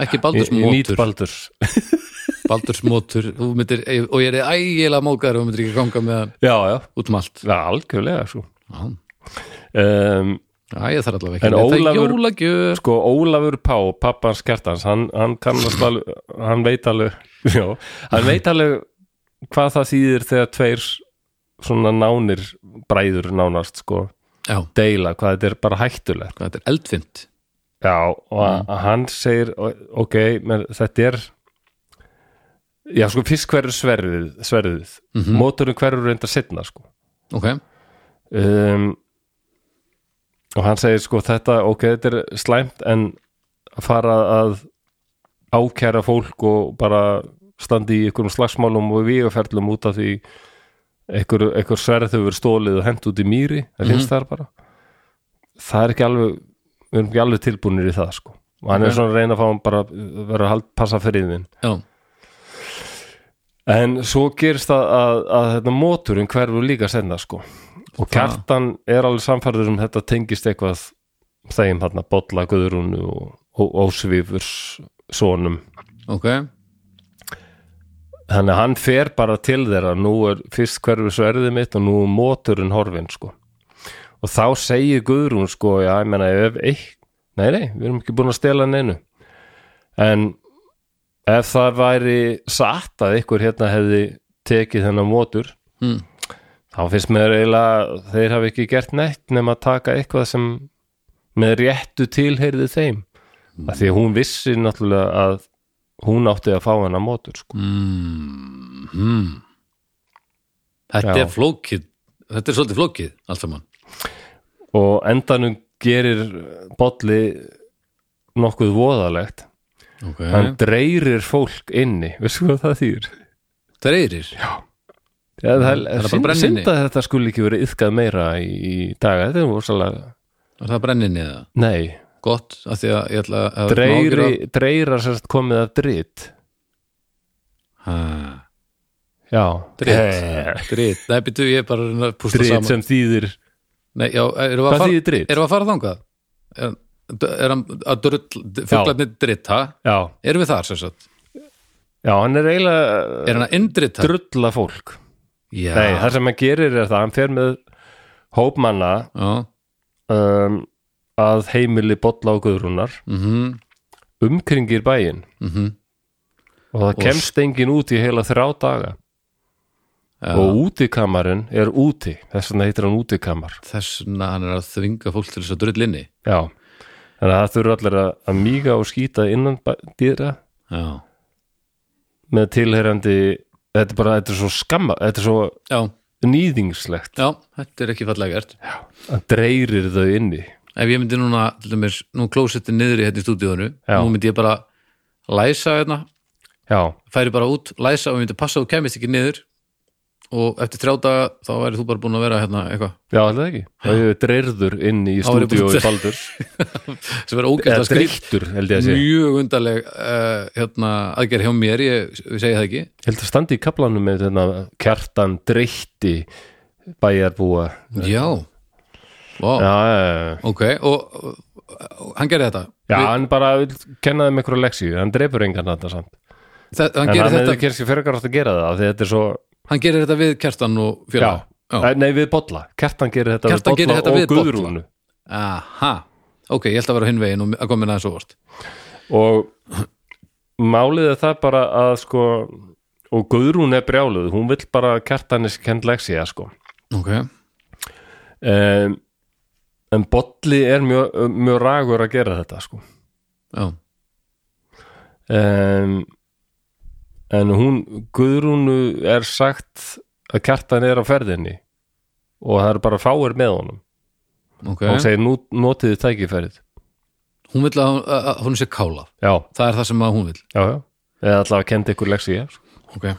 ekki Ég, ég nýt baldursmótur baldurs baldursmótur og ég er ægilega mókaður og myndir ekki ganga með hann já, já, út um allt já algjörlega sko. Já. um, Já, ég þarf allavega ekki En að neyta Ólafur- jólagjöf sko Ólafur Pá, pappans kertans hann, hann kannast alveg hann veit alveg já, hann veit alveg hvað það þýðir þegar tveir svona nánir bræður nánast sko Já, deila, hvað þetta er bara hættulegt hvað þetta er eldfimt já, og mm. hann segir o- ok, menn þetta er já sko fyrst hverju sverðið, sverðið. Mm -hmm. móturinn hverju reynda setna sko Ok, um, og hann segir sko þetta, ok, þetta er slæmt en að fara að ákæra fólk og bara standi í einhverjum slagsmálum og vígaferlum út af því einhver, einhver sverð hefur verið stólið og hent út í mýri, það finnst það bara það er ekki alveg við erum ekki alveg tilbúinir í það sko og hann er svona að reyna að fá hann bara að vera að hald- passa friðin já, En svo gerist það að, að þetta móturinn hverfur líka senna sko og kjartan er alveg samfærður um þetta tengist eitthvað þeim þarna bolla guðrúnu og, og ósvifurs sonum ok þannig að hann fer bara til þeirra nú er fyrst hverfur sverðið mitt og nú er móturinn horfinn sko og þá segir Guðrún sko já, ég meina, ef eitt nei, nei, við erum ekki búin að stela neinu en ef það væri satt að ykkur hérna hefði tekið þennan mótur Mm. þá finnst mér eiginlega að þeir hafi ekki gert neitt nema að taka eitthvað sem með réttu tilheyrði þeim mm. að því að hún vissi náttúrulega að hún átti að fá hennar mótur sko mm. Mm. Þetta Hmm. Já. er flókið Þetta er svolítið flókið, allt saman og endanum gerir bolli nokkuð voðalegt Ok, hann dreirir fólk inni veistu hvað það þýr? það er eyrir Ja, það, er bara synd, brenninni. synd að þetta skulle ekki verið yfkað meira í, í dag þetta er vorsalega, Er það brenninni eða? nei Gott, af því að ég ætla að dreiri, dreirar sérst komið af dritt Hæ, já, Dritt, dritt, nei, byrju, ég er bara að reyna að pústa dritt saman sem þýðir Nei, já, erum við að hvað fara þýðir dritt? Erum við að fara þangað? Er, er hann að drull, fuglarnir dritt, ha? já, Erum við þar, sem sagt? já, hann er eiginlega Er hann að indrita? drulla fólk Já, nei, það sem hann gerir er það, hann fer með hópmanna já, um, að heimili bolla og guðrúnar mhm, umkringir bæinn mhm og það kemst engin út í heila þrjá daga Já. og útikamarinn er úti þess vegna heitir hann útikamar Þess vegna hann er að þvinga fólk til þess að drull inni já, þannig að það þurfa allir að, að míga og skýta innan bæ- dýra Já, með tilherandi þetta er bara, þetta er svo skamma þetta er svo já, nýðingslegt já, þetta er ekki fallega gert að dreirir þau inni Ef ég myndi núna, til dæmis, nú klósetti niður í hérna í stúdíónu Já. Nú myndi ég bara læsa hérna já, færi bara út, læsa og myndi passa og kemist ekki niður og eftir þrjá daga þá væri þú bara búin að vera hérna eitthvað já, þetta ekki það er dreirður inni í Þá er ég stúdíu búin- í Baldur sem verður ógæst eða að skrýt dreirtur, held ég að sé ég mjög undarleg uh, hérna, aðgerð hjá mér, ég segi það ekki held að standi í kaplanum með þarna kjartan dreitti bæjarbúa já, Vá. já, já, já ok og, og, og hann gerði þetta Já, Við- hann bara vil kenna þeim einhverju leksíu, hann dreipur engan þetta samt. það, hann, En hann gerði hefði þetta, kannski frekar átt að gera það, af því þetta er svo, hann gerði þetta við Kjartan og já, félag Eh, nei við bolla, Kjartan gerir þetta Kjartan við gerir bolla þetta við og Bolla. guðrúnu. aha, ok, ég held að vera hinn veginn og að koma með það svo vart Og málið er það bara að sko, og guðrún er brjáluð, hún vill bara að Kjartan er kenn leksíu, sko. ok, Um, en bolli er mjög, mjög ragur að gera þetta, sko. já, um, en hún Guðrúnu er sagt að kjartan er á ferðinni og það eru bara fáir með honum ok og hún segir nú notiði tækifærið hún vil að, að, að hún sé kála já, það er það sem að hún vil já, já eða allavega kendi ykkur sko. leksi ég okay.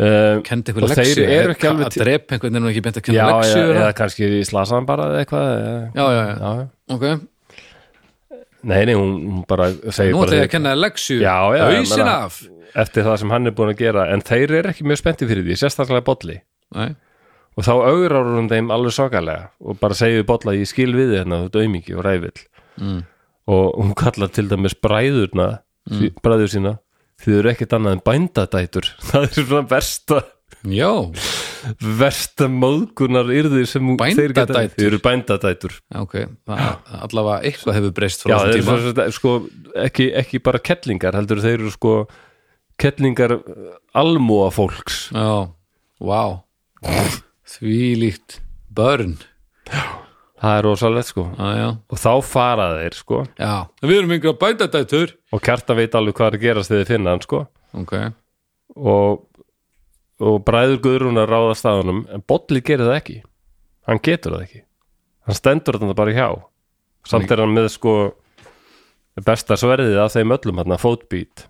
um, kendi ykkur Og leksíu þeir eru ekki Ka- alveg að til- drepa einhvern veginn og ekki beint að já, kenda já, leksíu já, eða kannski slasaðan bara eða eitthvað eða, já, já, já, já, já. ok nei, nei, hún, hún bara segir nú bara ætla ég þeir- að kenna þér leksíu Já, já, ég hausin meina- af eftir það sem hann er búin að gera en þeir eru ekki mjög spennti fyrir því, sérstaklega bolli Nei. og þá augrar hún þeim alveg sokalega og bara segir bolla ég skil við þér hérna þú ert aumingi og ræfill Mm. og hún kallar til dæmis bræðurna mm. bræður sína þið eru ekkert annað en bændadætur það er svona versta já, versta móðgunar yrðir sem þeir geta- Bændadætur? þið eru bændadætur ok það, allavega eitthvað hefur breyst frá Já, þessum þeir tíma eru svo, sko, ekki, ekki bara kettlingar heldur þeir eru sko kettlingar eh, almúa fólks já, vá þvílíkt börn það er rosalegt sko já, já, og þá fara þeir sko já, við erum yngra bændadætur og kjartan veit alveg hvað er að gerast þegar þeir finna hann sko ok, og, og bræður guðrunar ráðast að honum en Bolli gerir það ekki hann getur það ekki hann stendur þetta bara hjá samt er hann með sko besta sverðið af þeim öllum hann fótbít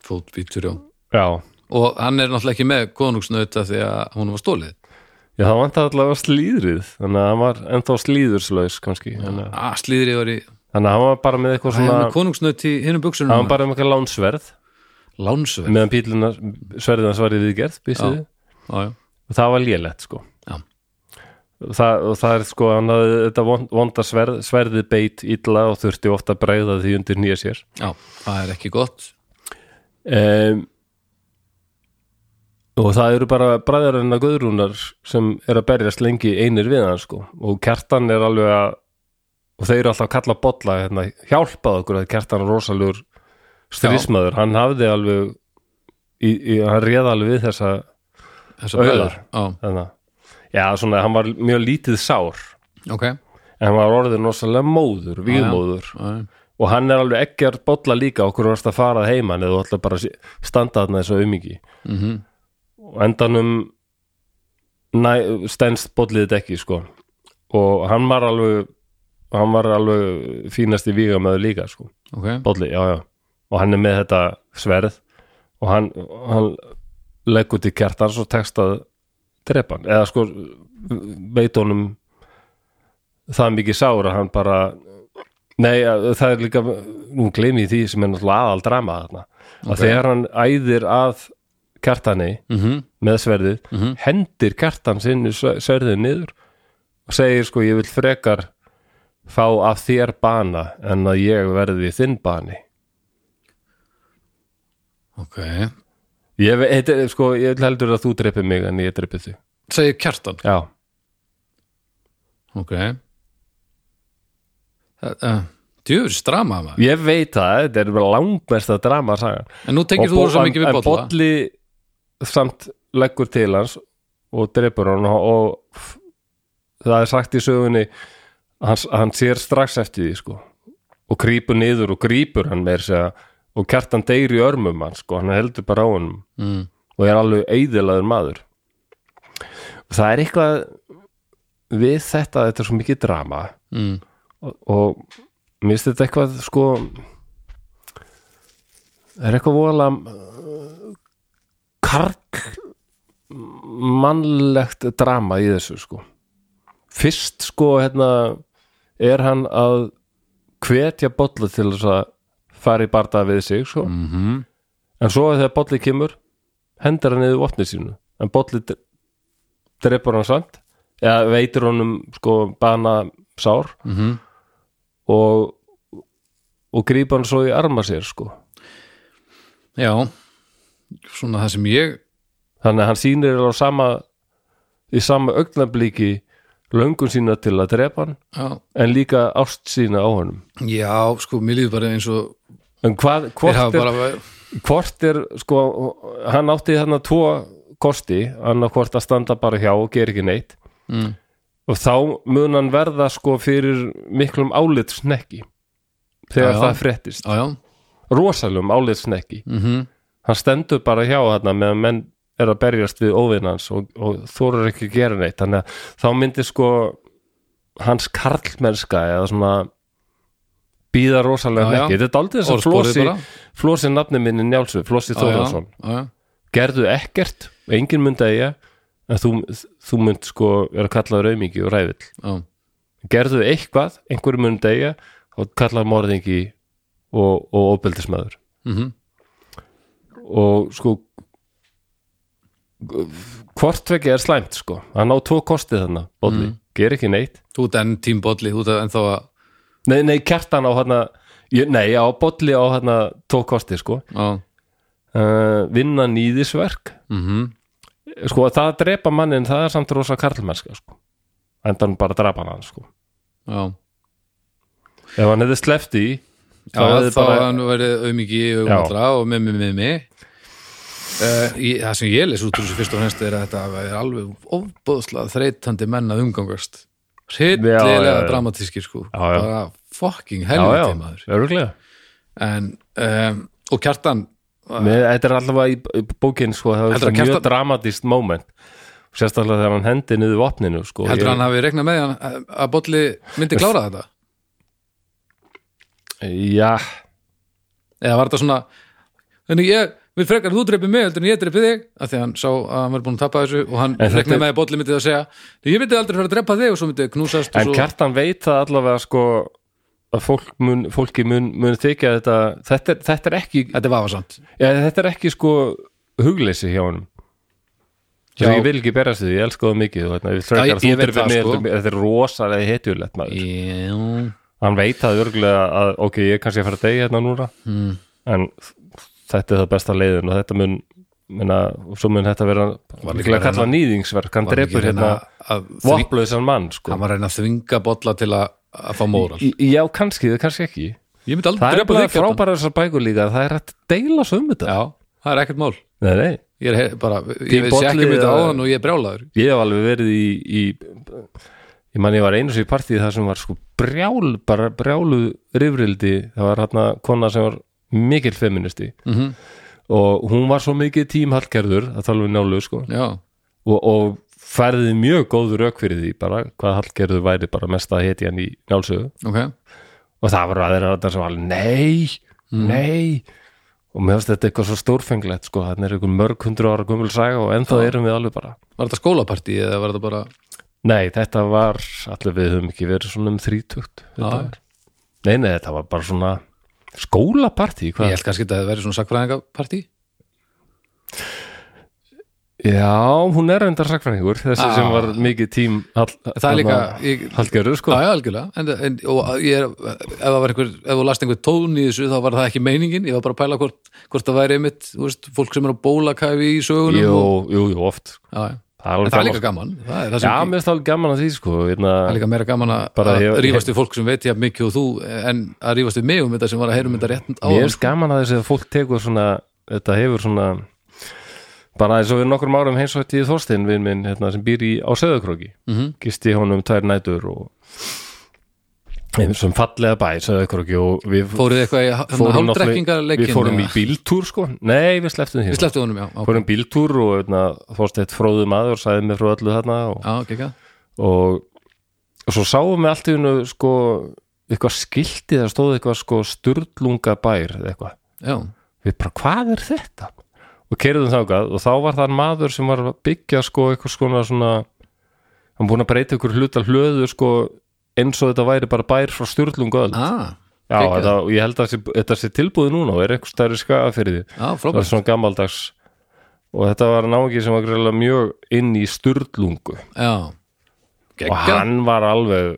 fótbítur já já, og hann er náttúrulega ekki með konungsnauta því að hún var stólið Já, það vantaði allavega slíðrið þannig að hann var ennþá slíðurslaus kannski, þannig að- að slíðri Ah, var í þannig að hann var bara með eitthvað hann svona er með konungsnaut í hinnum hann var buksunum bara með eitthvað lánsverð lánsverð meðan píluna sverðið hans var í viðgerð býstu Já. við. já, já. og það var lélegt sko Já. Það, og það er sko hann hafði þetta von- vonda sverð, sverðið beit illa og þurfti ofta að bregða því undir nýja sér já, það er ekki gott um, og það eru bara bræðarinn að Guðrúnar sem er að berjast lengi einir við hann sko og kjartan er alveg að og þeir eru alltaf að kalla bolla hérna, hjálpað okkur að kjartan er rosalugur strísmaður, hann hafði alveg í, í, hann réð alveg við þessa þessar Auðar. bræður. já, þarna. já svona, hann var mjög lítið sár ok en hann var orðin rosalega móður, víðmóður Já, já. og hann er alveg ekkert bolla líka okkur varst að fara að heiman eða þú ætla bara að sé- standa þarna þessu umingi Mhm. og endanum næ, stendst bollið þetta ekki sko og hann var alveg hann var alveg fínasti vígamöður líka sko, ok, bolli, já já og hann er með þetta sverð og hann, hann leggur til kjartan svo tekst að drepa hann, eða sko veit honum það mikið sár að hann bara nei, að- það er líka nú gleymi ég því sem er náttúrulega aðal drama þarna, að þegar hann æðir að kjartani Mhm. með sverðið, hendir kjartan sinni sverðið niður og segir sko ég vil frekar fá af þér bana en að ég verði þinn bani ok ég, ve- þetta er, sko, ég vil heldur að þú dreipir mig en ég dreipir þig segir kjartan já, ok það, uh, djöfur strama maður ég veit það, þetta er bara langmesta drama sagan en nú tengir þú bo- rosa mikið en- við en bolla bolli samt leggur til hans og dreipur hann og, og f- það er sagt í sögunni hann, hann sér strax eftir því sko og grípur niður og grípur hann meir segja, og kjartan deyr í örmum hann sko, hann heldur bara á hann mm. og er alveg eiðilaður maður og það er eitthvað við þetta, þetta er svo mikið drama Mm. og, og mér finnst þetta eitthvað sko er eitthvað voðalega uh, kark mannlegt drama í þessu sko fyrst sko hérna er hann að hvetja bollu til þess að fara í barða við sig sko mhm. en svo þegar bolli kemur hendur hann niður vopnið sínu en bolli dre- drepur hann samt eða veitir honum sko bana sár Mhm. og og grípa hann svo í arma sér sko já svona það sem ég þannig að hann sýnir á sama í sama augnablíki löngun sína til að drepa hann já, en líka ást sína á honum já sko, mér líður bara eins og en hvað, þeir hvort, er, hafa bara hvort er sko, hann átti þarna tvo kosti, annað hvort að standa bara hjá og gera ekki neitt mm. og þá mun hann verða sko fyrir miklum álitsnekki þegar Já, já. það fréttist já, já, rosalum álitsnekki mhm hann stendur bara hjá þarna meðan menn er að berjast við óvinnans og, og þórar ekki að gera neitt þannig að þá myndi sko hans karlmennska eða svona býða rosalega Já, já. nekki þetta er aldrei þess að Orðsporið flósi bara. flósi nafni minni Njálsvið, flósi Já, já, Þóðarsson já, já. gerðu ekkert, engin myndi að ég en þú, þú mynd sko er að kalla raumingi og ræfill Já, gerðu eitthvað, einhverjum mun degja og kallar morðingi og, og óbeldismæður mhm, og sko hvort tvekja er slæmt sko hann á tvo kostið þarna, Mhm. Bolli, ger ekki neitt Þú ert enn tímbolli, þú ert ennþá að nei, nei, kjartan á hann ég, nei, á bolli á hérna tókosti sko Já, uh, vinna nýðisverk mhm sko að það að drepa mannin það er samt rosa karlmennska sko enda hann bara að drapa hann sko Já, ef hann hefði sleppt í já þá hefði þá bara... bara hann verið auðmiki í augum Já. allra og með mig með mig Uh, í, það sem ég les út úr þessu fyrst og fremst er að þetta er alveg ofbóðslega þreytandi menn að umgangast Já, já, hryllilega já. dramatískir sko Já, já. bara fucking já, já, helviti maður öruglega en, um, og kjartan Mér, þetta er allavega í, í bókin sko, það Heldurðu er að mjög Kjartan- dramatist moment sérstaklega þegar hann hendi niður vopninu sko, heldur Ég- hann hafi reiknað með hann að- að Bolli myndi klára þetta já, eða var þetta svona en ég vil frekar þú dreipið mig heldur en ég dreipið þig af því að hann sá að hann var búin að tapa þessu og hann En þetta- reiknaði með að Bolli myndi það að segja ég myndi aldrei fara að dreipa þig og svo myndi knúsast og en svo kjartan veit það allavega sko að fólk mun, fólki mun, mun þykja þetta þetta er, þetta er ekki þetta er vafasamt Já, þetta er ekki sko hugleysi hjá honum Já. Já. Ég vil ekki berast því, ég elska það mikið og þarna, ég, Já, ég, ég- ég ég veit veit það það, sko. sko. Þetta er rosalega hetjulegt maður já, Hann veit það örgulega að ok, ég er kannski að fara að degja hérna núna Mm. en þetta er það besta leiðin og þetta mun minna, og svo mun þetta vera Var líka líklega að kalla nýðingsverk hann Var líka drefur að reyna hérna að þving- vopnlausan mann sko. hann var að reyna að þvinga Bolla til að, að fá móral Í- Já, kannski, kannski ekki ég myndi aldrei Það er dreipa bara þig Kjartan. frábæra þessar bækur líka það er hægt að deila svo um þetta já, það er ekkert mál Nei, nei ég, er, he- bara, Því ég veist Bolli ekki myndi á eða- hann og ég er brjálaður ég hef alveg verið í, í ég man ég var einu sér í partíð það sem var sko brjál bara brjálu rifrildi það var hérna kona sem var mikill feministi Mhm. og hún var svo mikið tímhallgerður að tala við nálu sko já, og, og færði mjög góð rauk fyrir því bara hvað hallgerður væri bara mest að heti hann í nálsögu ok og það var aðeins að það sem var alveg nei, Mm. nei og mér finnst þetta eitthvað svo stórfenglegt sko þannig er eitthvað mörg hundru ára gömul saga og ennþá erum við alveg bara var þetta skólapartí eða var þetta bara Nei, þetta var, allir við höfum ekki verið svona um þrítugt þetta Já. var. Nei, nei, þetta var bara svona skólapartí, ég hvað? held kannski að þetta verið svona sakfræðingapartí Já, hún er enda sakfræðingur, þessi Ah. sem var mikið tím hérna- all, Það er líka- ég- Hallgerður, sko Já, já, algjörlega en, en, og ég er, ef það var einhver ef þú last einhver tón í þessu þá var það ekki meiningin ég var bara að pæla hvort, hvort það væri einmitt þú veist, fólk sem er á bólakæfi í sögunum Jú, og, jú, jú, oft sko. já, Það já. er en alveg það gaman er líka gaman það er, Já, það sem, mér finnst það alveg gaman að því, sko einna, það er líka meira gaman að- Bara að ég- rífast við fólk sem veit ég mikið og þú en að rífast við mig um þetta sem var að heyrum þetta rétt á Mér finnst gaman að þessi að fólk tekur svona þetta hefur svona bara eins og við nokkrum árum heimsvætti í Þorstein vinn minn hérna, sem býr í, á Söðakróki Mhm. gisti honum tvær nætur og Nei, sem fallega bæ Söðakróki og við fóruð þið eitthvað í hérna, náttúrulega- hálfdrekkingarleikin við fórum í bíltúr sko nei við sleftum því hérna. við slepptu honum, já, á, fórum bíltúr og hérna, Þorstein fróðu maður sæði mig frá öllu þarna og, já, gekka og, og svo sáum við allt í hennu sko eitthvað skilti það stóð eitthvað sko sturlungabær eða eitthvað já, við bara hvað er þetta og kerðum þákað og þá var það maður sem var að byggja sko eitthvað svona svona hann búin að breyta ykkur hluta hlöðu sko eins og þetta væri bara bær frá styrlungöld já, ah, geggjað. þetta, og ég held að sé, þetta sé tilbúið núna og er eitthvað stærri skaga fyrir því já, það frábært var svona gammaldags og þetta var náungi sem var greiðlega mjög inn í styrlungu já, og gekka hann var alveg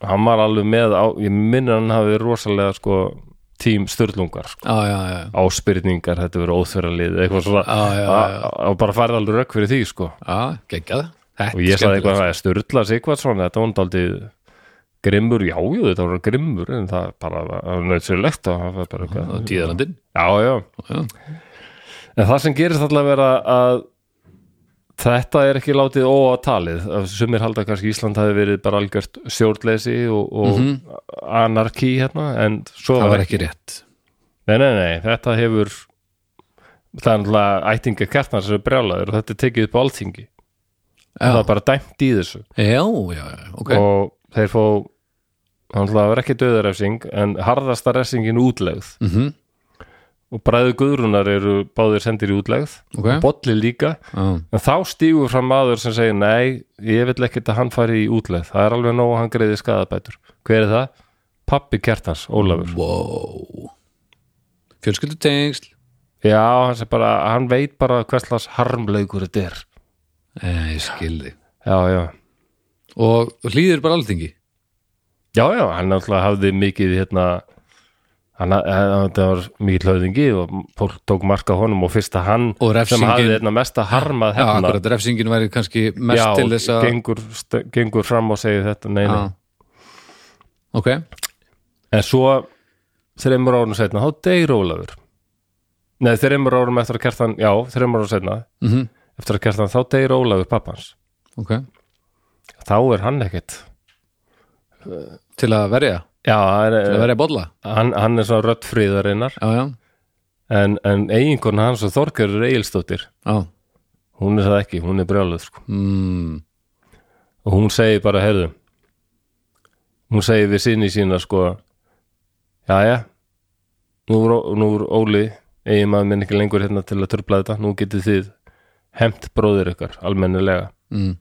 hann var alveg með á, ég minni að hann hafi verið rosalega sko tím styrlungar sko já, já, já, áspyrningar, þetta verður óþverralið eitthvað svona Já, já, já. a- a- og bara farið alveg rökk fyrir því sko já, gekka og ég sagði eitthvað að Sturla Sigvartsson þetta var aldrei grimmur, já, jú, þetta var grimmur en það bara var nöðsynlegt og það var bara eitthvað, tíðarandinn já, já já, en það sem gerist alltaf vera að þetta er ekki látið óatalið sumir halda kannski Ísland hafi verið bara algjört sjórnleysi og, og anarkí hérna, en svo Mhm. það var var ekki rétt Nei, nei, nei, þetta hefur það er náttúrulega ættinga kjartnar sem er brjálaður og þetta er tekið upp á alþingi Já. það er bara dæmt í þessu já, já, já, ok og þeir fó það er náttúrulega ekki döðarefsing en harðasta refsingin útlegð mm -hmm. og bræðu guðrunar eru báðir sendir í útlegð Ok. og bolli líka en þá stígur fram maður sem segir nei, ég vil ekkert að hann fari í útlegð það er alveg nóg að hann greiði skadabætur hver er það? Pappi kjartans, Ólafur wow fjölskyldu tengsl Já, hann, sem bara, hann veit bara hverslas harmleikur þetta er eh, ég skilði Já, já. og hlýðir bara alþingi Já, já, hann náttúrulega hafði mikið hérna hann, hann, það var mikið hlöðingi og fólk tók marka honum og fyrst að hann Og sem refsingin- hafði einna mesta harmað Já, hefna akkurat, refsingin væri kannski mest til þess að gengur, st- gengur fram og segir þetta nei, Já. nei. Ok, en svo þreymur árum setna, þá deyr Ólafur nei, þreymur árum eftir að kertan já, þreymur árum setna mm eftir að kertan, þá deyr Ólafur pappans ok þá er hann ekkit Til að verja, já, hann til að er, verja bolla hann, hann er svona röddfríðarinnar Já, já, en, en eiginkona hans og Þorgerur Egilstóttir já hún er það ekki, hún er brjáluð sko. mm. og hún segir bara, heyrðu hún segir við sinni sína sko, jæja nú er, Ó- nú er Óli eigin maður minn ekki lengur hérna til að tröfla þetta nú getið þið hemt bróðir ykkar, almennilega Mm.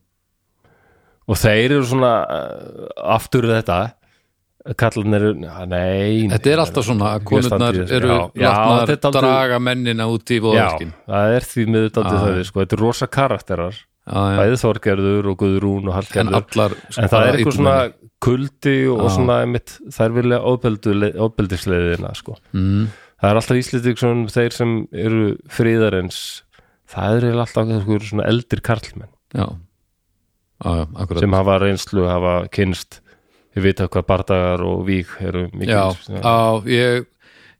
og þeir eru svona uh, aftur við þetta kallanir, nei, nei Þetta er alltaf svona að Ég standi konurnar í þessu. eru Já, já, látnar þetta er aldrei- draga mennina út í Já, voðalskinn það er því miður daldið Ah. það við, sko, þetta er rosa karakterar Já, já, bæði Þorgerður og Guðrún og en Hallgerður allar En sko, það er eitthvað illumenni. svona kuldi og Já. svona einmitt, þær vilja ofbeldu- ofbeldisleiðina sko. mm. Það er alltaf Íslendingson þeir sem eru fríðarins það eru eiginlega alltaf eitthvað svona eldir karlmenn Já, já, já, akkurat sem hafa reynslu, hafa kynst við vita hvað bardagar og vík eru sko. mikið Já, á, ég,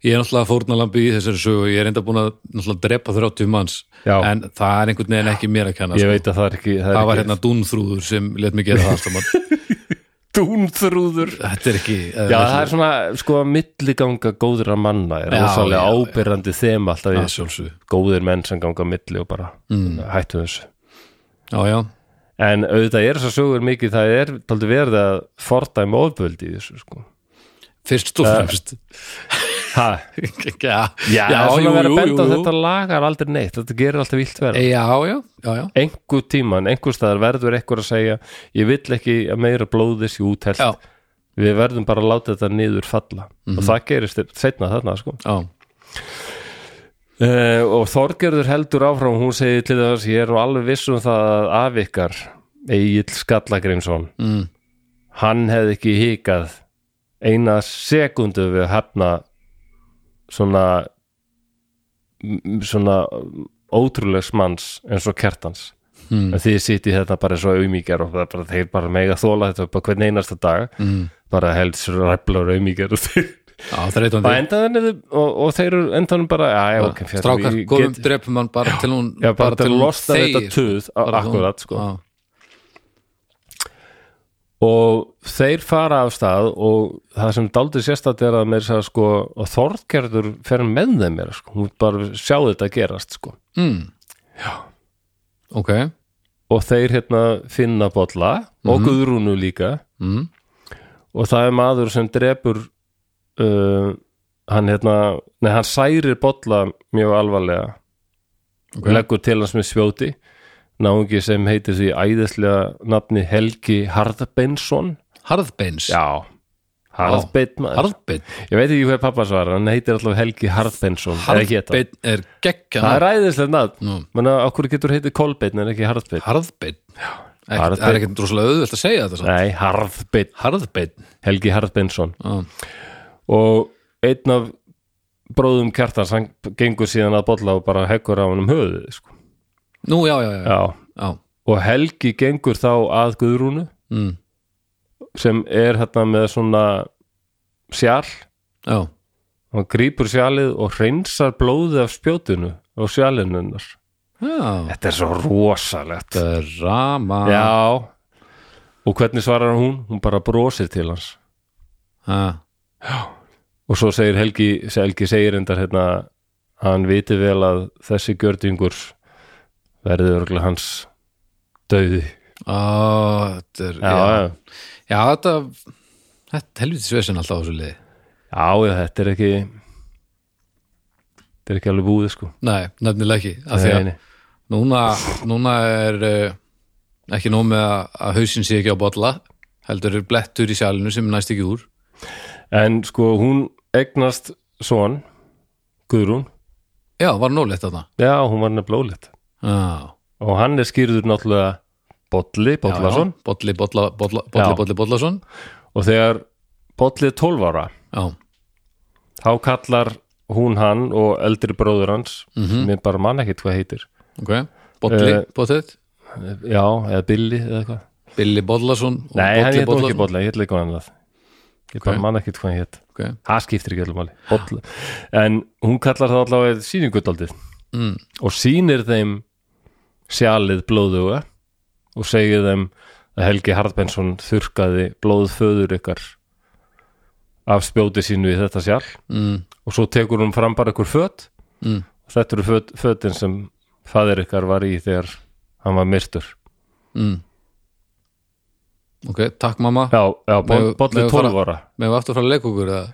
ég er náttúrulega fórnalambi í þessari sögu ég er enda búin að náttúrulega drepa 30 manns Já. en það er einhvern veginn ekki mér að kenna ég sko. veit að það er ekki það, er það var ekki hérna dúnþrúður sem let mig gera það afstamann dúnþrúður Þetta er ekki Já, það er svona sko milliganga góðra manna er Já, rosalega já, já. ábyrrandi þema alltaf að í sjálfsög góðir menn sem ganga á milli og bara mm. hættu þessu Já, já, En auðvitað er þessar sögur mikið, það er taldi verið að fordæma ofböldi í þessu sko. fyrst og fremst Ha, Já, já, já jú, svona verið jú, að benda á jú, jú. þetta lagar aldrei neitt, þetta gerir alltaf vilt verið. Já, já, já, já Engu tíman, engu staðar verður eitthvað að segja, ég vill ekki að meira blóðis í úthelt, Já, Mhm. við verðum bara að láta þetta niður falla og það gerist setna þarna sko. já, Uh, og Þorgerður heldur áfram hún segir til þess, ég er nú alveg viss um það að af ykkar, Egil Skallagrimsson mm. hann hefði ekki hikað eina sekundu við að hefna svona m- svona ótrúlegs manns eins og kertans Mm. en því sitt í þetta hérna bara svo auðmíkjar og það er bara, þeir bara mega þóla þetta bara hvern einasta dag Mm. bara held sér ræflar auðmíkjar og þeir já þreytandi og endaðan og, og þeir eru endanum bara já, já, ok, fjall, Strákar, við góðum get- drepum hann bara til hún já, bara til að losna við þegir. þetta tuð a- Bara til hún- akkurat sko Já, og þeir fara af stað og það sem daldið sérstætt er að mér sagði sko og Þorgerður fer með þeim mér sko, hún bara sjá þetta gerast sko mm. Ok, og þeir hérna finna bolla Mhm. og Guðrúnu líka mm. og það er maður sem drepur uh, hann hérna nei, hann særir bolla mjög alvarlega Ok. leggur til hans með spjóti náungi sem heitir því æðislega nafni Helgi Harðbeinsson harðbeins já, Harðbeinn maður. Harðbeinn Ég veit ekki hver pappa svarar, hann heitir alltaf Helgi Harðbensson Harðbeinn Harðbeinn er geggja Það er ræðislega nafn Nú. Men okkur getur heitið Kolbeinn en ekki Harðbeinn Harðbeinn Ekkert- Það Harðbeinn. er ekkert droslega auðvelt að segja þetta samt. Nei, Harðbeinn, Harðbeinn Helgi Harðbensson Já. Og einn af bróðum kjartans, hann gengur síðan að bolla og bara heggur á hann um höfuðið sko. Nú, já, já, já, Já, já. og Helgi gengur þá að Guðrúnu Mm. sem er hérna með svona sjál já. hann grípur sjálið og hreinsar blóðið af spjótinu og sjálinunnar já. Þetta er svo rosalegt Drama Já Og hvernig svarar hún? Hún bara brosir til hans Ha. Og svo segir Helgi, Helgi segir endar hérna Hann viti vel að þessi gjörðingur verði örgulega hans döði Á, þetta er, Já, já, já, þetta Þetta helviti svesen alltaf á þessu liði já, já þetta er ekki Þetta er ekki alveg búið sko Nei, nefnilega ekki af því að Nei, nei. núna, núna er uh, ekki nóg með að, að hausinn sé ekki á bolla heldur er blettur í sjalinu sem næst ekki úr En sko hún egnast son Guðrún Já, var nóleitt þarna Já, hún var nefnilega ólétt Já Og hann er skýrður náttúrulega Bolli, Já, Bollason já, Bolli, bolla, bolla, bolli, Já. bolli, bollason og þegar Bolli er 12 ára Já, þá kallar hún hann og eldri bróður hans mm Mhm. -hmm. mér bara mann ekkit hvað heitir ok, Bolli, Eh, Bottet já, eða Billy eða eitthvað Billy Bollason og nei, hann hétt nú Bolli ekki Bollason. Bolla, ég hétt líka hann annað ég bara mann ekkit hvað hann hétt Ok. það skiptir ekki öllum alveg Bolla. en hún kallar það allavega sýningutaldi Mm. og sýnir þeim sjalið blóðuga og segir þeim að Helgi Harðbensson þurrkaði blóðföður ykkar af spjóti sínu í þetta sjal Mm. og svo tekur hún fram bara ykkur fött Mm. og þetta eru föt, fötin sem fadir ykkar var í þegar hann var myrtur Mm. ok, takk mamma já, já Megum- bolli megum 12 fara- ára með við aftur að fara að leika okkur eða?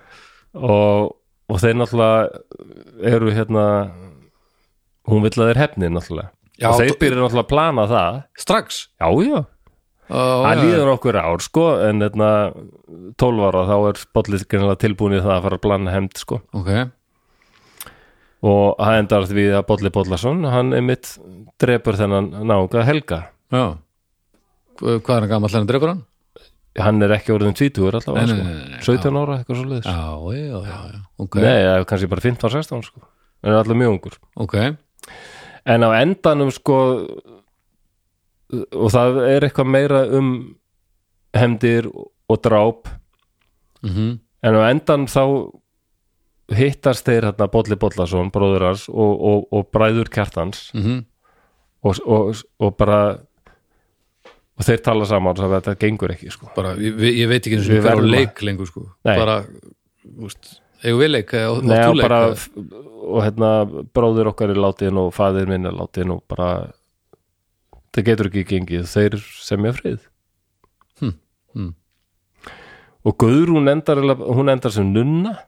og, og þeir náttúrulega eru hérna hún vill að þeir hefni náttúrulega Já, og d- þeir byrja náttúrulega að plana það strax já, já, Ó, það já. líður okkur ár sko, en hérna 12 ára þá er bollið greinlega tilbúin í það að fara að plana hefnd sko ok, og það endar því að Bolli Bollason hann einmitt drepur þennan náunga Helga já Hva- hvað er hann gamall hann dreifur hann? hann er ekki orðin 20 allavega Nei, nei, sko. nei, nei, nei, 17 ára eitthvað svo leiðis já, já, já, já. ok, nei, eða kannski bara 15-16 sko. hann er allir mjög ungur ok en á endanum sko og það er eitthvað meira um hemdir og dráp mm en á endan þá hittast þeir hérna Bolli Bollason, bróður hans og, og, og bræður kjartans mhm. og, og, og bara og þeir tala saman og þetta gengur ekki sko bara, ég, við- ég veit ekki eins og Við við verðum verðum að- leik lengur sko Nei. bara, úst, eigum við leik eða- og Nei, þú og leik bara eða? og hérna bróðir okkar er látin og fæðir minn er látin og bara það getur ekki gengið þeir semja frið hm. hm. og Guðrún endar eiginlega- hún endar sem nunna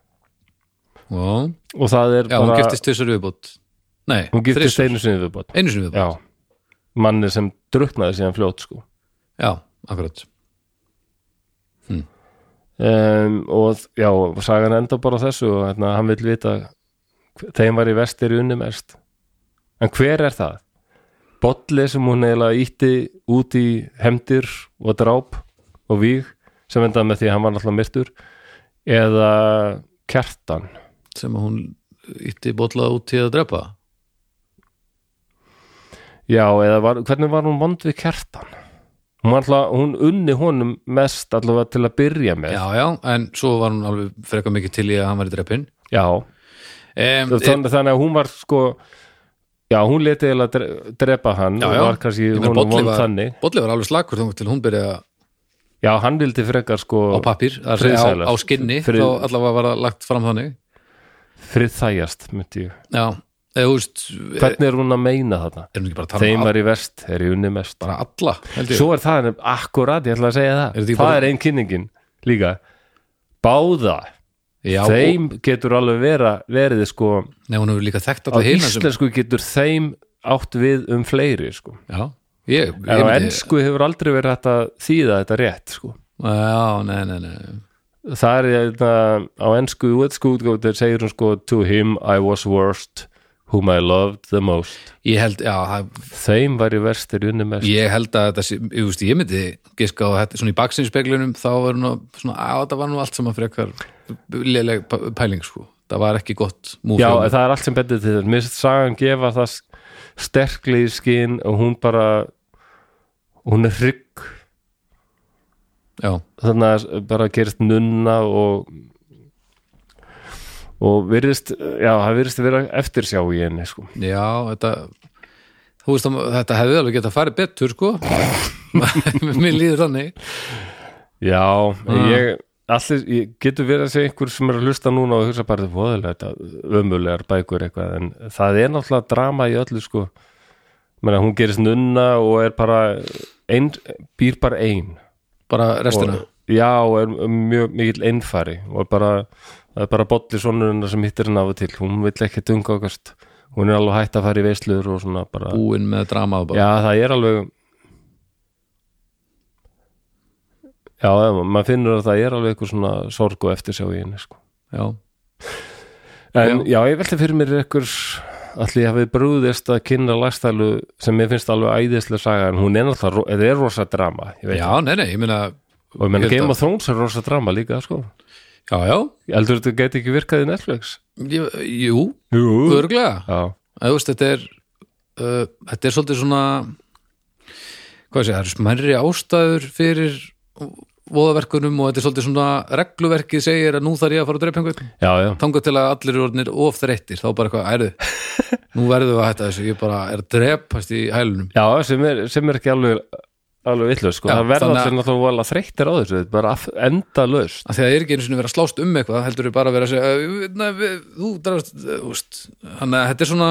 já, og það er já bara hún giftist þessar viðbót nei, hún giftist þrisvar. einu sinni viðbót einu sinni viðbót, já, manni sem druknaði síðan fljótt sko já, akkurat um, og já, sagan enda bara á þessu og hérna, hann vil vita hve- þeim var í vestir unni mest en hver er það? Bolli sem hún eiginlega ítti út í hemdir og dráp og víg sem endaði með því að hann var náttúrulega myrtur eða kjartan sem að hún ytti bolla út til að drepa já, eða var, hvernig var hún vond við kjartan? Hún, var alltaf, hún unni honum mest allavega til að byrja með já, já, en svo var hún alveg frekar mikið til í að hann var í drepin já. um, þannig, þannig að hún var sko já, hún leti eiginlega dre- drepa hann Já, og já. var kannski Ég meina, hún Bolli vond var- þannig Bolli var alveg slakur þangað til hún byrjaði að- já, hann vildi frekar sko á pappír, það er að segja á, á Friðsælast. skinni Frið- þá allavega var það lagt fram þannig friðþægjast, myndi ég já, eða þú veist er hvernig er hún að meina þetta? hún ekki bara að tala þeim um all, var í vest, er í unni mest bara alla held ég, svo er það nefn- akkurat, ég ætla að segja það Er þetta það ekki bara- er ein kynningin líka báða, já, þeim getur alveg vera, verið sko og- nei, hún hefur líka þekkt á alla hina sem íslensku getur þeim átt við um fleiri sko já, ég, ég en á myndi- ennsku hefur aldrei verið hægt að þýða þetta rétt sko já, nei, nei, nei það er þetta á ennsku útsku útgáðu þegar segir hún sko to him I was worst whom I loved the most ég held, já, það- þeim var ég verstir unni mest ég held að þetta sé, ég, veist, ég myndi giska á þetta, svona í baksinspeklunum þá var nú, svona, á, það var nú allt saman frekar léleg p- pæling sko, það var ekki gott múf já en hjá mér. það er allt sem bendir til þess mér finnst sagan gefa það sterkli í skinn og hún bara hún er hrygg já, þannig að bara gerist nunna og og virðist já, það virðist að vera eftirsjá í henni sko já, þetta þú veist, það- þetta hefði alveg getað farið betur sko mér líður þannig Já, ég, allir, ég getur verið að segja einhver sem er að hlusta núna og hugsa bara voðalega þetta ömulegar bækur eitthvað en það er náttúrulega drama í öllu sko Menna, hún gerist nunna og er bara ein, býr bara ein bara restina, og, já, og er mjög mikill einfari og er bara, það er bara bolli sonurinn sem hittir henni af og til, hún vill ekki dunga okkast, hún er alveg hætt að fara í veisluður og svona bara, búinn með drama bara. já það er alveg já, já, maður finnur að það er alveg eitthvað svona sorg og eftirsjá í henni sko. já, en já, ég velti fyrir mér ykkur allir hafið brúðist að kynna lagstælu sem mér finnst alveg æðislega saga en hún er náttúrulega, ro- þetta er rosa drama ég veit, já, nei, nei, ég meina og ég menna ég held Game að- of Thrones er rosa drama líka sko. já, já, Eldur þetta gæti ekki virkað í Netflix? ég, jú, Jú. örglega Já, að þú veist, þetta er uh, þetta er svolítið svona hvað sé, það eru smærri ástæður fyrir voðaverkunum og þetta er svolítið svona regluverkið segir að nú þarf ég að fara að drepa einhvern já, já. þangað til að allir eru orðnir of þreyttir þá bara eitthvað, ærðu, nú verðum við að hætta þessu ég bara er að drepast í hælunum Já, sem er, sem er ekki alveg alveg vitlaus, sko, Já, það verða þannig að- allir náttúrulega voðalega þreyttir á þessu, þetta er bara enda löst að því að það er ekki einu sinni verið að slást um eitthvað heldur við bara að vera að segja "Ö, na, við, þú drefst, úst þannig að þetta er svona,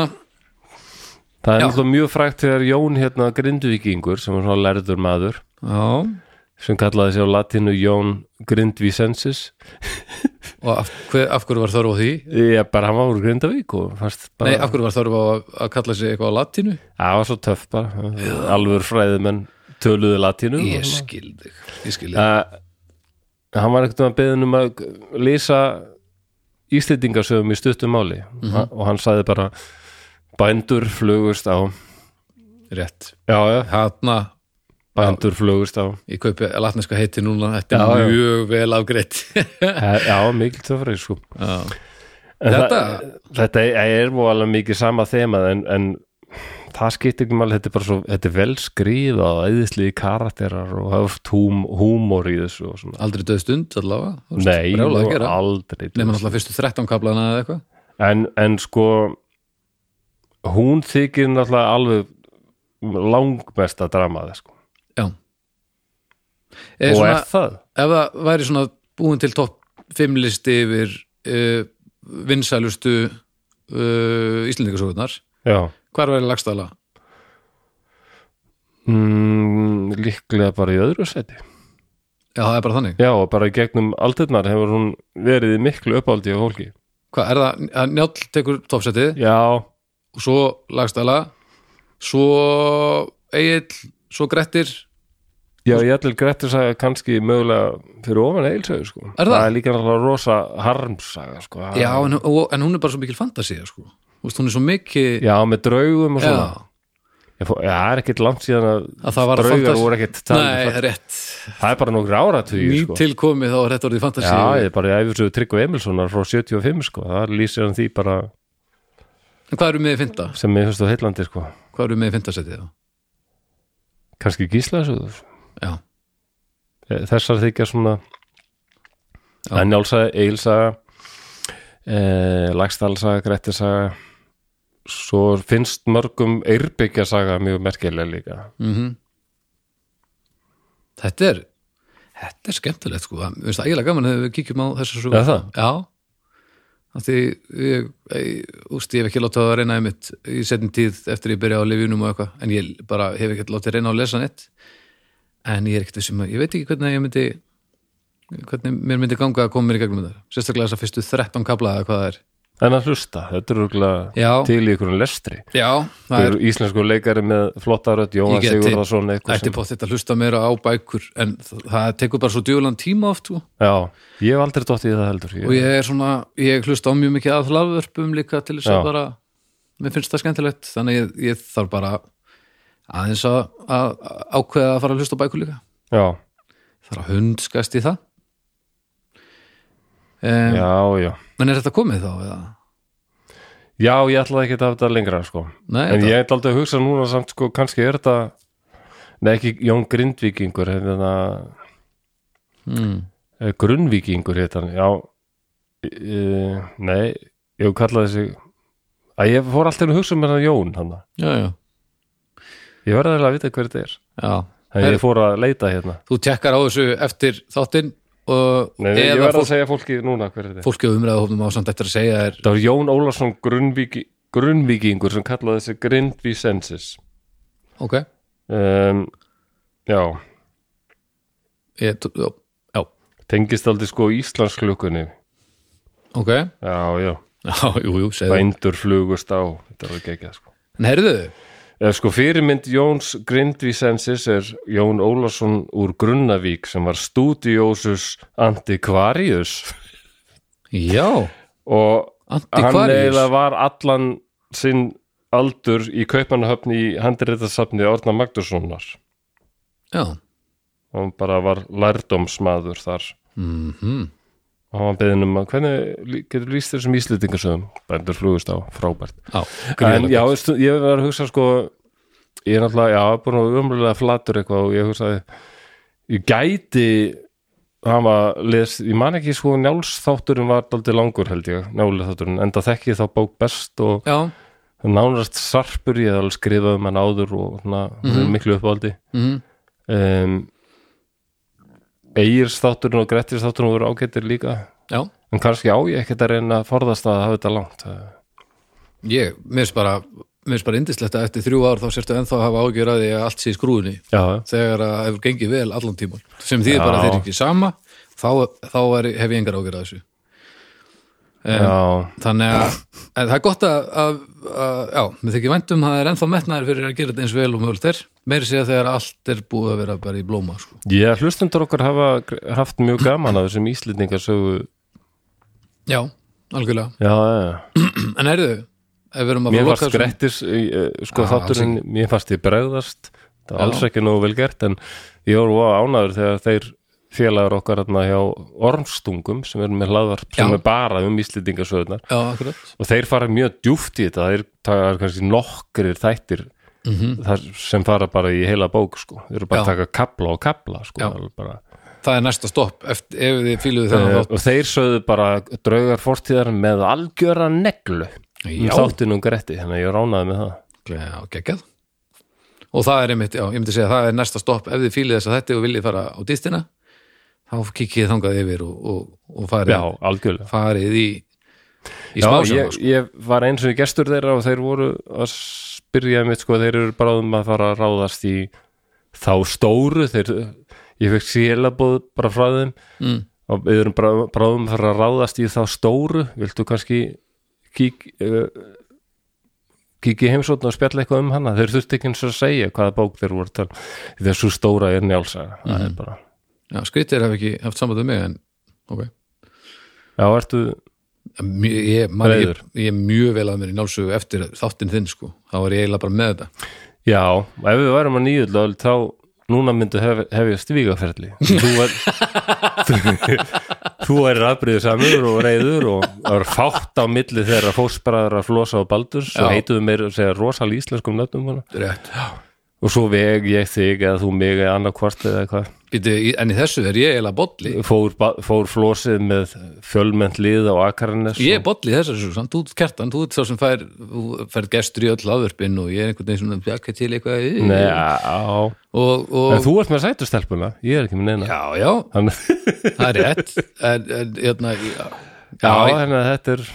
það er Já. náttúrulega mjög frægt þegar Jón hérna Grindvíkingur, sem er svona lærður maður já sem kallaði sig á latinu Jón Grindvísensis og af, hver, af hverju var þörf á því ég bara, hann var úr Grindavík og fannst nei, bara, af hverju var þörf á að, að kalla sig eitthvað á latínu það var svo töff bara alveg fræðimenn töluðu latinu ég skil þig, ég skil þig uh, hann var ekkert að beðin um að lýsa Íslendingasöfum í stuttum máli ha, Mhm. og hann sagði bara bændur flugust á rétt, já, já, hana bændur flugust á ég kaupi latneska heiti núna þetta er Já, já. mjög vel afgreitt já, Eh, já, mikil töfrið sko En Þetta- það, þetta er alveg mikið sama þemað en, en það skiptir ekki máli, þetta er bara svo þetta er vel skrifað og æðisliði karakterar og það er oft húm, húmor í þessu og svona aldrei döð stund allavega þú veist, Nei, brjálað að nú gera aldrei nema náttúrulega fyrstu 13 kaplana eða eitthvað en, en sko hún þykir náttúrulega alveg langmesta dramaði sko. já og Eða svona- er það? ef það væri svona búin til topp 5 listi yfir uh, vinsælustu uh, Íslendingasögurnar Já, hvar væri lagstæla? mm, líklega bara í öðru seti Já, það er bara þannig. Já, og bara í gegnum aldirnar hefur hún verið í miklu uppáldi á fólki Hvað er það? að Njáll tekur toppsetið Já, og svo lagstæla svo Egil svo Grettir já ég ætlum Grettir sagði kannski mögulega fyrir ofan eilsöðu sko Er það? er líka náttúrulega rosa harmsaga sko Það- Já, en, og, en hún er bara svo mikil fantasía sko. Þú veist, hún er svo mikil Já, með draugum og svona Já, Ég fó- Já, það er ekkit langt síðan að, að það var að draugar fantas- voru ekkit Nei, rétt, það er bara nokkur áratugir sko. nýtilkomið þá er þetta orðið fantasía Já, ég er bara í æfisögu Tryggva Emilssonar frá 75 sko, það lýsir hann því bara En hvað eru með í fynda? sem mér finnst á heillandi sko, Hvað eru með í fyndasetið þá? kannski gíslaðsögur Já, Eh, þessar þykja svona Já. en Njálsaga, Eilsaga eh, Lagstallsaga Grettisaga svo finnst mörgum Eirbyggjasaga mjög merkilega líka mm Þetta er þetta er skemmtilegt sko, það mér finnst ægilega gaman ef við kíkjum á þessar sögur Er það? Já, af því ég, ég, úst, ég hef ekki látið að reyna einmitt í setjum tíð eftir ég byrja á lifinum og eitthvað, en ég bara hef ekki látið að reyna á að lesa neitt en ég er ekkert þessum að, ég veit ekki hvernig ég myndi hvernig mér myndi ganga að koma mér í gegnum þetta sérstaklega þess að fyrstu 13 kabla eða hvað það er en að hlusta, þetta er örgulega Já, til í einhverjum lestri já, það er Hver íslensku leikari með flottarödd Jóhann Ég geti- Sigurðarsson eitthvað ætti sem, bótt þetta að hlusta meira á bækur en það, það tekur bara svo djúlan tíma oft sko. já, ég hef aldrei dottið í það heldur og ég er svona, ég hlusta á mjög mikið að hlaðvörpum líka til þess Já. að bara mér finnst það skemmtilegt, þannig ég, ég þarf bara aðeins að, að, að ákveða að fara að hlusta á bækur líka já, þarf að hundskast í það um, já, já en er þetta komið þá? Eða? Já, ég ætlaði ekki að hafa þetta lengra sko. Nei, en þetta, ég ætla aldrei að hugsa núna samt sko, kannski er þetta Nei, ekki Jón Grindvíkingur hefna, mm, Grunnvíkingur heit hann Já e, Nei, ég kallaði sig að ég fór alltaf að hugsa um hennar Jón hann. já, já, Ég verði eiginlega að vita hver þetta er já. Þegar Herru. ég fór að leita hérna þú tekkar á þessu eftir þáttinn og Nei, nei, ég eða verði að fólk, segja fólki núna hver þetta er fólki á umræðahofnum á samt eftir að segja er Það var Jón Ólason Grunnvíki, Grunnvíkingur sem kallaði sig Grindvísensis ok, um, Já, ég, já, já, tengist aldrei sko Íslandsklukkunni ok já, Já, já, jú, jú, segðu bændur flugust á þetta er ekki ekki það sko En heyrðu, Ef sko fyrirmynd Jóns Grindvísensis er Jón Ólafsson úr Grunnavík sem var studiosus antikvarius já, og hann antikvarius eiginlega var allan sinn aldur í kaupanahöfni í handirættasafni Orna Magnússonar Já, og hann bara var lærdómsmaður þar mhm og hann var beðin um að hvernig lí- getur lýst þessum íslendingasöðum bændur flugust á, frábært Já, en, gríðarlega já, gott. stu, ég var að hugsa sko ég er náttúrulega, já, búin að umlega flatur eitthvað og ég hugsaði ég gæti hann var, les, ég man ekki sko njálsþátturinn var daldið langur held ég njálsþátturinn, enda þekki ég þá bók best og já, nánarast sarpur ég hef alveg skrifað um hann áður og svona, mm -hmm. miklu uppáldi mhm, um, Eirs þátturinn og Grettis þátturinn voru ágættir líka já en kannski á ég ekkert að reyna að forðast að hafa þetta langt það- ég, mér finnst bara mér finnst bara indislegt að eftir þrjú ár þá sérstu ennþá að hafa ágjör að því að allt sé í skrúðinni já, já þegar að það hefur gengið vel allan tíman sem því Já. bara að þeir eru ekki sama þá, þá er, hef ég engar ágjör að þessu Já, þannig að en það er gott að, að, að já, mér þykir væntum það er ennþá metnaður fyrir að gera þetta eins vel og mögult er meiri segja þegar allt er búið að vera bara í blóma sko. ég hlustundur okkar hafa gr- haft mjög gaman af þessum íslendingar sögu já, algjörlega, Já, já, já. en erðu ef við erum að mér fara að fannst loka þessum- Grettis eh, eh, sko Já, þátturinn, mér fannst ég bregðast það var Já. alls ekki nógu vel gert en ég voru á ánaður þegar þeir félagar okkar hérna hjá Ormstungum sem er með hlaðvarp sem Já. er bara um íslendingasöðunar já, akkurat, og þeir fara mjög djúft í þetta þeir taka kannski nokkrir þættir mm sem fara bara í heila bók sko. þeir eru bara að Mhm. Já. taka kapla og kapla sko. Já. alveg bara. það er næsta stopp eftir, ef þið fíluðu Eh, þennan og þeir sögðu bara draugar fortíðar með algjöra neglu um Já. þáttinn um gretti, þannig að ég ránaði með það þátt já, geggjað og það er einmitt, já, ég myndi segja að það er næsta stopp ef þið fíluðu þess að þetta og viljið fara á distina þá kikkið þið þangað yfir og, og, og farið, já, algjörlega farið í í Já, smásjóma ég, sko. ég var eins og gestur þeirra og þeir voru að spyrja mitt sko, þeir eru bráðum að fara að ráðast í þá stóru þeir, ég fekk sílabóð bara frá þeim mm, og við erum brá- bráðum að fara að ráðast í þá stóru viltu kannski kík uh, kík í heimsókn og spjalla eitthvað um hana þeir þurftu ekki eins og að segja hvaða bók þeir voru að tala um. Því að svo stóra er njálsaga það er bara, já, skritir hef ekki haft samband við mig en ok já, ertu Mjö, ég, man, ég, Reiður. ég er mjög vel að mér í nálsögu eftir þáttinn þinn sko þá er ég eiginlega bara með þetta já, ef við værum að nýjulöld þá núna myndu hef, hefjast vígaferli þú var þú er afbrýðu samur og reyður og það var fátt á milli þeirra fósbræðar að flosa á baldurs og Já. heituðu meir að segja rosal íslenskum nöfnum hana rétt og svo veg ég þig eða þú mig eða annarkvart eða eitthvað Býtu, í- en í þessu er ég eiginlega bolli fór, ba- fór flósið með fjölmennt lið á Akarnes ég er bolli í þessu svo, samt út kertan þú ert sá sem fær, þú fær gestur í öll aðvörpin og ég er einhvern veginn svona bjaka til eitthvað í- Nei, á, og, en og þú ert með sætustelpuna ég er ekki með neina já, já, Þann, það er rétt en, en, hérna, já, já, já, þannig að þetta er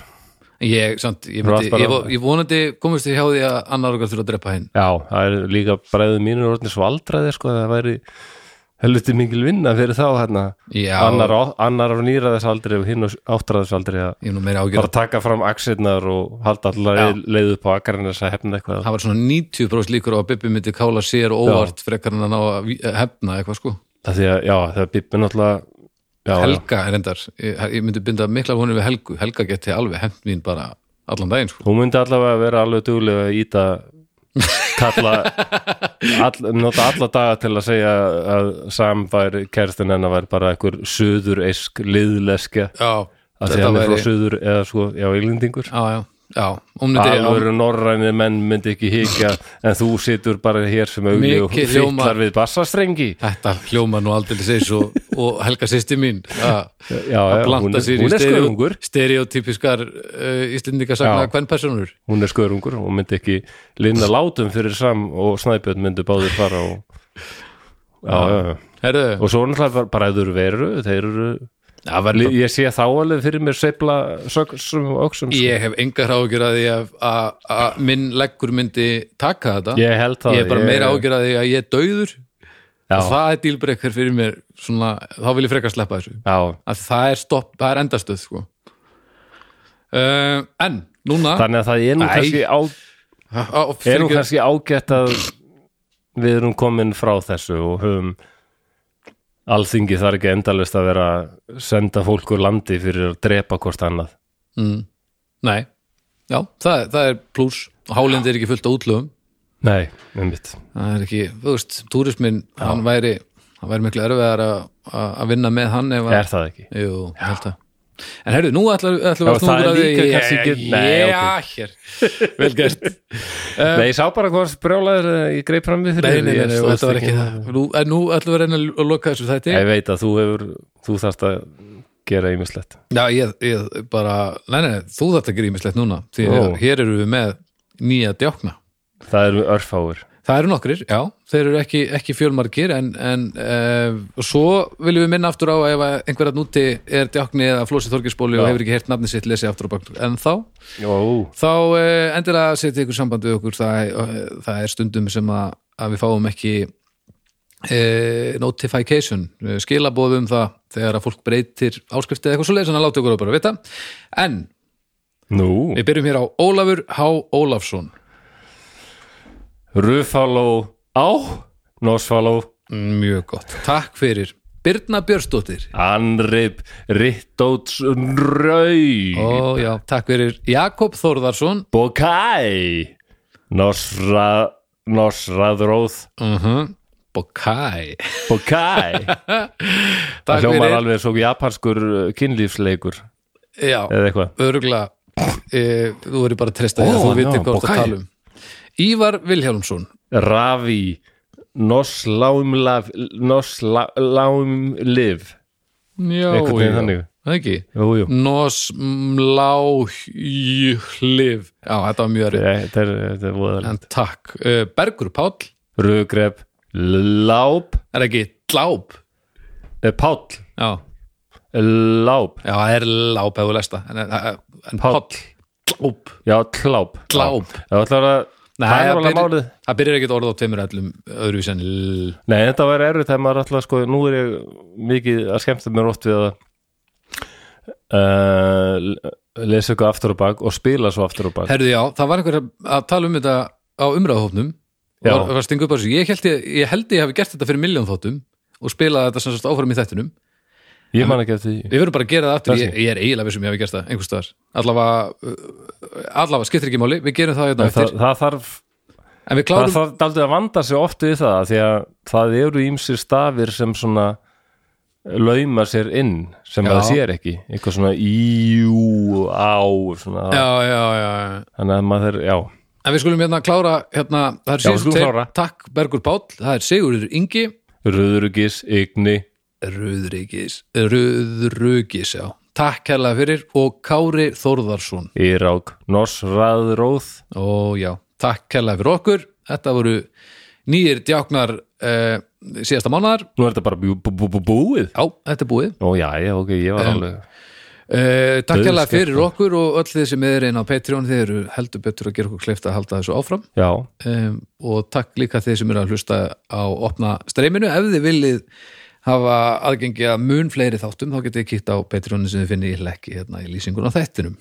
ég, samt, ég, Þú varst myndi, bara- ég, vo- ég vonandi komist þið hjá því að annar okkar þurfa að drepa hinn já, það er líka bræðu mínur orðin svo aldraði sko, það væri helviti mingil vinna fyrir þá hérna Já. annar, á- annar á nýraðisaldri og hinn á áttræðisaldri að ég er nú meira ágjörð bara taka fram axirnar og halda allar leið, leið upp á Akarnes að hefna eitthvað það var svona 90% líkur á að Bibbi myndi kála sér óvart frekar en að ná að ví- að hefna eitthvað sko það því að, já, það bíbbi náttúrulega já, já. Helga er endar, ég, ég myndi binda mikla vonir við Helgu, Helga geti alveg hefnt mín bara allan daginn sko Hún myndi allavega vera alveg duglega að íta kalla all, nota alla daga til að segja að Sam væri kerstin hennar væri bara einhver suðureisk liðleskja Já, að því hann er frá suður eða sko, já, ylendingur Já, já, já, hún myndi alvöru norræni menn myndi ekki hika en þú situr bara hér sem auðví og Mikið hljóma- fyrtlar við bassastrengi Þetta hljóma nú aldrei eins og, og Helga sýsti mín að já, að já, hún blanda er- sér hún er í stereo, skörungur. stereotypiskar uh, íslendingasagna Já. kvennpersonur hún er skörungur og myndi ekki linna látum fyrir Sam og Snæbjörn myndi báðir fara og já, já, já Herðu, og svo náttúrulega bara- bara ef þeir eru veru þeir eru, það var Li- ég sé þá alveg fyrir mér sveifla söksum og öksum sko. Ég hef engar ágjur að því að- að að minn leggur myndi taka þetta ég held það ég er bara meira ágjör að því að ég er dauður Já. og það er dílbrekkar fyrir mér svona, þá vil ég frekar sleppa þessu já, að það er stopp, það er endastöð sko. uh, en núna þannig að það er nú Æ. kannski, á, á, á, er nú fyrirgefðu- kannski ágætt að við erum komin frá þessu og höfum alþingi þarf ekki endalist að vera að senda fólk úr landi fyrir að drepa hvort annað nei, já, það, er- það er pluss og hálendi er ekki fullt á útlöfum nei, einmitt það er ekki, þú veist, túrismin hann væri, hann væri miklu erfiðar að- að að vinna með hann ef að er það ekki Jú, ég held að En heyrðu, nú ætlum ætlum við Já, að það snúa er okkur að því líka kannski ekki- Nei, Já, hér, vel gert Nei, ég sá bara hvað brjálæður eða ég greip fram við Nei, þér nei, Ég- hérna. nei, ég sko, veist þetta var ekki það Nú, en nú ætlum við að reyna að loka þessu þætti Ég veit að þú hefur, þú þarft að gera ýmislegt Já, ég, ég bara, nei, nei, nei, þú þetta grímislegt núna því Ó. að hér eru við með nýja djákna Það eru örfáir Það eru nokkrir, já, þeir eru ekki, ekki fjölmargir en, en uh, svo viljum við minna aftur á að ef að einhverjarn úti er djákni eða flósið þorgisbóli og Já. hefur ekki heyrt nafni sitt lesið aftur á bakt en þá, Jó, þá uh, endilega setja ykkur samband við okkur það, uh, það er stundum sem að, að við fáum ekki uh, notification uh, skilabóðum það þegar að fólk breytir áskriftið eitthvað svo leið þannig að láta ykkur að bara vita en nú við byrjum hér á Ólafur H. Ólafsson Rufaló á Nosfaló mjög gott, takk fyrir Birna Björnsdóttir Anrip Rittóts Rau Ó, já, takk fyrir Jakob Þórðarsson Bokai Nosra Nosraðróð uh Mhm. Bokai Bokai Takk Það hljómar fyrir. alveg svo japanskur uh, kynlífsleikur Já, eða eitthvað örgla e, þú verður bara að treysta því Eh. Ó, að þú vitir já, hvað það Bokai. tala um Ívar Vilhjálmsson Ravi Nosláumlaf Nosláumlif Já, Einhvern veginn já. þannig. Það ekki Jú, jú Nosmláhjhlif Já, þetta var mjög erið Þetta er, þetta er voðalegt En takk, uh, Bergur Páll Rugrepp Láp Er það ekki Dláb eh, Páll Já, Láp já, það er Láb hefur lesta En, en, en Páll. Páll Dláb Já, kláp Kláp. Já, ætlar að Nei, Það er það alveg byrjar- málið það byrjar ekkert orð á tveimur allum öðru sem l Nei, þetta var erfitt þegar maður ætlar sko Nú er ég mikið að skemmta mér oft við að uh, lesa eitthvað aftur á bak og spila svo aftur á bak Herðu já, það var einhver að- að tala um þetta á umræðahófnum Já. var, var að stinga upp á þessu. Ég held ég, ég held ég hafi gert þetta fyrir miljón þóttum og spilaði þetta sem sagt áfram í þættinum Ég man ekki eftir því Við verðum bara að gera það aftur, Kannski. ég, ég er eiginlega vissum ég hafi gert það einhvers staðar, allavega uh, allavega skiptir ekki máli, við gerum það hérna En það, eftir, það þarf en við það klárum þarf daldið að vanda sig oft við það því að það eru ýmsir stafir sem svona lauma sér inn sem Já. það sér ekki eitthvað svona íjú á svona, já, já, já, já. þannig að maður, já, en við skulum hérna klára hérna, Já, það er við síðustu skulum tveir. klára. takk Bergur Páll, það er Sigurður Ingi röðurugis ygni, Röðrugis Röðrugis, já takk hérlega fyrir og Kári Þórðarsson írák nosraðróð, Ó já, takk kærlega fyrir okkur Þetta voru nýjir djáknar uh, síðasta mánuðar nú er þetta bara bú, bú, bú, bú, búið Já, þetta er búið Ó já, já, ok, ég var alveg uh, Takk kærlega Dauðskemmt. fyrir okkur og öll þið sem er inn á Patreon þið eru heldur betur að gera okkur kleift að halda þessu áfram Já, um, og takk líka þið sem eru að hlusta á opna streyminu ef þið viljið hafa aðgengi að mun fleiri þáttum þá getið kýtt á Patreonin sem þið finnir í hlækki hérna í lýsingun á þættinum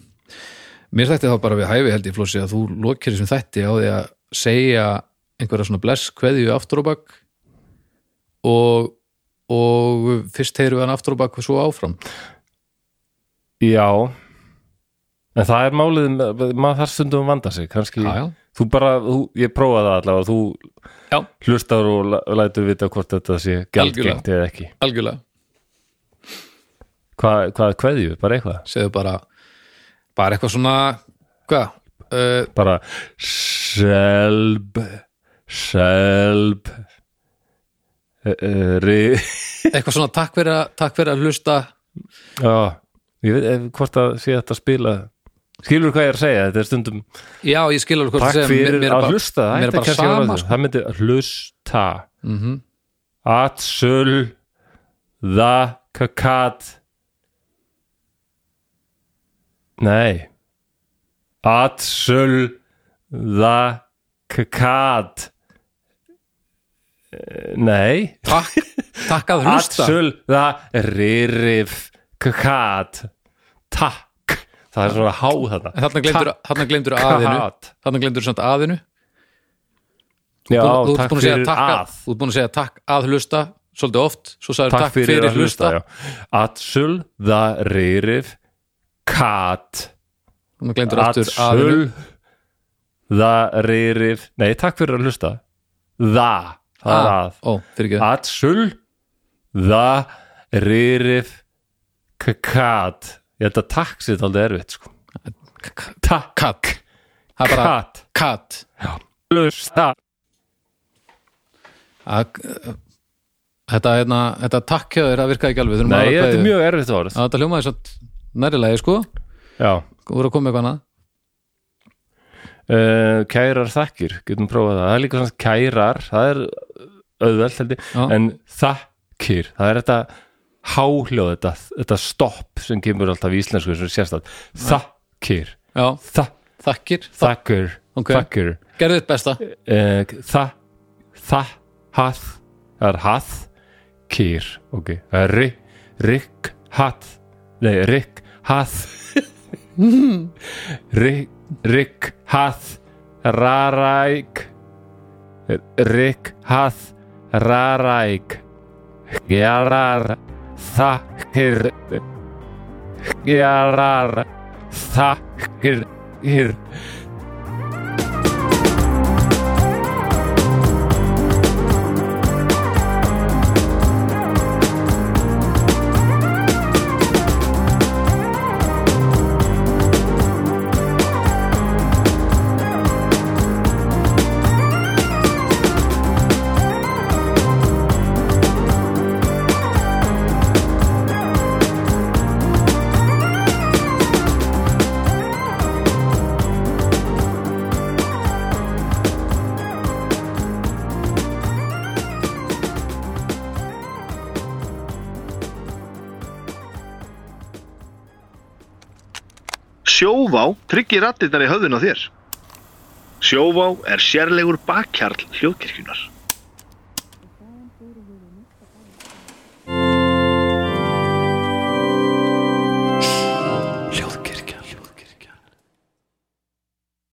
Mér þætti þá bara við hæfi held ég flósi að þú lokir þessum þætti á því að segja einhverja svona bless kveðju aftur á bak og, og fyrst heyrum við hann aftur á bak og svo áfram já En það er málið, maður þarf stundum að vanda sig, kannski Já, já. Þú bara, þú, ég prófaði það allavega, þú Já, hlustar og la- lætur vita hvort þetta sé gjaldgengt eða ekki algjörlega Hva, hvað kveðju, bara eitthvað segðu bara bara eitthvað svona hvað, uh, bara selb selb eh, eh, ri eitthvað svona takk fyrir, að- takk fyrir að hlusta já, ég veit ef, hvort að sé þetta að spila skilur hvað ég er að segja, þetta er stundum já ég skil alveg hvað takk þú segir, fyrir mér- mér er að bara- hlusta það mér er ætti bara kannski að sama vera- sko. Mhm. það myndi hlusta mm -hmm. atsul það kakat nei atsul það kakat Eh, nei takk, takk að hlusta atsul það ririf kakat takk það er svona há þetta þarna glemdur, þarna glemdur aðinu þarna glemdur samt aðinu Já, Búin- þú ert takk búin að segja fyrir takk að þú ert búin að segja takk að hlusta svolítið oft, svo sagður Takk, takk, fyrir, að hlusta, hlusta. já Atsul, það reyrif Kat þarna glemdur aftur aðinu Atsul Það reyrif Nei, takk fyrir að hlusta Það, það er Ah, að ó, fyrir ekki Atsul, það reyrif Kat ég held að takk sér aldrei erfitt sko. Takk Katt Það er bara Kat. Katt Lusta Að- Þetta, hérna, þetta takk hjá þér að virka ekki alveg Þurfum Nei, aðra þetta er kveðju. mjög erfitt orð Að Þetta hljómaði svo nærilegi sko Já, Úr að koma með eitthvað annað uh, kærar þakkir getum prófað það, það er líka svona kærar það er auðvelt held ég Já. en þakkir, það er þetta háhljóð, þetta, þetta stopp sem kemur alltaf í íslensku sem sérstætt þakkir, Já, þa, þakkir þakkir Ok. þakkir Gerðu þitt besta uh, það það, hað það er hað, kýr ok, það er rik, rik hað, nei, rik hað rik, rik hað raræk rik hað raræk gerar þakkir gerar þakkir Hér. Sjóvá tryggir rattirnar í höfðun á þér. Sjóvá er sérlegur bakkjarl hljóðkirkjunar.